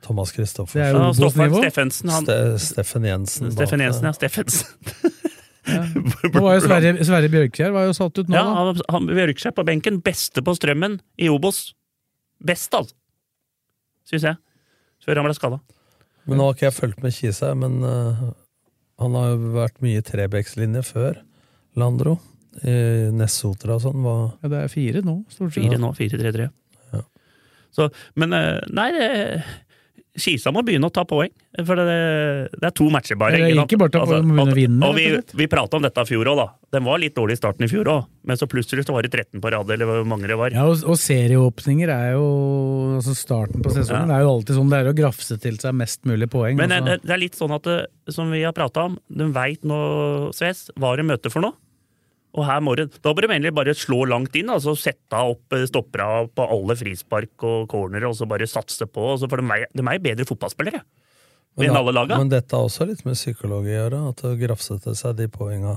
Speaker 6: Thomas
Speaker 4: Det er
Speaker 6: Christoffersen,
Speaker 4: jo
Speaker 5: ja, Stoffan
Speaker 4: Obos-nivå.
Speaker 5: Steffensen. Han,
Speaker 6: Ste Steffen Jensen.
Speaker 5: Steffen
Speaker 6: bak
Speaker 5: Jensen,
Speaker 6: der.
Speaker 5: ja. Steffensen.
Speaker 4: Nå var jo Sverre, Sverre Bjørkjær var jo satt ut nå,
Speaker 5: Ja,
Speaker 4: da.
Speaker 5: han, han røyker seg på benken. Beste på strømmen i Obos. Best, altså. Syns jeg. Før han ble skada.
Speaker 6: Men nå har ikke jeg fulgt med Kise, men eh, han har jo vært mye i Trebekslinje før, Landro. I Nessotra og sånn. Var,
Speaker 4: Ja, det er fire nå, stort sett.
Speaker 5: Fire nå, fire-tre-tre. Så, men eh, nei, det Kisa må begynne å ta poeng. For det, det er to matcher bare. Altså,
Speaker 4: Eller ikke bare ta poeng, men begynne å vinne,
Speaker 5: Og vi,
Speaker 4: rett og
Speaker 5: vi prata om dette i fjor òg, da. Den var litt dårlig i starten i fjor òg, men så plutselig så var det 13 på rad, eller hvor mange det var.
Speaker 4: Ja, og, og serieåpninger er jo altså Starten på sesongen
Speaker 5: Ja.
Speaker 4: Det er jo alltid sånn det er å grafse til seg mest mulig poeng.
Speaker 5: Men
Speaker 4: altså.
Speaker 5: det, det er litt sånn at det, som vi har prata om, de veit nå, Sves, hva de møter for noe. Og her må de, Da bør de egentlig bare slå langt inn, altså sette opp eh, stoppera på alle frispark og corner, og så bare satse på. og så- For de er, de er jo bedre fotballspillere enn alle laga.
Speaker 6: men dette har også litt med psykologi å gjøre, at å grafse til seg de poenga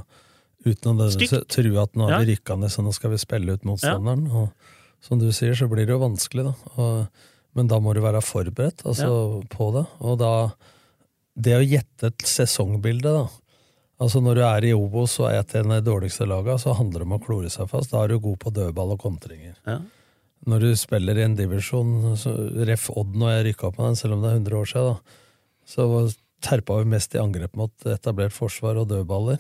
Speaker 6: uten å nødvendigvis
Speaker 5: Stygt.
Speaker 6: tro at nå har vi
Speaker 5: Ja.
Speaker 6: rykka ned, så nå skal vi spille ut motstanderen. Og som du sier, så blir det jo vanskelig, da. Og, men da må du være forberedt altså, på det. Og da Det å gjette et sesongbilde, da. Altså Når du er i Obos og er et av de dårligste laga, så handler det om å klore seg fast. Da er du god på dødball og kontringer. Når du spiller i en divisjon, så ref Odd når jeg rykka opp med den, selv om det er 100 år siden, da, så terpa vi mest i angrep mot etablert forsvar og dødballer.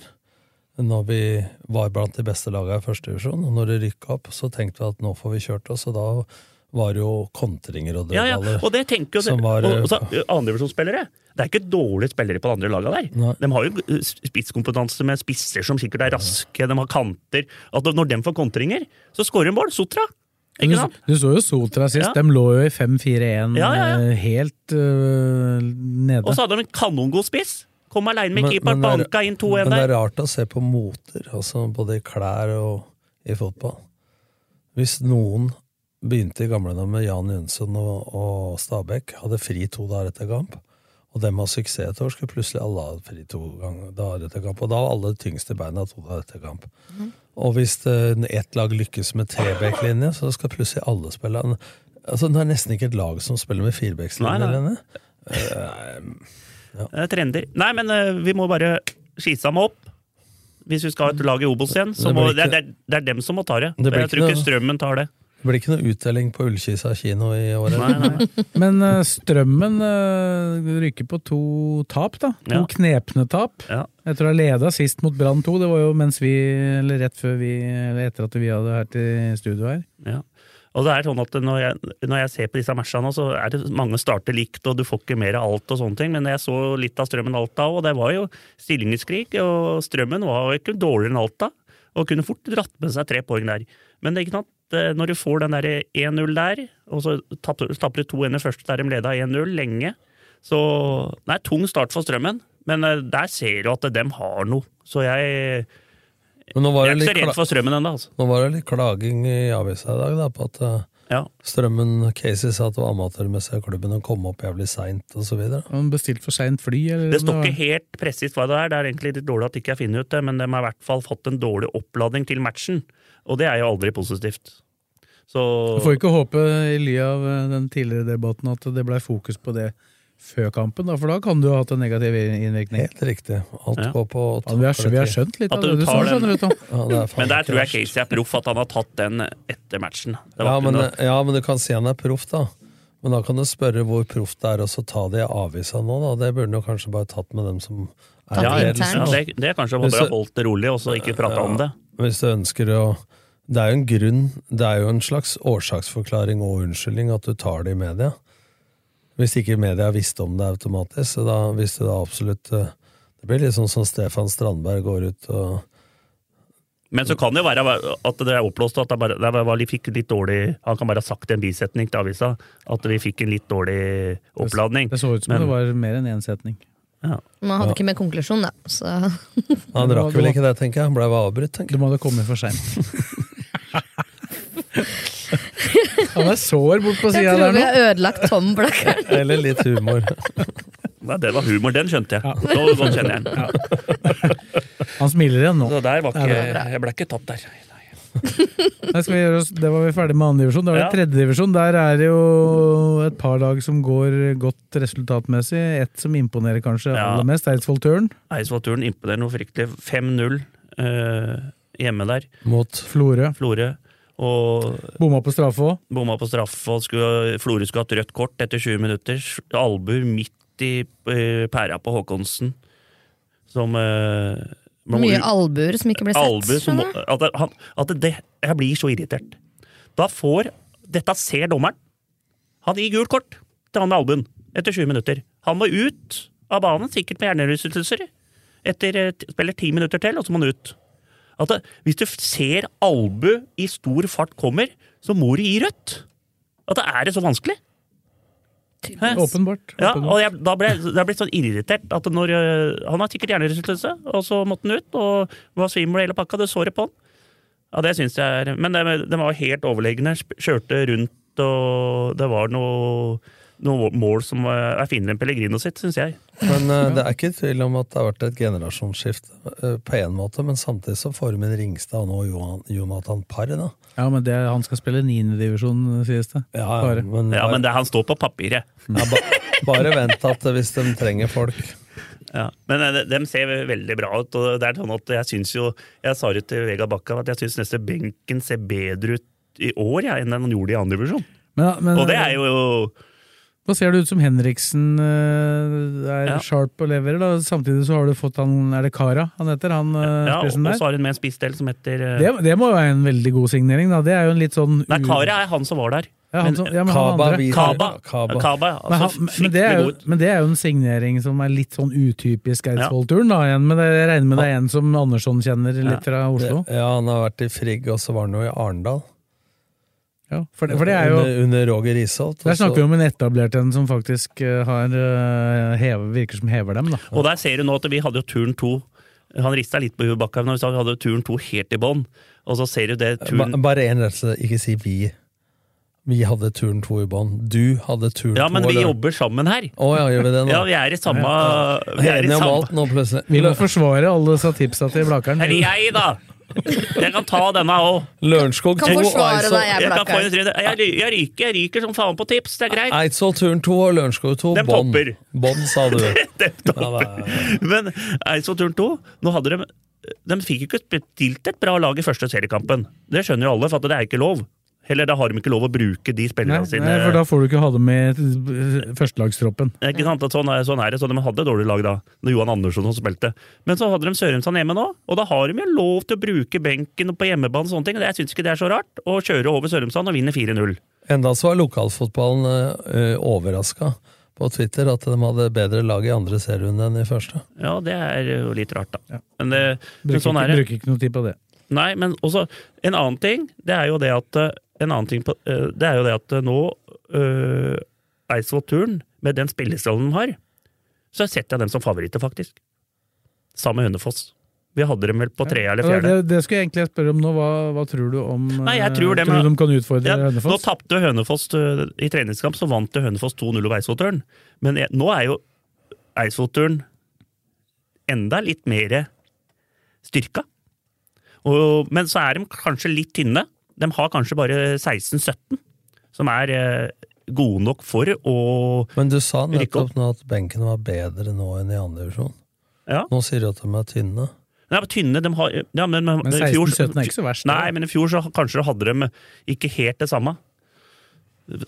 Speaker 6: Når vi var blant de beste lagene i første divisjon, og når det rykka opp, så tenkte vi at nå får vi kjørt oss, og da var det jo kontringer og
Speaker 5: Ja, ja,
Speaker 6: dødballer.
Speaker 5: og det tenker jo
Speaker 6: som var, eh,
Speaker 5: og, og så, eh, Andredivisjonsspillere. Det er ikke dårlige spillere på de andre laga der. De har jo eh, spisskompetanse med spisser som sikkert er raske, de har kanter. At Når de får kontringer, så skårer de mål. Sotra!
Speaker 4: du,
Speaker 5: Ikke sant?
Speaker 4: du så jo Sotra sist.
Speaker 5: Ja.
Speaker 4: De lå jo i 5-4-1
Speaker 5: Ja, ja, ja.
Speaker 4: eh, helt eh, nede.
Speaker 5: Og så hadde de en kanongod spiss! Kom aleine med keeperen,
Speaker 6: det er-
Speaker 5: banka inn 2-1
Speaker 6: men det
Speaker 5: der.
Speaker 6: er rart å se på moter, altså både i klær og i fotball. Hvis noen begynte i gamle dager med Jan Jønsson og, og Stabæk, hadde fri to dager etter kamp, og dem har suksess et år, skulle plutselig alle ha fri to gang- dager etter kamp. Og da var alle de tyngste beina to dager etter kamp. Og hvis det- ett lag lykkes med trebekk-linje, så skal plutselig alle spille en- Altså, Det er nesten ikke et lag som spiller med
Speaker 5: Nei,
Speaker 6: firebekkslinje
Speaker 5: nei.
Speaker 6: lenger.
Speaker 5: Det er Trender. Nei, men eh, vi må bare skise dem opp. Hvis vi skal ha et lag i Obos igjen, så
Speaker 6: Det
Speaker 5: det,
Speaker 6: blir
Speaker 5: må, det,
Speaker 6: ikke-
Speaker 5: er- det, er- det er dem som må ta det.
Speaker 6: Det blir
Speaker 5: jeg tror
Speaker 6: ikke
Speaker 5: ikke
Speaker 6: noe-
Speaker 5: strømmen tar det.
Speaker 6: Det blir ikke noe utdeling på Ullkisa kino i året.
Speaker 4: Men eh, Strømmen eh, rykker på to tap, da. To
Speaker 6: Ja.
Speaker 4: knepne tap. Jeg tror jeg leda sist mot Brann 2. Det var jo mens vi, eller rett før vi, eller etter at vi hadde vært i studio her.
Speaker 5: Ja. Og det er sånn at når jeg, når jeg ser på disse matchene, nå, så er det mange starter likt, og du får ikke mer av alt og sånne ting, men jeg så litt av Strømmen Alta òg, og det var jo stillingskrig, og Strømmen var jo ikke dårligere enn Alta, og kunne fort dratt med seg tre poeng der. Men det er ikke sant, eh, når du får den der 1-0 der, og så tapper tapper du 2-1 først der de leda 1-0 lenge, så det er tung start for Strømmen, men eh, der ser du at de har noe. Så jeg,
Speaker 6: Men nå var
Speaker 5: jeg er
Speaker 6: det
Speaker 5: ikke så
Speaker 6: litt
Speaker 5: redd
Speaker 6: kla-
Speaker 5: for Strømmen ennå, altså.
Speaker 6: Nå var det litt klaging i avisa i dag da, på at eh, Strømmen Casey sa at det var amatørmessig av klubben å komme opp jævlig seint osv.
Speaker 4: Han bestilte for seint fly, eller
Speaker 5: Det står
Speaker 4: eh,
Speaker 5: ikke helt presist hva det er. Det er egentlig litt dårlig at ikke jeg finner ut det, men de har i hvert fall fått en dårlig oppladning til matchen. Og det er jo aldri positivt. Så
Speaker 4: Du får ikke håpe i ly av eh, den tidligere debatten at det blei fokus på det før kampen, da, for da kan du ha hatt en negativ innvirkning.
Speaker 6: Helt riktig. Alt går på
Speaker 4: ja, vi, har, skjønt- vi har skjønt litt
Speaker 5: At
Speaker 4: av
Speaker 5: du
Speaker 4: det du sa,
Speaker 5: tar den.
Speaker 4: skjønner du, Tom.
Speaker 5: Men der tror jeg Casey er proff, at han har tatt den etter matchen. Det var
Speaker 6: Ja
Speaker 5: ikke
Speaker 6: men,
Speaker 4: eh,
Speaker 6: eh,
Speaker 5: noe-
Speaker 6: ja, men du kan si han er proff, da. Men da kan du spørre hvor proff det er, og så ta det i avisa nå, da. Det burde han jo kanskje bare tatt med dem som er
Speaker 5: ja,
Speaker 6: i
Speaker 5: ja, ja,
Speaker 6: ledelsen, da.
Speaker 5: det, det er kanskje man
Speaker 6: Hvis
Speaker 5: bare
Speaker 6: du-
Speaker 5: holdt det rolig og så ikke prata om det.
Speaker 6: Hvis du ønsker å Det er jo en grunn, det er jo en slags årsaksforklaring og unnskyldning at du tar det i media. Hvis ikke media visste om det automatisk, så da hvis du da absolutt eh, Det blir litt sånn som Stefan Strandberg går ut og
Speaker 5: Men så kan det jo være at det er oppblåst, og at det bare, det var, vi fikk litt dårlig Han kan bare ha sagt i en bisetning til avisa at vi fikk en litt dårlig oppladning.
Speaker 4: Det så ut som
Speaker 5: Men-
Speaker 4: det var mer enn én setning.
Speaker 7: Man hadde
Speaker 4: Ja.
Speaker 7: ikke med konklusjon, da. Så
Speaker 6: Han rakk vel ikke det, tenker jeg. Han ble vel avbrutt, tenker
Speaker 4: jeg. Du må ha kommet for seint. Han er sår bort på
Speaker 7: jeg
Speaker 4: sida
Speaker 7: tror
Speaker 4: der
Speaker 7: vi
Speaker 4: nå.
Speaker 7: har ødelagt Tom-blakkeren.
Speaker 6: Eller litt humor.
Speaker 5: Nei, det var humor, den skjønte jeg. Nå, nå kjenner jeg den.
Speaker 4: Han smiler igjen nå.
Speaker 5: Så der var
Speaker 4: Det er
Speaker 5: ikke,
Speaker 4: bra.
Speaker 5: jeg ble ikke tatt der.
Speaker 4: Nei, skal vi gjøre oss, det var vi ferdig med andre divisjon. Da er det
Speaker 5: Ja.
Speaker 4: tredje divisjon. Der er det jo et par lag som går godt resultatmessig. Ett som imponerer kanskje
Speaker 5: Ja.
Speaker 4: aller mest, Eidsvoll Tørn.
Speaker 5: Eidsvoll-turen imponerer noe fryktelig. 5-0 eh, hjemme der.
Speaker 6: Mot
Speaker 4: Florø.
Speaker 5: Florø. Og
Speaker 4: Bomma på straffe òg.
Speaker 5: bomma på straffe, og skulle, Florø skulle hatt rødt kort etter 20 minutter. Albuer midt i eh, pæra på Håkonsen, som eh, man må
Speaker 7: Mye
Speaker 5: ut-
Speaker 7: albuer som ikke ble sett.
Speaker 5: Albu som må,
Speaker 7: skjønner jeg.
Speaker 5: at, det- han, at det, Jeg blir så irritert. Da får Dette ser dommeren. Han gir gult kort til han med albuen etter 20 minutter. Han må ut av banen, sikkert med hjernerystelser. Etter eh, t- spiller ti minutter til, og så må han ut. At det, hvis du f- ser albu i stor fart kommer, så må du gi rødt. At det er det så vanskelig. Hæ?
Speaker 4: Åpenbart.
Speaker 5: Ja, og jeg, da ble jeg- da ble jeg sånn irritert. At når, øh, han har sikkert hjernerystelse, og så måtte han ut. Og var svimmel hele pakka. Det såret på han. Ja, det syns jeg er Men de, de var helt overlegne. sp- Kjørte rundt, og det var noe noe mål som var- er finere enn Pellegrino sitt, syns jeg.
Speaker 6: Men eh, det er ikke tvil om at det har vært et generasjonsskifte eh, på én måte, men samtidig så får de inn Ringstad og nå Johan, Jonathan Parr, da.
Speaker 4: Ja, men det, han skal spille niendedivisjon, sies det.
Speaker 6: Ja,
Speaker 4: Bare.
Speaker 6: men,
Speaker 5: Ja,
Speaker 6: bare,
Speaker 5: men det, han står på papiret.
Speaker 6: bare vent at eh, hvis de trenger folk
Speaker 5: Ja. Men eh, de, de ser veldig bra ut. og det er sånn at Jeg synes jo, jeg sa det til Vega Bakka at jeg syns nesten benken ser bedre ut i år ja, enn den gjorde i andre divisjon.
Speaker 4: Men- men-
Speaker 5: Og det er jo
Speaker 4: Nå ser det ut som Henriksen eh, er
Speaker 5: Ja.
Speaker 4: sharp og leverer. Da. Samtidig så har du fått han Er det Kara han heter? Han eh,
Speaker 5: Ja, og
Speaker 4: spissen
Speaker 5: og
Speaker 4: der.
Speaker 5: så har hun med en spissdel som heter eh,
Speaker 4: Det, det må jo være en veldig god signering, da. Det er jo en litt sånn
Speaker 5: Nei,
Speaker 4: u-
Speaker 5: Kara er han som var der.
Speaker 4: Ja, han som- ja, men han
Speaker 6: Kaba
Speaker 4: andre.
Speaker 6: vi-
Speaker 5: Kaba.
Speaker 6: Kaba.
Speaker 5: Kaba
Speaker 4: men,
Speaker 5: altså,
Speaker 4: han, men, det er jo,
Speaker 5: fryktelig god.
Speaker 4: men det er jo en signering som er litt sånn utypisk Eidsvoll-turen, da. igjen, Men det- jeg regner med det er en som Andersson kjenner litt fra Oslo.
Speaker 6: Det, ja, han har vært i Frigg, og så var han jo i Arendal.
Speaker 4: Ja, for, det- for det er jo
Speaker 6: under, under Roger Isholt.
Speaker 4: Der
Speaker 6: og så-
Speaker 4: snakker vi om en etablert en som faktisk eh, har eh, hever, virker som hever dem, da.
Speaker 5: Og der ser du nå at vi hadde jo turn to. Han rista litt på huet Bakkhaug når vi sa vi hadde jo turn to helt i bånn. Og så ser du det turn
Speaker 6: Ba- Bare én rettelse, ikke si vi. Vi hadde turn to i bånn. Du hadde turn
Speaker 5: Ja,
Speaker 6: to.
Speaker 5: men vi
Speaker 6: eller-
Speaker 5: jobber sammen her.
Speaker 6: Å ja, gjør vi det nå?
Speaker 5: Ja, vi er i samme Vi er i
Speaker 6: Enige om alt
Speaker 5: samme
Speaker 6: nå, plutselig.
Speaker 4: Vi må forsvare alle sa tipsa til Blakeren.
Speaker 5: Her er jeg, da! Jeg kan ta denne òg.
Speaker 6: Lørenskog
Speaker 7: Kan
Speaker 6: 2 og
Speaker 7: forsvare deg,
Speaker 6: Eidsvoll-
Speaker 7: jeg
Speaker 5: Jeg, kan få
Speaker 7: Blakkaren.
Speaker 5: en tredje. jeg, ry- jeg ryker jeg ryker som faen på tips, det er greit.
Speaker 6: Eidsvoll turn 2 og Lørenskog 2.
Speaker 5: Den
Speaker 6: Bånn.
Speaker 5: popper.
Speaker 6: Bånn, sa du.
Speaker 5: Den
Speaker 6: Ja, det er-
Speaker 5: Men Eidsvoll turn 2 nå hadde de, de fikk ikke stilt et bra lag i første seriekampen. Det skjønner jo alle, for at det er ikke lov. Heller da har de ikke lov å bruke de
Speaker 4: Nei,
Speaker 5: spillerne sine.
Speaker 4: nei, for da får du ikke ha det med eh, førstelagstroppen.
Speaker 5: Ikke sant? At sånn, er, sånn er det, så de hadde dårlig lag da, når Johan Andersson som spilte. Men så hadde de Sørumsand hjemme nå, og da har de jo lov til å bruke benken på hjemmebane og sånne ting. og Jeg syns ikke det er så rart å kjøre over Sørumsand og vinne 4-0.
Speaker 6: Enda så var lokalfotballen uh, overraska på Twitter at de hadde bedre lag i andre serierunde enn i første.
Speaker 5: Ja, det er jo litt rart, da. Men, det,
Speaker 4: Bruker,
Speaker 5: men
Speaker 4: ikke,
Speaker 5: sånn er det.
Speaker 4: bruker ikke noe tid på det.
Speaker 5: Nei, men også en annen ting, det er jo det at eh, en annen ting på, eh, det er jo det at eh, nå uh, Eidsvoll Turn, med den spillerstallen de har, så setter jeg dem som favoritter, faktisk. Sammen med Hønefoss. Vi hadde dem vel på tredje eller
Speaker 4: Ja,
Speaker 5: fjerde.
Speaker 4: Det, det skulle jeg egentlig spørre om nå. Hva, hva tror du om eh,
Speaker 5: Nei, jeg tror dem
Speaker 4: tror
Speaker 5: er-
Speaker 4: du de kan utfordre
Speaker 5: Ja, nå
Speaker 4: Hønefoss?
Speaker 5: tapte Hønefoss øh, i treningskamp, så vant det Hønefoss 2-0 over Eidsvollturen. Men jeg, nå er jo Eidsvollturen enda litt mer styrka. Og, men så er de kanskje litt tynne. De har kanskje bare 16-17, som er eh, gode nok for å
Speaker 6: Men du sa
Speaker 5: Rykke opp.
Speaker 6: nettopp nå at benken var bedre nå enn i andre divisjon.
Speaker 5: Ja.
Speaker 6: Nå sier du at de er tynne.
Speaker 5: Nei, men tynne, de har, ja, men, men,
Speaker 4: Men
Speaker 5: i fjor-
Speaker 4: 16-17 er ikke så verst.
Speaker 5: Nei, men i fjor så kanskje de hadde de ikke helt det samme.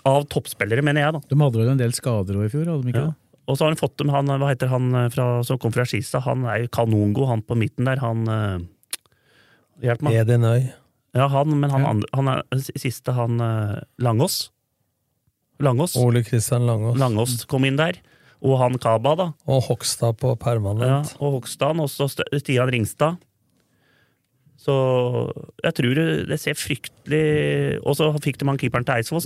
Speaker 5: Av toppspillere, mener jeg, da.
Speaker 4: De hadde vel en del skader også i fjor? hadde de ikke
Speaker 5: Ja.
Speaker 4: det?
Speaker 5: Og så har han fått dem, han, hva heter han eh, fra, som kom fra Skistad, han er jo kanongod, han på midten der, han eh, Hjelp meg.
Speaker 6: Edin Øy.
Speaker 5: Ja, han, men han,
Speaker 4: Ja.
Speaker 5: andre- han er, siste, han eh, Langås. Langås.
Speaker 6: Ole Kristian Langås.
Speaker 5: Langås kom inn der. Og han Kaba, da.
Speaker 6: Og Hogstad på
Speaker 5: Ja,
Speaker 6: permanent.
Speaker 5: og Hogstad, og så St- Stian Ringstad. Så jeg tror det det ser fryktelig Og så fikk de han keeperen til Eidsvoll.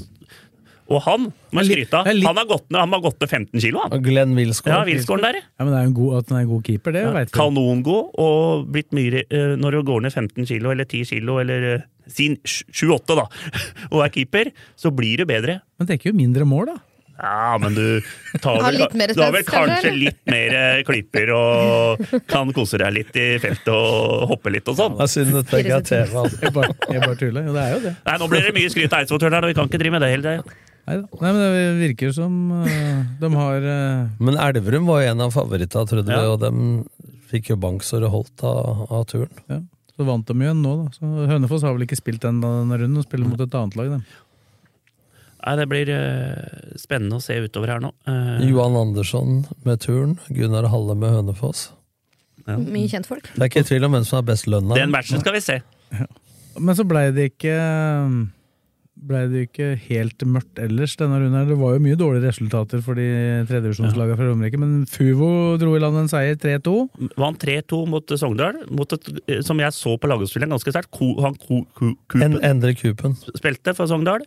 Speaker 5: Og han må
Speaker 4: Det er
Speaker 5: jeg
Speaker 4: litt-
Speaker 5: skryte av.
Speaker 4: det er litt-
Speaker 5: Han har gått ned, han har gått ned 15 kilo, han.
Speaker 6: Og Glenn Wilsgård.
Speaker 5: Ja, Wilsgården der.
Speaker 4: Ja, men det er jo en god, At han er en god keeper, det
Speaker 5: Ja,
Speaker 4: vet vi.
Speaker 5: Kanongod og blitt mye eh, Når du går ned 15 kilo eller 10 kilo eller eh, si 7-8 da, og er keeper, så blir du bedre.
Speaker 4: Men det er ikke jo mindre mål, da.
Speaker 5: Ja, men du tar
Speaker 7: Har
Speaker 5: vel,
Speaker 7: litt mer
Speaker 5: du har vel
Speaker 7: spens, kanskje,
Speaker 5: kanskje
Speaker 7: eller?
Speaker 5: litt mer eh, klipper og kan kose deg litt i feltet og hoppe litt og sånn.
Speaker 6: Det er synd dette ikke er tema.
Speaker 4: Jeg bare, jeg bare tuller. Jo, det er jo det.
Speaker 5: Nei, nå blir det mye skryt av Eidsvoll-turen her, og vi kan ikke drive med det hele tida.
Speaker 4: Neida. Nei, men det virker som eh, de har eh,
Speaker 6: Men Elverum var jo en av favorittene, trodde vi,
Speaker 4: Ja.
Speaker 6: og dem fikk jo bank så det holdt av, av turen.
Speaker 4: Så vant de jo en nå, da. Så Hønefoss har vel ikke spilt den denne runden, og spiller mot et annet lag, dem.
Speaker 5: Nei, det blir eh, spennende å se utover her nå. Eh,
Speaker 6: Johan Andersson med turn, Gunnar Halle med Hønefoss.
Speaker 7: Mye kjentfolk.
Speaker 6: Det er ikke tvil om hvem som har best lønna.
Speaker 5: Den matchen skal vi se.
Speaker 4: Men så blei det ikke Blei det ikke helt mørkt ellers denne runden. her. Det var jo mye dårlige resultater for de tredjevisjonslagene fra Romerike, men Fuvo dro i land en seier 3-2.
Speaker 5: Vant 3-2 mot Sogndal, mot et, eh, som jeg så på lagoppstillingen ganske sterkt. Ko, han ko, ko, Kupen
Speaker 6: En, Endre Kupen.
Speaker 5: spilte for Sogndal.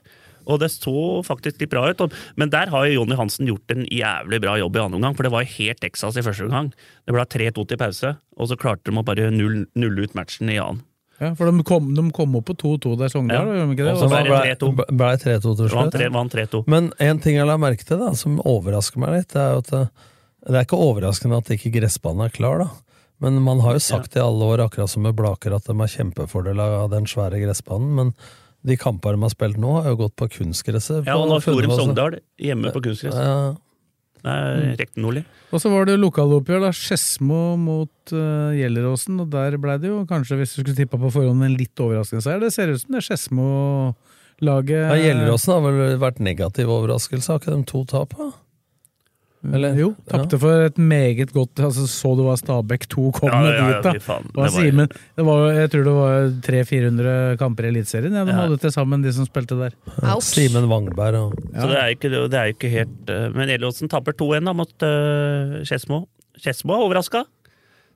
Speaker 5: Og det så faktisk litt bra ut, og- men der har jo Jonny Hansen gjort en jævlig bra jobb i andre omgang. For det var jo helt Texas i første omgang. Det ble 3-2 til pause, og så klarte de å bare null- nulle ut matchen i annen.
Speaker 4: Ja, for de kom, de kom opp på 2-2 der Sogndal,
Speaker 5: Ja.
Speaker 4: gjorde de ikke det?
Speaker 5: Og så var det 3-2.
Speaker 6: Blei ble 3-2 til
Speaker 5: Vant
Speaker 6: slutt.
Speaker 5: tre- vant 3-2.
Speaker 6: Men en ting jeg la merke til, da, som overrasker meg litt, det er jo at det, det er ikke overraskende at ikke gressbanen er klar, da. Men man har jo sagt i alle år, akkurat som med Blaker, at de har kjempefordel av den svære gressbanen. Men de kampene de har spilt nå, har jo gått på kunstgresset.
Speaker 5: Ja, og
Speaker 6: på
Speaker 5: nå Forum
Speaker 6: Funnefoss.
Speaker 5: Sogndal hjemme på kunstgress.
Speaker 6: Ja.
Speaker 4: Mm.
Speaker 5: Det er riktig nordlig.
Speaker 4: Og så var det lokaloppgjør, da. Skedsmo mot eh, Gjelleråsen. Og der blei det jo kanskje, hvis du skulle tippa på forhånd, en litt overraskende seier. Det ser ut som det er Skedsmo-laget
Speaker 6: Ja, Gjelleråsen har vel vært negativ overraskelse, har ikke de to tap? da? Eller?
Speaker 4: Jo, tapte for et meget godt altså, Så du hva Stabæk 2 kom
Speaker 5: Ja,
Speaker 4: med
Speaker 5: ja, ja,
Speaker 4: dit, da.
Speaker 5: fy faen.
Speaker 4: Det var
Speaker 5: Det var-
Speaker 4: Simen. Det var, jo- jeg tror det var 300-400 kamper i Eliteserien ja, de
Speaker 5: Ja.
Speaker 4: hadde til sammen, de som spilte der.
Speaker 6: Ja. Simen Wangberg og
Speaker 5: Så det er jo ikke, det er jo ikke helt eh, Men Elliotsen taper 2-1 da mot eh, Skedsmo. Skedsmo er overraska.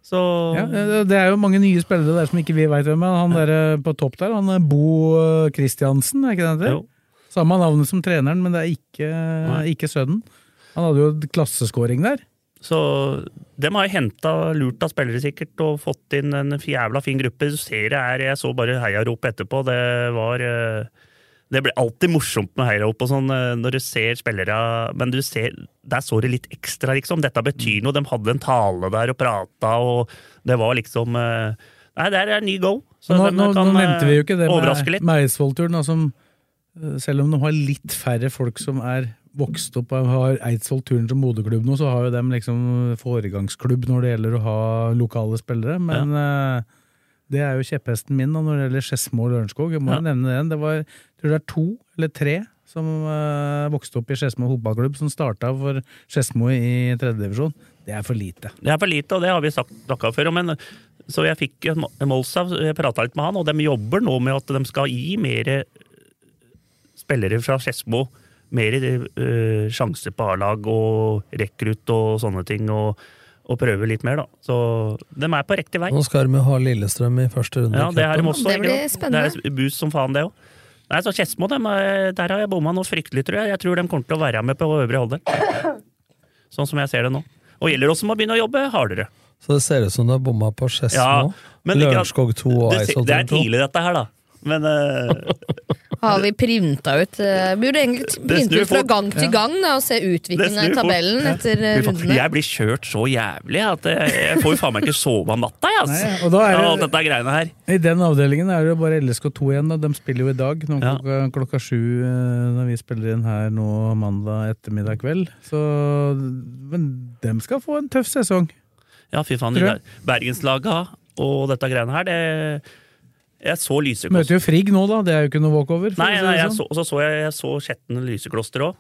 Speaker 5: Så
Speaker 4: Ja, eh, det er jo mange nye spillere der som ikke vi veit hvem er. Han der på topp der, han er Bo eh, Christiansen, er ikke det han heter? Samme navnet som treneren, men det er ikke, ikke sønnen. Han hadde jo et klasseskåring der.
Speaker 5: Så de har henta lurt av spillere, sikkert, og fått inn en jævla fin gruppe. Du ser det her, Jeg så bare heiarop etterpå. Det var eh, Det blir alltid morsomt med heiarop og sånn eh, når du ser spillere Men du ser Der så det litt ekstra, liksom. Dette betyr noe. De hadde en tale der og prata, og det var liksom eh, Nei, der er ny go.
Speaker 4: Nå,
Speaker 5: de
Speaker 4: nå, nå
Speaker 5: kan,
Speaker 4: nevnte vi jo
Speaker 5: eh,
Speaker 4: ikke det
Speaker 5: overraske
Speaker 4: med,
Speaker 5: litt.
Speaker 4: med Eidsvoll-turen, da, som eh, selv om de har litt færre folk som er vokst opp og har Eidsvoll-turen som moderklubb nå, så har jo dem liksom foregangsklubb når det gjelder å ha lokale spillere. Men eh, det er jo kjepphesten min da, når det gjelder Skedsmo og Lørenskog. Jeg må
Speaker 5: Ja.
Speaker 4: jo nevne den. Det var, jeg tror det er to eller tre som eh, vokste opp i Skedsmo fotballklubb, som starta for Skedsmo i tredjedivisjon. Det er for lite.
Speaker 5: Det er for lite, og det har vi sagt- snakka før om. Men, så jeg fikk Molsa, jeg prata litt med han, og de jobber nå med at de skal gi mer eh, spillere fra Skedsmo mer eh, sjanse på A-lag og rekrutt og sånne ting, og, og prøve litt mer, da. Så de er på riktig vei.
Speaker 6: Nå skal de jo ha Lillestrøm i første runde.
Speaker 5: Ja,
Speaker 6: i
Speaker 5: det er
Speaker 6: cupen.
Speaker 5: de også.
Speaker 7: Det blir
Speaker 5: ikke sant?
Speaker 7: spennende.
Speaker 5: Det er bus som faen, det òg. Nei, så Skedsmo, dem er- der har jeg bomma noe fryktelig, tror jeg. Jeg tror de kommer til å være med på øvre halvdel. Sånn som jeg ser det nå. Og gjelder også med å begynne å jobbe hardere.
Speaker 6: Så det ser ut som du har bomma på
Speaker 5: Ja,
Speaker 6: Skedsmo,
Speaker 5: men ikke-
Speaker 6: Lørenskog 2 og
Speaker 5: Du ser-
Speaker 6: Eidsvoll
Speaker 5: Det er
Speaker 6: 2.
Speaker 5: tidlig dette her, da. Men eh,
Speaker 7: Har vi printa ut eh, Burde egentlig t-
Speaker 5: Det
Speaker 7: printe
Speaker 5: snur
Speaker 7: ut fra
Speaker 5: fort.
Speaker 7: gang til
Speaker 5: Ja.
Speaker 7: gang da, og se
Speaker 5: det
Speaker 7: utviklinga
Speaker 5: snur
Speaker 7: i
Speaker 5: fort.
Speaker 7: tabellen
Speaker 5: Ja.
Speaker 7: etter eh,
Speaker 5: Fy faen,
Speaker 7: rundene.
Speaker 5: Jeg blir kjørt så jævlig at jeg, jeg får jo faen meg ikke sove om natta, jeg, altså.
Speaker 4: Nei, og da er det-
Speaker 5: Alt dette greiene her.
Speaker 4: I den avdelingen er det jo bare LSK2 igjen. Da. De spiller jo i dag, nå
Speaker 5: Ja.
Speaker 4: klokka, klokka sju eh, når vi spiller inn her nå mandag ettermiddag kveld. Så, men dem skal få en tøff sesong.
Speaker 5: Ja, fy faen.
Speaker 4: Tror jeg.
Speaker 5: Bergenslaga og dette greiene her, det Jeg så lysekloster.
Speaker 4: Møter jo Frigg nå, da. Det er jo ikke noe walkover. for å
Speaker 5: Nei,
Speaker 4: si det
Speaker 5: nei jeg
Speaker 4: sånn.
Speaker 5: så, så så jeg, jeg så Skjetten lysekloster òg.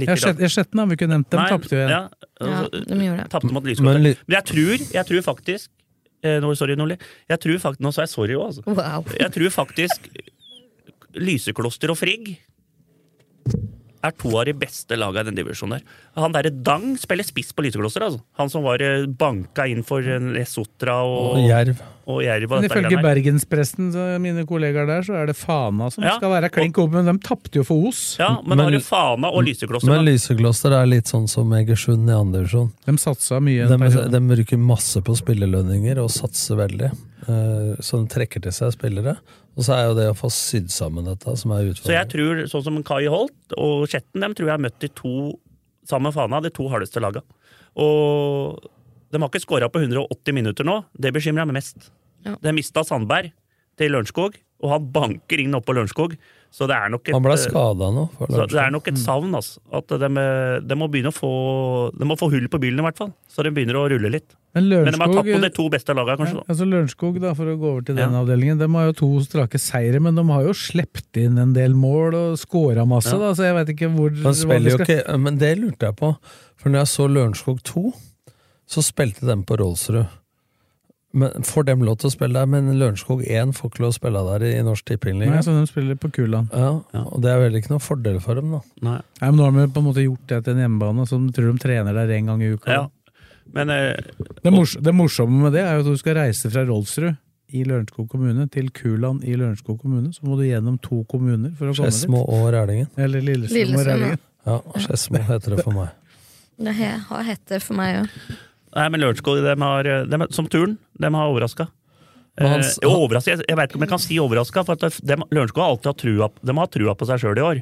Speaker 4: ja, Skjet- ja, Skjetten har vi ikke nevnt. Dem
Speaker 5: Nei,
Speaker 4: tapte jo igjen.
Speaker 5: ja, altså,
Speaker 7: de gjorde det.
Speaker 5: Tapte mot
Speaker 6: Men
Speaker 5: lysekloster.
Speaker 6: Ly-
Speaker 5: Men jeg tror, jeg tror faktisk eh, nå- Sorry, Nordli. Jeg tror fakt- Nå sa jeg sorry òg, altså.
Speaker 7: Wow.
Speaker 5: Jeg tror faktisk Lysekloster og Frigg er to av de beste laga i den divisjonen der. Han derre Dang spiller spiss på Lysekloster, altså. Han som var eh, banka inn for eh, Lesotra og,
Speaker 6: Og Jerv.
Speaker 5: og Jerv og
Speaker 4: Men
Speaker 5: dette
Speaker 4: ifølge
Speaker 5: greiene her.
Speaker 4: bergenspresten, så mine kollegaer der, så er det Fana som
Speaker 5: Ja,
Speaker 4: skal være klink opp, men dem tapte jo for Os.
Speaker 5: Ja, men, da
Speaker 6: Men-
Speaker 5: har du Fana og Lysekloster.
Speaker 6: Men
Speaker 5: Men,
Speaker 6: Lysekloster er litt sånn som Egersund i andre divisjon.
Speaker 4: De satsa mye. en
Speaker 6: De,
Speaker 4: periode.
Speaker 6: de bruker masse på spillelønninger og satser veldig. eh, som trekker til seg spillere. Og så er jo det å få sydd sammen dette som er
Speaker 5: Så jeg
Speaker 6: utfordringen.
Speaker 5: tror, sånn som Kai Holt og Skjetten, dem tror jeg har møtt de to samme fana, de to hardeste laga. Og de har ikke skåra på 180 minutter nå. Det bekymrer meg mest. De mista Sandberg til Lørenskog, og han banker inn oppå Lørenskog. Så det er nok et
Speaker 6: Han ble skada nå. for
Speaker 5: Eh, så det
Speaker 6: Lørenskog.
Speaker 5: er nok et savn, altså. At de, de må begynne å få De må få hull på bilen, i hvert fall. Så de begynner å rulle litt.
Speaker 4: Men
Speaker 5: Men de har
Speaker 4: Lørenskog-
Speaker 5: tatt
Speaker 6: eh,
Speaker 5: på de to beste laga, kanskje. da.
Speaker 4: Altså Lørenskog, da, for å gå over til den avdelingen. De har jo to strake seire, men de har jo slept inn en del mål og scora masse,
Speaker 6: Ja.
Speaker 4: da, så jeg veit ikke hvor
Speaker 6: Han
Speaker 4: hva de
Speaker 6: spiller jo
Speaker 4: skal-
Speaker 6: ikke, men det lurte jeg på. For når jeg så Lørenskog 2, så spilte de på Rolsrud. Men får dem lov til å spille der, men Lørenskog 1 får ikke lov å spille der i, i Norsk Tipping.
Speaker 4: Nei, altså. så de spiller på Kulan.
Speaker 6: Ja, og det er vel ikke noen fordel for dem, da.
Speaker 5: Nei.
Speaker 4: men nå har de på en måte gjort det til en hjemmebane, så de tror de trener der en gang i uka.
Speaker 5: Ja. Men eh,
Speaker 4: Det, mors det morsomme med det er jo at du skal reise fra Rolfsrud i Lørenskog kommune til Kulan i Lørenskog kommune, så må du gjennom to kommuner for å komme dit.
Speaker 6: Skedsmo og Rælingen.
Speaker 4: Eller Lillestrøm og
Speaker 7: Lillestrøm, ja.
Speaker 4: Rælingen.
Speaker 6: Ja, Skedsmo heter det for meg.
Speaker 7: Det he- har hett det for meg òg.
Speaker 5: Nei, men Lørenskog, de har, de, som turn, de har overraska.
Speaker 7: Men hans-
Speaker 5: eh, overraska. Jeg, jeg vet ikke om jeg kan si overraska, for at de, Lørenskog har alltid hatt trua, de har trua på seg sjøl i år.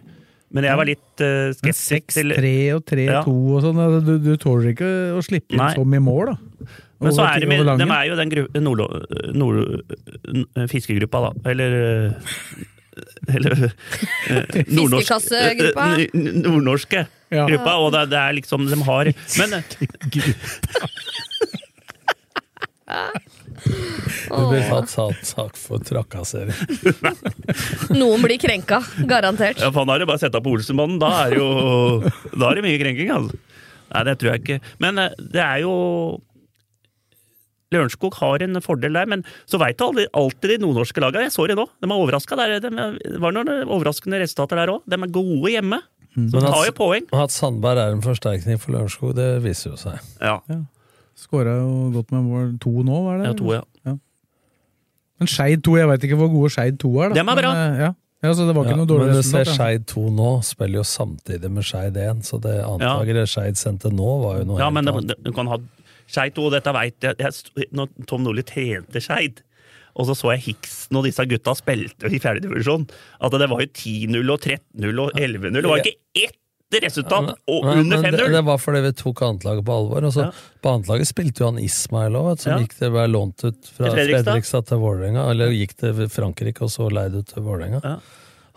Speaker 5: Men jeg var litt eh, skeptisk til
Speaker 4: 3 og 3-2
Speaker 5: Ja.
Speaker 4: og sånn, altså, du, du tåler ikke å slippe inn
Speaker 5: Nei.
Speaker 4: så mye mål, da.
Speaker 5: Men så
Speaker 4: Over
Speaker 5: er
Speaker 4: ti-
Speaker 5: de, med-
Speaker 4: over
Speaker 5: de
Speaker 4: Langen.
Speaker 5: er jo den gru, nord, nord, n- fiskegruppa, da. Eller eh, Eller eh, nordnorsk-
Speaker 7: Fiskekassegruppa.
Speaker 5: eh, n- Nordnorske
Speaker 7: Ja.
Speaker 5: gruppa, og det, det er liksom De har Men
Speaker 6: Det blir tatt tatt sak for trakassering.
Speaker 7: Noen blir krenka, garantert.
Speaker 5: Ja, for han har jo bare sett opp på Olsenbanden. Da er jo Da er det mye krenking, altså. Nei, det tror jeg ikke. Men eh, det er jo Lørenskog har en fordel der, men så veit du aldri, alltid de nordnorske lagene. Jeg så det nå, de er overraska. Det var noen overraskende resultater der òg. De er gode hjemme. Så de tar jo poeng.
Speaker 6: Men at Sandberg er en forsterkning for Lørenskog, det viser jo seg.
Speaker 5: Ja.
Speaker 4: Skåra jo godt med mål to nå, var det?
Speaker 5: Ja, to, ja.
Speaker 4: Men Skeid 2, jeg veit ikke hvor gode Skeid 2 er, da.
Speaker 5: Dem er bra.
Speaker 4: Men, eh, ja. ja, så det var ikke
Speaker 6: Ja,
Speaker 4: noe dårlig
Speaker 6: men du ser
Speaker 4: resultat. da.
Speaker 6: Skeid 2 nå spiller jo samtidig med Skeid 1, så det antager det Skeid sendte nå, var jo noe
Speaker 5: Ja,
Speaker 6: helt
Speaker 5: men
Speaker 6: annet.
Speaker 5: det- du kan ha Skeid 2, dette veit jeg, jeg sto- Når Tom Nordli trente Skeid, og så så jeg Hiksen og disse gutta spilte i fjerdedivisjon, at det var jo 10-0 og 13-0 og 11-0. Det var ikke ett resultat og
Speaker 6: Nei,
Speaker 5: under
Speaker 6: men det,
Speaker 5: 5-0!
Speaker 6: det var fordi vi tok annetlaget på alvor. Og så På annetlaget spilte jo han Ismail òg,
Speaker 5: Ja.
Speaker 6: som gikk til, ble lånt ut fra
Speaker 5: Til Fredrikstad.
Speaker 6: Fredrikstad, til Vålerenga. Eller gikk til Frankrike og så leid ut til Vålerenga.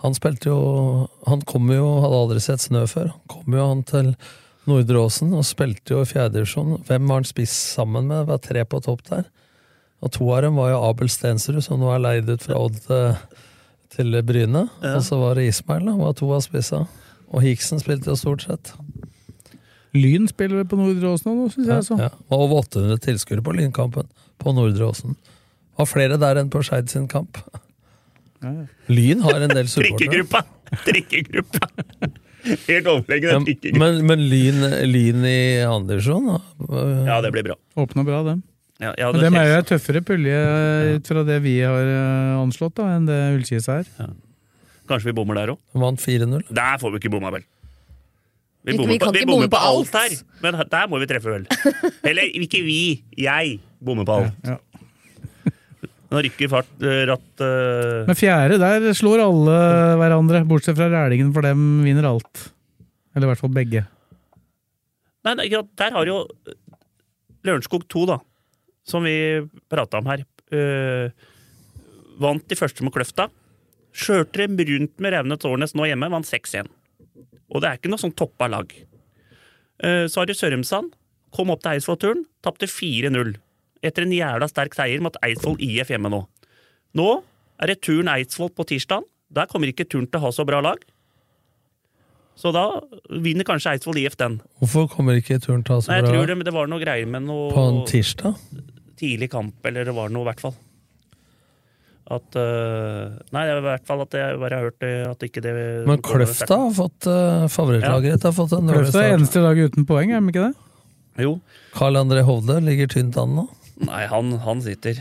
Speaker 6: Han spilte jo Han kom jo, hadde aldri sett snø før. Han kom jo han til Nordre Åsen og spilte jo i fjerdedivisjon. Hvem var han spiss sammen med? Det var tre på topp der. Og to av dem var jo Abel Stensrud, som nå er leid ut fra Odd til, til Bryne.
Speaker 5: Ja.
Speaker 6: Og så var det Ismail, da. Var to av spissa. Og Hiksen spilte jo stort sett.
Speaker 4: Lyn spiller vel på Nordre Åsen nå, syns
Speaker 6: Ja,
Speaker 4: jeg. altså. Så.
Speaker 6: ja. Og over 800 tilskuere på Lynkampen på Nordre Åsen. Var flere der enn på Skeid sin kamp. Lyn har en del supportere.
Speaker 5: Drikkegruppa! Drikkegruppa! Helt overlegne
Speaker 6: Men,
Speaker 5: drikkegruppa.
Speaker 6: men, men lyn, lyn i andre divisjon, da?
Speaker 5: Ja, det blir bra.
Speaker 4: Åpna bra, dem.
Speaker 5: Ja, ja,
Speaker 4: Men
Speaker 5: det
Speaker 4: dem er jo
Speaker 5: skjer.
Speaker 4: ei tøffere pulje eh, ut fra det vi har eh, anslått, da, enn det Ullkis er.
Speaker 5: Kanskje vi bommer der òg?
Speaker 6: Vant 4-0.
Speaker 5: Der får vi ikke bomma, vel. Vi
Speaker 4: Ikke-
Speaker 5: bommer
Speaker 4: vi
Speaker 5: på,
Speaker 4: kan
Speaker 5: vi
Speaker 4: ikke
Speaker 5: bommer
Speaker 4: bomme
Speaker 5: på
Speaker 4: på
Speaker 5: alt her,
Speaker 4: alt.
Speaker 5: men her- der må vi treffe, vel. Eller ikke vi, jeg bommer på alt. Nå rykker fart, eh, ratt eh,
Speaker 4: Men fjerde, der slår alle hverandre, bortsett fra Rælingen, for dem vinner alt. Eller i hvert fall begge.
Speaker 5: Nei, det er ikke sant. der har jo eh, Lørenskog 2, da, som vi prata om her, eh, vant de første med Kløfta. Skjørte dem rundt med Raunet Årnes nå hjemme, vant 6-1. Og det er ikke noe sånn toppa lag. Eh, så har de Sørumsand. Kom opp til Eidsvoll-turen, tapte 4-0. Etter en jævla sterk seier mot Eidsvoll IF hjemme nå. Nå er det turn Eidsvoll på tirsdag. Der kommer ikke turn til å ha så bra lag. Så da vinner kanskje Eidsvoll IF den.
Speaker 6: Hvorfor kommer ikke turen til å
Speaker 5: Nei,
Speaker 6: ha så
Speaker 5: jeg tror
Speaker 6: bra
Speaker 5: det, men det var noe greier med noe
Speaker 6: på en tirsdag?
Speaker 5: tidlig kamp, eller det var noe i hvert fall. At øh, Nei, det er i hvert fall at jeg bare har hørt det, at ikke det
Speaker 6: Men Kløfta har fått uh, favorittlaget ditt. Har fått en dårlig
Speaker 4: Kløfta er
Speaker 6: start.
Speaker 4: eneste laget uten poeng, er de ikke det?
Speaker 5: Jo.
Speaker 6: Carl André Hovde ligger tynt an nå.
Speaker 5: Nei, han, han sitter.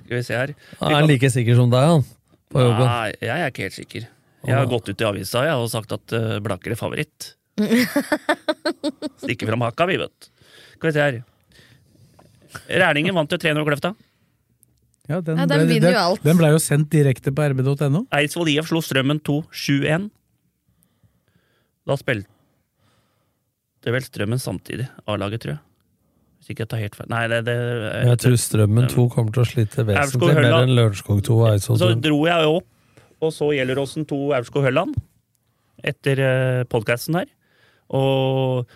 Speaker 5: Skal vi se her.
Speaker 6: Er han like sikker som deg, han? På jobben.
Speaker 5: Nei, jeg er ikke helt sikker. Jeg har gått ut i avisa jeg, og sagt at øh, Blaker er favoritt. Stikker fram haka, vi, vet du. Skal vi se her. Rælingen vant jo 3-0 Kløfta.
Speaker 4: Ja, den,
Speaker 7: Ja, den
Speaker 4: ble,
Speaker 7: vinner
Speaker 4: den,
Speaker 7: jo alt.
Speaker 4: Den ble jo sendt direkte på rb.no.
Speaker 5: Eidsvoll IF slo Strømmen 2-7-1. Da spilte vel Strømmen samtidig, A-laget, tror jeg. Hvis ikke jeg tar helt feil. Nei, det, det
Speaker 6: Jeg tror Strømmen 2 kommer til å slite vesentlig mer
Speaker 5: Hølla. Altså,
Speaker 6: enn Lørenskog 2 og Eidsvoll
Speaker 5: Så
Speaker 6: 2.
Speaker 5: dro jeg opp, og så Gjelleråsen 2 Aurskog Hølland etter eh, podcasten her. Og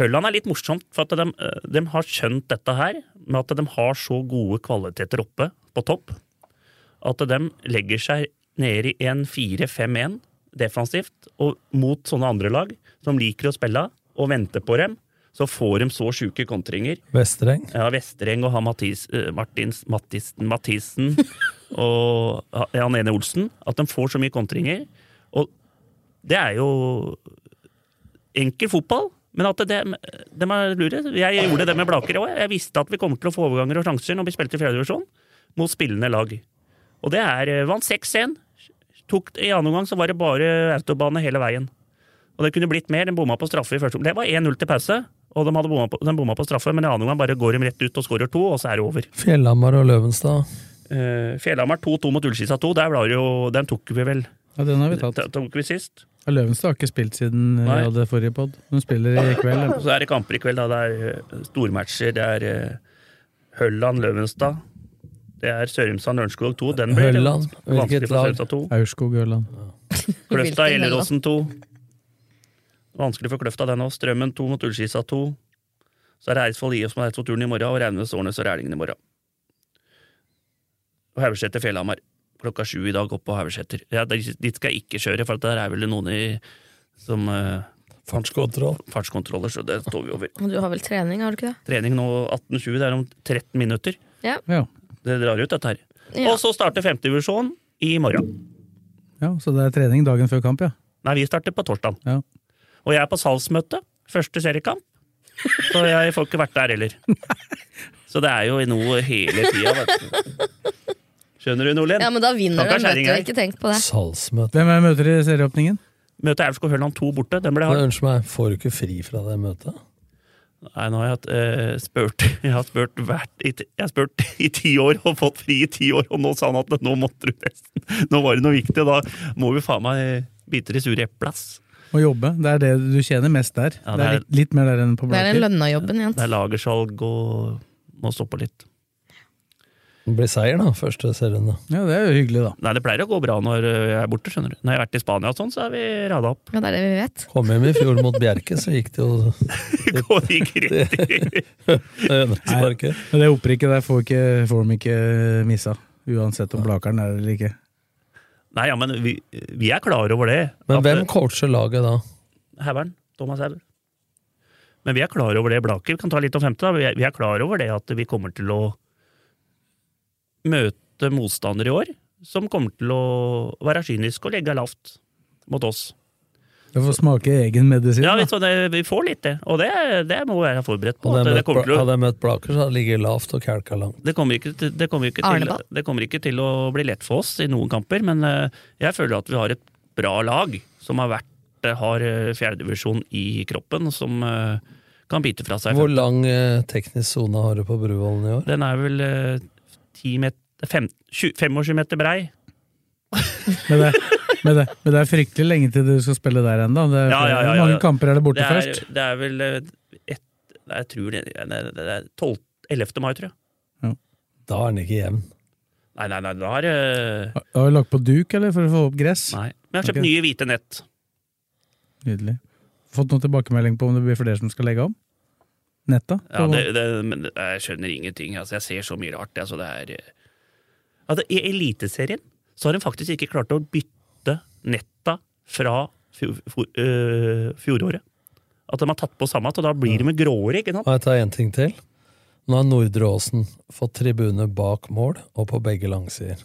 Speaker 5: Hølland er litt morsomt, for at de, eh, de har skjønt dette her, med at de har så gode kvaliteter oppe på topp, at de legger seg ned i en 4-5-1 defensivt, og mot sånne andre lag som liker å spille og venter på dem, så får de så sjuke kontringer.
Speaker 6: Vestereng.
Speaker 5: Ja, Vestereng og han Mathis, eh, Martins, Mathisen, Mathisen og han ene Olsen. At de får så mye kontringer. Og det er jo enkel fotball, men at det, de er lure. Jeg gjorde det med Blaker òg. Jeg visste at vi kommer til å få overganger og sjanser når vi spilte i fjerdedivisjon, mot spillende lag. Og det er eh, Vant 6-1. Tok- I annen omgang så var det bare autobane hele veien. Og det kunne blitt mer. Den bomma på straffe i første omgang. Det var 1-0 til pause, og de, hadde bomma på, de bomma på straffe, men i annen omgang bare går de rett ut og skårer to, og så er det over.
Speaker 6: Fjellhamar og Løvenstad.
Speaker 5: Uh, Fjellhamar 2-2 mot Ullskisa 2. Der var det jo, den tok vi vel
Speaker 4: Ja, den har vi tatt.
Speaker 5: Den tok vi sist.
Speaker 4: Ja, Løvenstad har ikke spilt siden vi
Speaker 5: Nei.
Speaker 4: hadde forrige pod. Hun spiller i kveld.
Speaker 5: Og så er det kamper i kveld. da. Det er eh, stormatcher. Det er eh, Hølland-Løvenstad. Det er Sørumsand Lørenskog 2. Den blir litt
Speaker 4: Hølland?
Speaker 5: vanskelig
Speaker 4: Hvilket
Speaker 5: for
Speaker 4: lag?
Speaker 5: Sørumsand 2.
Speaker 4: Aurskog Ørland.
Speaker 5: Kløfta
Speaker 4: Hvilken Hølland?
Speaker 5: Elleråsen 2. Vanskelig for Kløfta, den òg. Strømmen 2 mot Ullskisa 2. Så er det Eidsvoll IF som har Eidsvoll-turen i morgen, og Raunes Årnes og Rælingen i morgen. Og Haugeseter Fjellhamar. Klokka sju i dag oppe på Haugeseter. Ja, dit dit skal jeg ikke kjøre, for at der er vel noen i, som eh, Fartskontroller, så det står vi over.
Speaker 7: Og du har vel trening, har du ikke det?
Speaker 5: Trening nå 18.20, det er om 13 minutter.
Speaker 7: Ja.
Speaker 5: Det drar ut, dette her.
Speaker 7: Ja.
Speaker 5: Og så starter femtedivisjon i morgen.
Speaker 4: Ja, så det er trening dagen før kamp, ja.
Speaker 5: Nei, vi starter på torsdag.
Speaker 4: Ja.
Speaker 5: Og jeg er på salgsmøte. Første seriekamp. Så jeg får ikke vært der heller. Så det er jo noe hele tida, vet du. Skjønner du, Nordlien?
Speaker 7: Ja, men da vinner
Speaker 5: Stakkars
Speaker 7: den, vet
Speaker 5: kjerring
Speaker 7: du.
Speaker 5: her.
Speaker 7: Ikke tenk på det.
Speaker 6: Salgsmøte.
Speaker 4: Hvem er møter i serieåpningen?
Speaker 5: Møtet er Aurskog Hørland 2 borte. Den ble
Speaker 6: Men
Speaker 5: hard.
Speaker 6: Unnskyld meg, får du ikke fri fra det møtet?
Speaker 5: Nei, nå har jeg hatt, eh, spurt Jeg har spurt, hvert, i, t- jeg har spurt i ti år og fått fri i ti år, og nå sa han at nå måtte du nesten Nå var det noe viktig, og da må vi faen meg bite det sure eplet, ass.
Speaker 4: Å jobbe. Det er det du tjener mest der.
Speaker 5: Ja,
Speaker 4: det,
Speaker 5: det er-
Speaker 4: er litt, litt mer der enn på
Speaker 7: Det er
Speaker 4: Blaker.
Speaker 7: den lønna jobben igjen.
Speaker 5: Det er lagersalg og må stå på litt.
Speaker 6: Det blir seier, da, første serien. da.
Speaker 4: Ja, det er jo hyggelig, da.
Speaker 5: Nei, det pleier å gå bra når øh, jeg er borte, skjønner du. Når jeg har vært i Spania og sånn, så er vi rada opp.
Speaker 7: Ja, det er det vi vet.
Speaker 6: Kom hjem i fjor mot Bjerke, så gikk det jo
Speaker 5: Går det ikke riktig?
Speaker 4: Nei, men det opprykket der får, ikke, får de ikke eh, missa. Uansett om Blakeren er det eller ikke.
Speaker 5: Nei, ja, men vi, vi er klar over det. At-
Speaker 6: Men
Speaker 5: øh,
Speaker 6: hvem coacher laget da?
Speaker 5: Hauern. Thomas Hauer. Men vi er klar over det, Blaker. Vi kan ta litt om femte. da. Vi er- Vi er klar over det at vi kommer til å møte motstandere i år som kommer til å være kyniske og legge lavt mot oss.
Speaker 4: Du får smake egen medisin.
Speaker 5: Ja,
Speaker 4: da.
Speaker 5: vi, så det, vi får litt det, og det, det må vi være forberedt på.
Speaker 6: Hadde
Speaker 5: at Det,
Speaker 6: jeg
Speaker 5: det,
Speaker 6: møtt,
Speaker 5: kommer til å,
Speaker 6: Bla- hadde jeg møtt Blaker, så hadde jeg ligget lavt og kælka langt.
Speaker 5: det, kommer ikke, til- det, kommer ikke til,
Speaker 6: Arneball.
Speaker 5: det kommer ikke til å bli lett for oss i noen kamper, men eh, jeg føler at vi har et bra lag som har, vært, har eh, fjerdedivisjon i kroppen, som eh, kan bite fra seg.
Speaker 6: Hvor lang eh, teknisk sone har du på Bruvollen i år?
Speaker 5: Den er vel eh, 10 meter, fem, 20, 25 meter brei.
Speaker 4: Men, det, men, det, men det er fryktelig lenge til du skal spille der ennå. Ja, Mange kamper er det borte
Speaker 5: det er,
Speaker 4: først.
Speaker 5: Det er vel eh, et, nei, Jeg tror det, nei, det det er 12, 11. mai, tror jeg.
Speaker 6: Da er den ikke jevn.
Speaker 5: Nei, nei, nei, da er eh,
Speaker 4: Har du lagt på duk, eller, for å få opp gress?
Speaker 5: Nei. Men jeg har kjøpt
Speaker 4: Ok.
Speaker 5: nye hvite nett.
Speaker 4: Nydelig. Fått noen tilbakemelding på om det blir flere som skal legge om? Netta?
Speaker 5: Ja, det, det, men det- jeg skjønner ingenting. Altså, jeg ser så mye rart. Altså, det er, eh, altså, I Eliteserien så har de faktisk ikke klart å bytte netta fra fjo- for, eh, fjoråret. At de har tatt på samme, og da blir de gråere, ikke sant?
Speaker 6: Må jeg ta én ting til? Nå har Nordre Åsen fått tribune bak mål og på begge langsider.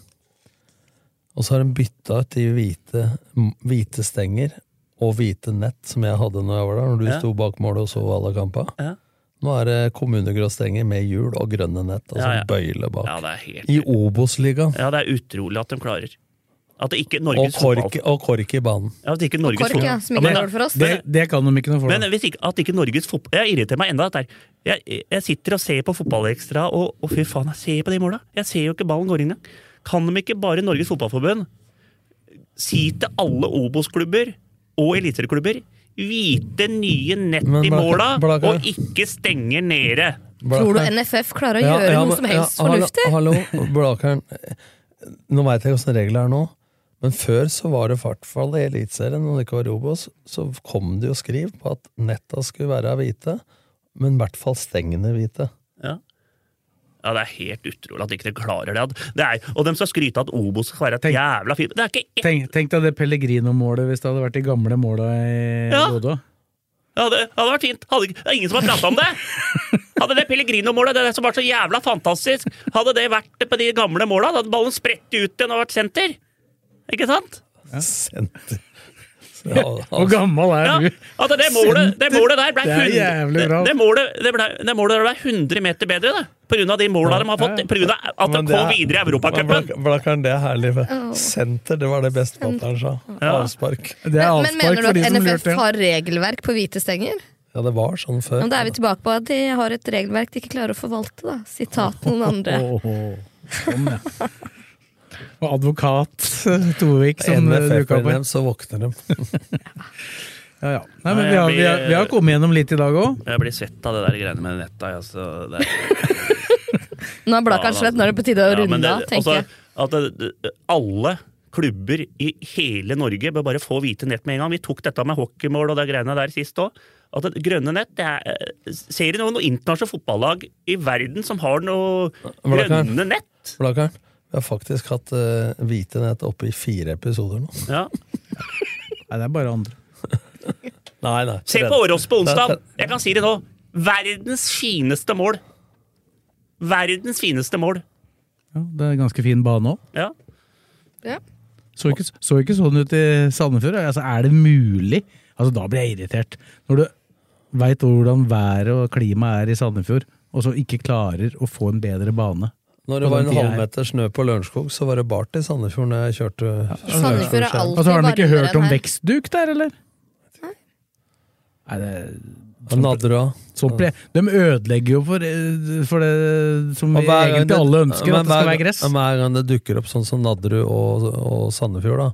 Speaker 6: Og så har de bytta ut de hvite, m- hvite stenger og hvite nett som jeg hadde når jeg var der, når du
Speaker 5: Ja.
Speaker 6: sto bak målet og så alle kampa.
Speaker 5: Ja.
Speaker 6: Nå er det kommunegrå stenger med hjul og grønne nett, altså
Speaker 5: Ja, ja.
Speaker 6: bøyle bak.
Speaker 5: Ja, det er helt
Speaker 6: I Obos-ligaen.
Speaker 5: Ja, det er utrolig at de klarer. At det ikke
Speaker 6: Og
Speaker 5: Norges
Speaker 6: kork,
Speaker 5: fotball...
Speaker 6: og kork i banen.
Speaker 5: Ja, At ikke Norges
Speaker 7: kork, ja, som ikke
Speaker 5: men
Speaker 7: er
Speaker 5: da-
Speaker 7: lov for oss.
Speaker 5: Men,
Speaker 4: Det kan de ikke noe for.
Speaker 5: men hvis ikke, at ikke Norges fotball Jeg irriterer meg enda. at det er- Jeg, jeg sitter og ser på Fotballekstra, og, og fy faen, jeg ser på de måla! Jeg ser jo ikke ballen går inn engang. Kan de ikke bare Norges Fotballforbund si til alle Obos-klubber og eliteserieklubber Hvite nye nett
Speaker 6: Men
Speaker 5: i måla,
Speaker 6: Blaker- Blaker-
Speaker 5: og ikke stenge nede!
Speaker 7: Tror du NFF klarer å gjøre noe som helst fornuftig?
Speaker 6: Hallo, hallo Blakeren. Nå veit jeg åssen reglene er nå, men før så var det i hvert fall i Eliteserien, når det ikke var Robos, så kom det jo skriv på at netta skulle være hvite, men i hvert fall stengene hvite.
Speaker 5: Ja. ja, det er helt utrolig at ikke de klarer det. at- det er, og de skal skryte av at Obos skal være et jævla fint Det er ikke ett
Speaker 4: Tenk, tenk deg det Pellegrino-målet hvis det hadde vært de gamle måla i
Speaker 5: Ja.
Speaker 4: Bodø.
Speaker 5: ja, det hadde vært fint! Hadde, ikke- det er ingen som har prata om det! Hadde det Pellegrino-målet, det der som var så jævla fantastisk, hadde det vært på de gamle måla, da hadde ballen spredt ut igjen og vært senter! Ikke sant?
Speaker 6: Senter.
Speaker 4: Hvor gammel er
Speaker 5: Ja,
Speaker 4: du?
Speaker 5: at det målet, det målet der ble
Speaker 4: Det er
Speaker 5: 100,
Speaker 4: jævlig
Speaker 5: det,
Speaker 4: bra.
Speaker 5: det målet, det ble, det målet der ble 100 meter bedre, da. På grunn av de måla de har fått. På grunn av at de
Speaker 6: Men det
Speaker 5: kom
Speaker 6: er-
Speaker 5: videre i Europacupen.
Speaker 6: Blak- Blakeren, det er herlig.
Speaker 7: Åh.
Speaker 6: Senter, det var det beste Blakeren sa. Avspark.
Speaker 4: Det er
Speaker 7: Men mener du
Speaker 4: for de
Speaker 7: at
Speaker 4: som
Speaker 7: NFF
Speaker 4: lurte.
Speaker 7: har regelverk på hvite stenger?
Speaker 6: Ja, det var sånn
Speaker 7: Ja,
Speaker 6: før.
Speaker 7: men da er vi tilbake på at de har et regelverk de ikke klarer å forvalte, da. Sitat noen andre.
Speaker 4: Åh, sånn, ja. Og advokat eh, Tovik som eh, dukka opp her.
Speaker 6: NFF-medlem, så våkner de.
Speaker 4: Ja, ja. Nei, men
Speaker 5: Nei,
Speaker 4: vi har,
Speaker 5: jeg
Speaker 4: vi, har,
Speaker 5: blir-
Speaker 4: vi har kommet gjennom litt i dag òg.
Speaker 5: Jeg blir svett av det der greiene med netta. Altså, det er
Speaker 7: Nå er Blakkaren slett, nå er det på tide å
Speaker 5: Ja, men
Speaker 7: runde
Speaker 5: det-
Speaker 7: av, tenker jeg.
Speaker 5: altså, At det, det, alle klubber i hele Norge bør bare få hvite nett med en gang. Vi tok dette med hockeymål og de greiene der sist òg. At det grønne nett det er, eh, Ser du noen internasjonale fotballag i verden som har noe
Speaker 6: Hvordan kan-
Speaker 5: grønne nett?
Speaker 6: Blakeren, vi har faktisk hatt eh, hvite nett oppe i fire episoder nå.
Speaker 5: Ja.
Speaker 4: Nei, det er bare andre.
Speaker 6: Nei, nei.
Speaker 5: Se på Årås på onsdag! Jeg kan si det nå. Verdens fineste mål. Verdens fineste mål.
Speaker 4: Ja, det er en ganske fin bane òg.
Speaker 5: Ja.
Speaker 7: Ja.
Speaker 4: Så ikke, så ikke sånn ut i Sandefjord. Altså, er det mulig? Altså, da blir jeg irritert. Når du veit hvordan været og klimaet er i Sandefjord, og så ikke klarer å få en bedre bane.
Speaker 6: Når det
Speaker 4: På
Speaker 6: var
Speaker 4: den
Speaker 6: en
Speaker 4: tida her.
Speaker 6: halvmeter snø på Lørenskog, så var det bart i Sandefjord når jeg kjørte.
Speaker 7: Sandefjord er alltid
Speaker 4: Altså, har de ikke
Speaker 7: varmere
Speaker 4: hørt
Speaker 7: enn
Speaker 4: om
Speaker 7: her.
Speaker 4: vekstduk der, eller? Nei, det er
Speaker 6: Og Nadra.
Speaker 4: så ble, de ødelegger jo for, eh, for det som vi egentlig alle ønsker, at det skal være gress.
Speaker 6: Hver gang det dukker opp sånn som Nadderud og, og Sandefjord, da,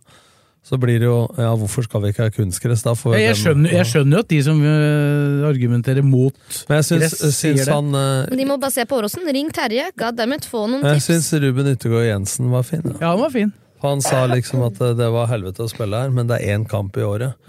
Speaker 6: så blir det jo Ja, hvorfor skal vi ikke ha kunstgress? Da får
Speaker 4: Jeg, jeg, skjønner, jeg skjønner jo at de som øh, argumenterer mot
Speaker 6: Men jeg syns,
Speaker 4: gress, sier
Speaker 6: syns
Speaker 4: det.
Speaker 6: han eh,
Speaker 7: Men de må bare se på Åråsen. Ring Terje, goddammit, få noen
Speaker 6: Jeg
Speaker 7: tips.
Speaker 6: syns Ruben Yttergård Jensen var fin. da.
Speaker 4: Ja, han var fin.
Speaker 6: Han sa liksom at eh, det var helvete å spille her, men det er én kamp i året.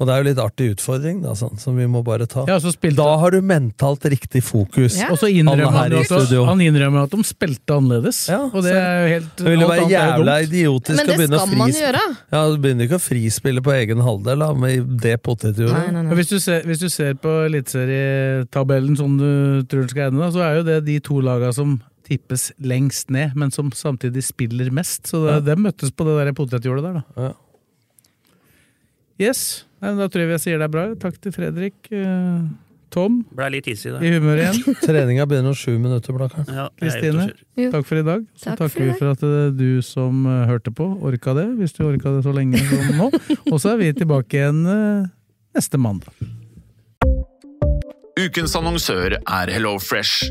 Speaker 6: Og det er jo litt artig utfordring, da, sånn, som vi må bare ta.
Speaker 4: Ja, så spilte
Speaker 6: Da har du mentalt riktig fokus.
Speaker 7: Ja.
Speaker 4: Og så
Speaker 6: Han
Speaker 4: innrømmer
Speaker 6: er
Speaker 4: han,
Speaker 6: her
Speaker 4: jo
Speaker 6: i
Speaker 4: at-
Speaker 6: studio.
Speaker 4: han innrømmer at de spilte annerledes,
Speaker 6: Ja,
Speaker 4: og det
Speaker 6: så-
Speaker 4: er jo helt
Speaker 6: Det ville
Speaker 4: alt
Speaker 6: være
Speaker 4: annet er jo
Speaker 6: jævla
Speaker 4: dumt.
Speaker 6: idiotisk
Speaker 7: Men
Speaker 6: å
Speaker 7: det
Speaker 6: begynne å
Speaker 7: skal man
Speaker 6: frispille.
Speaker 7: gjøre.
Speaker 6: Ja, du begynner ikke å frispille på egen halvdel da, med det
Speaker 7: Nei,
Speaker 6: potetjordet.
Speaker 7: nei,
Speaker 4: Men
Speaker 7: nei.
Speaker 4: Hvis du, ser, hvis du ser på eliteserietabellen sånn du tror den skal ende, da, så er jo det de to laga som tippes lengst ned, men som samtidig spiller mest. Så det, de møttes på det der potetjordet der, da.
Speaker 6: Ja.
Speaker 4: Yes. Nei, men da tror jeg vi sier det er bra. Takk til Fredrik. eh, Tom,
Speaker 5: Blei litt hissig der.
Speaker 4: i humør igjen.
Speaker 6: Treninga begynner om sju minutter, Blakkaren.
Speaker 5: Ja, jeg er ute og
Speaker 4: Kristine,
Speaker 5: kjører.
Speaker 7: Jo.
Speaker 4: takk for i dag. Så
Speaker 7: Takk for
Speaker 4: takker
Speaker 7: i
Speaker 4: vi
Speaker 7: dag.
Speaker 4: for at eh, du som eh, hørte på, orka det. Hvis du orka det så lenge som nå. Og så er vi tilbake igjen eh, neste mandag.
Speaker 8: Ukens annonsør er HelloFresh.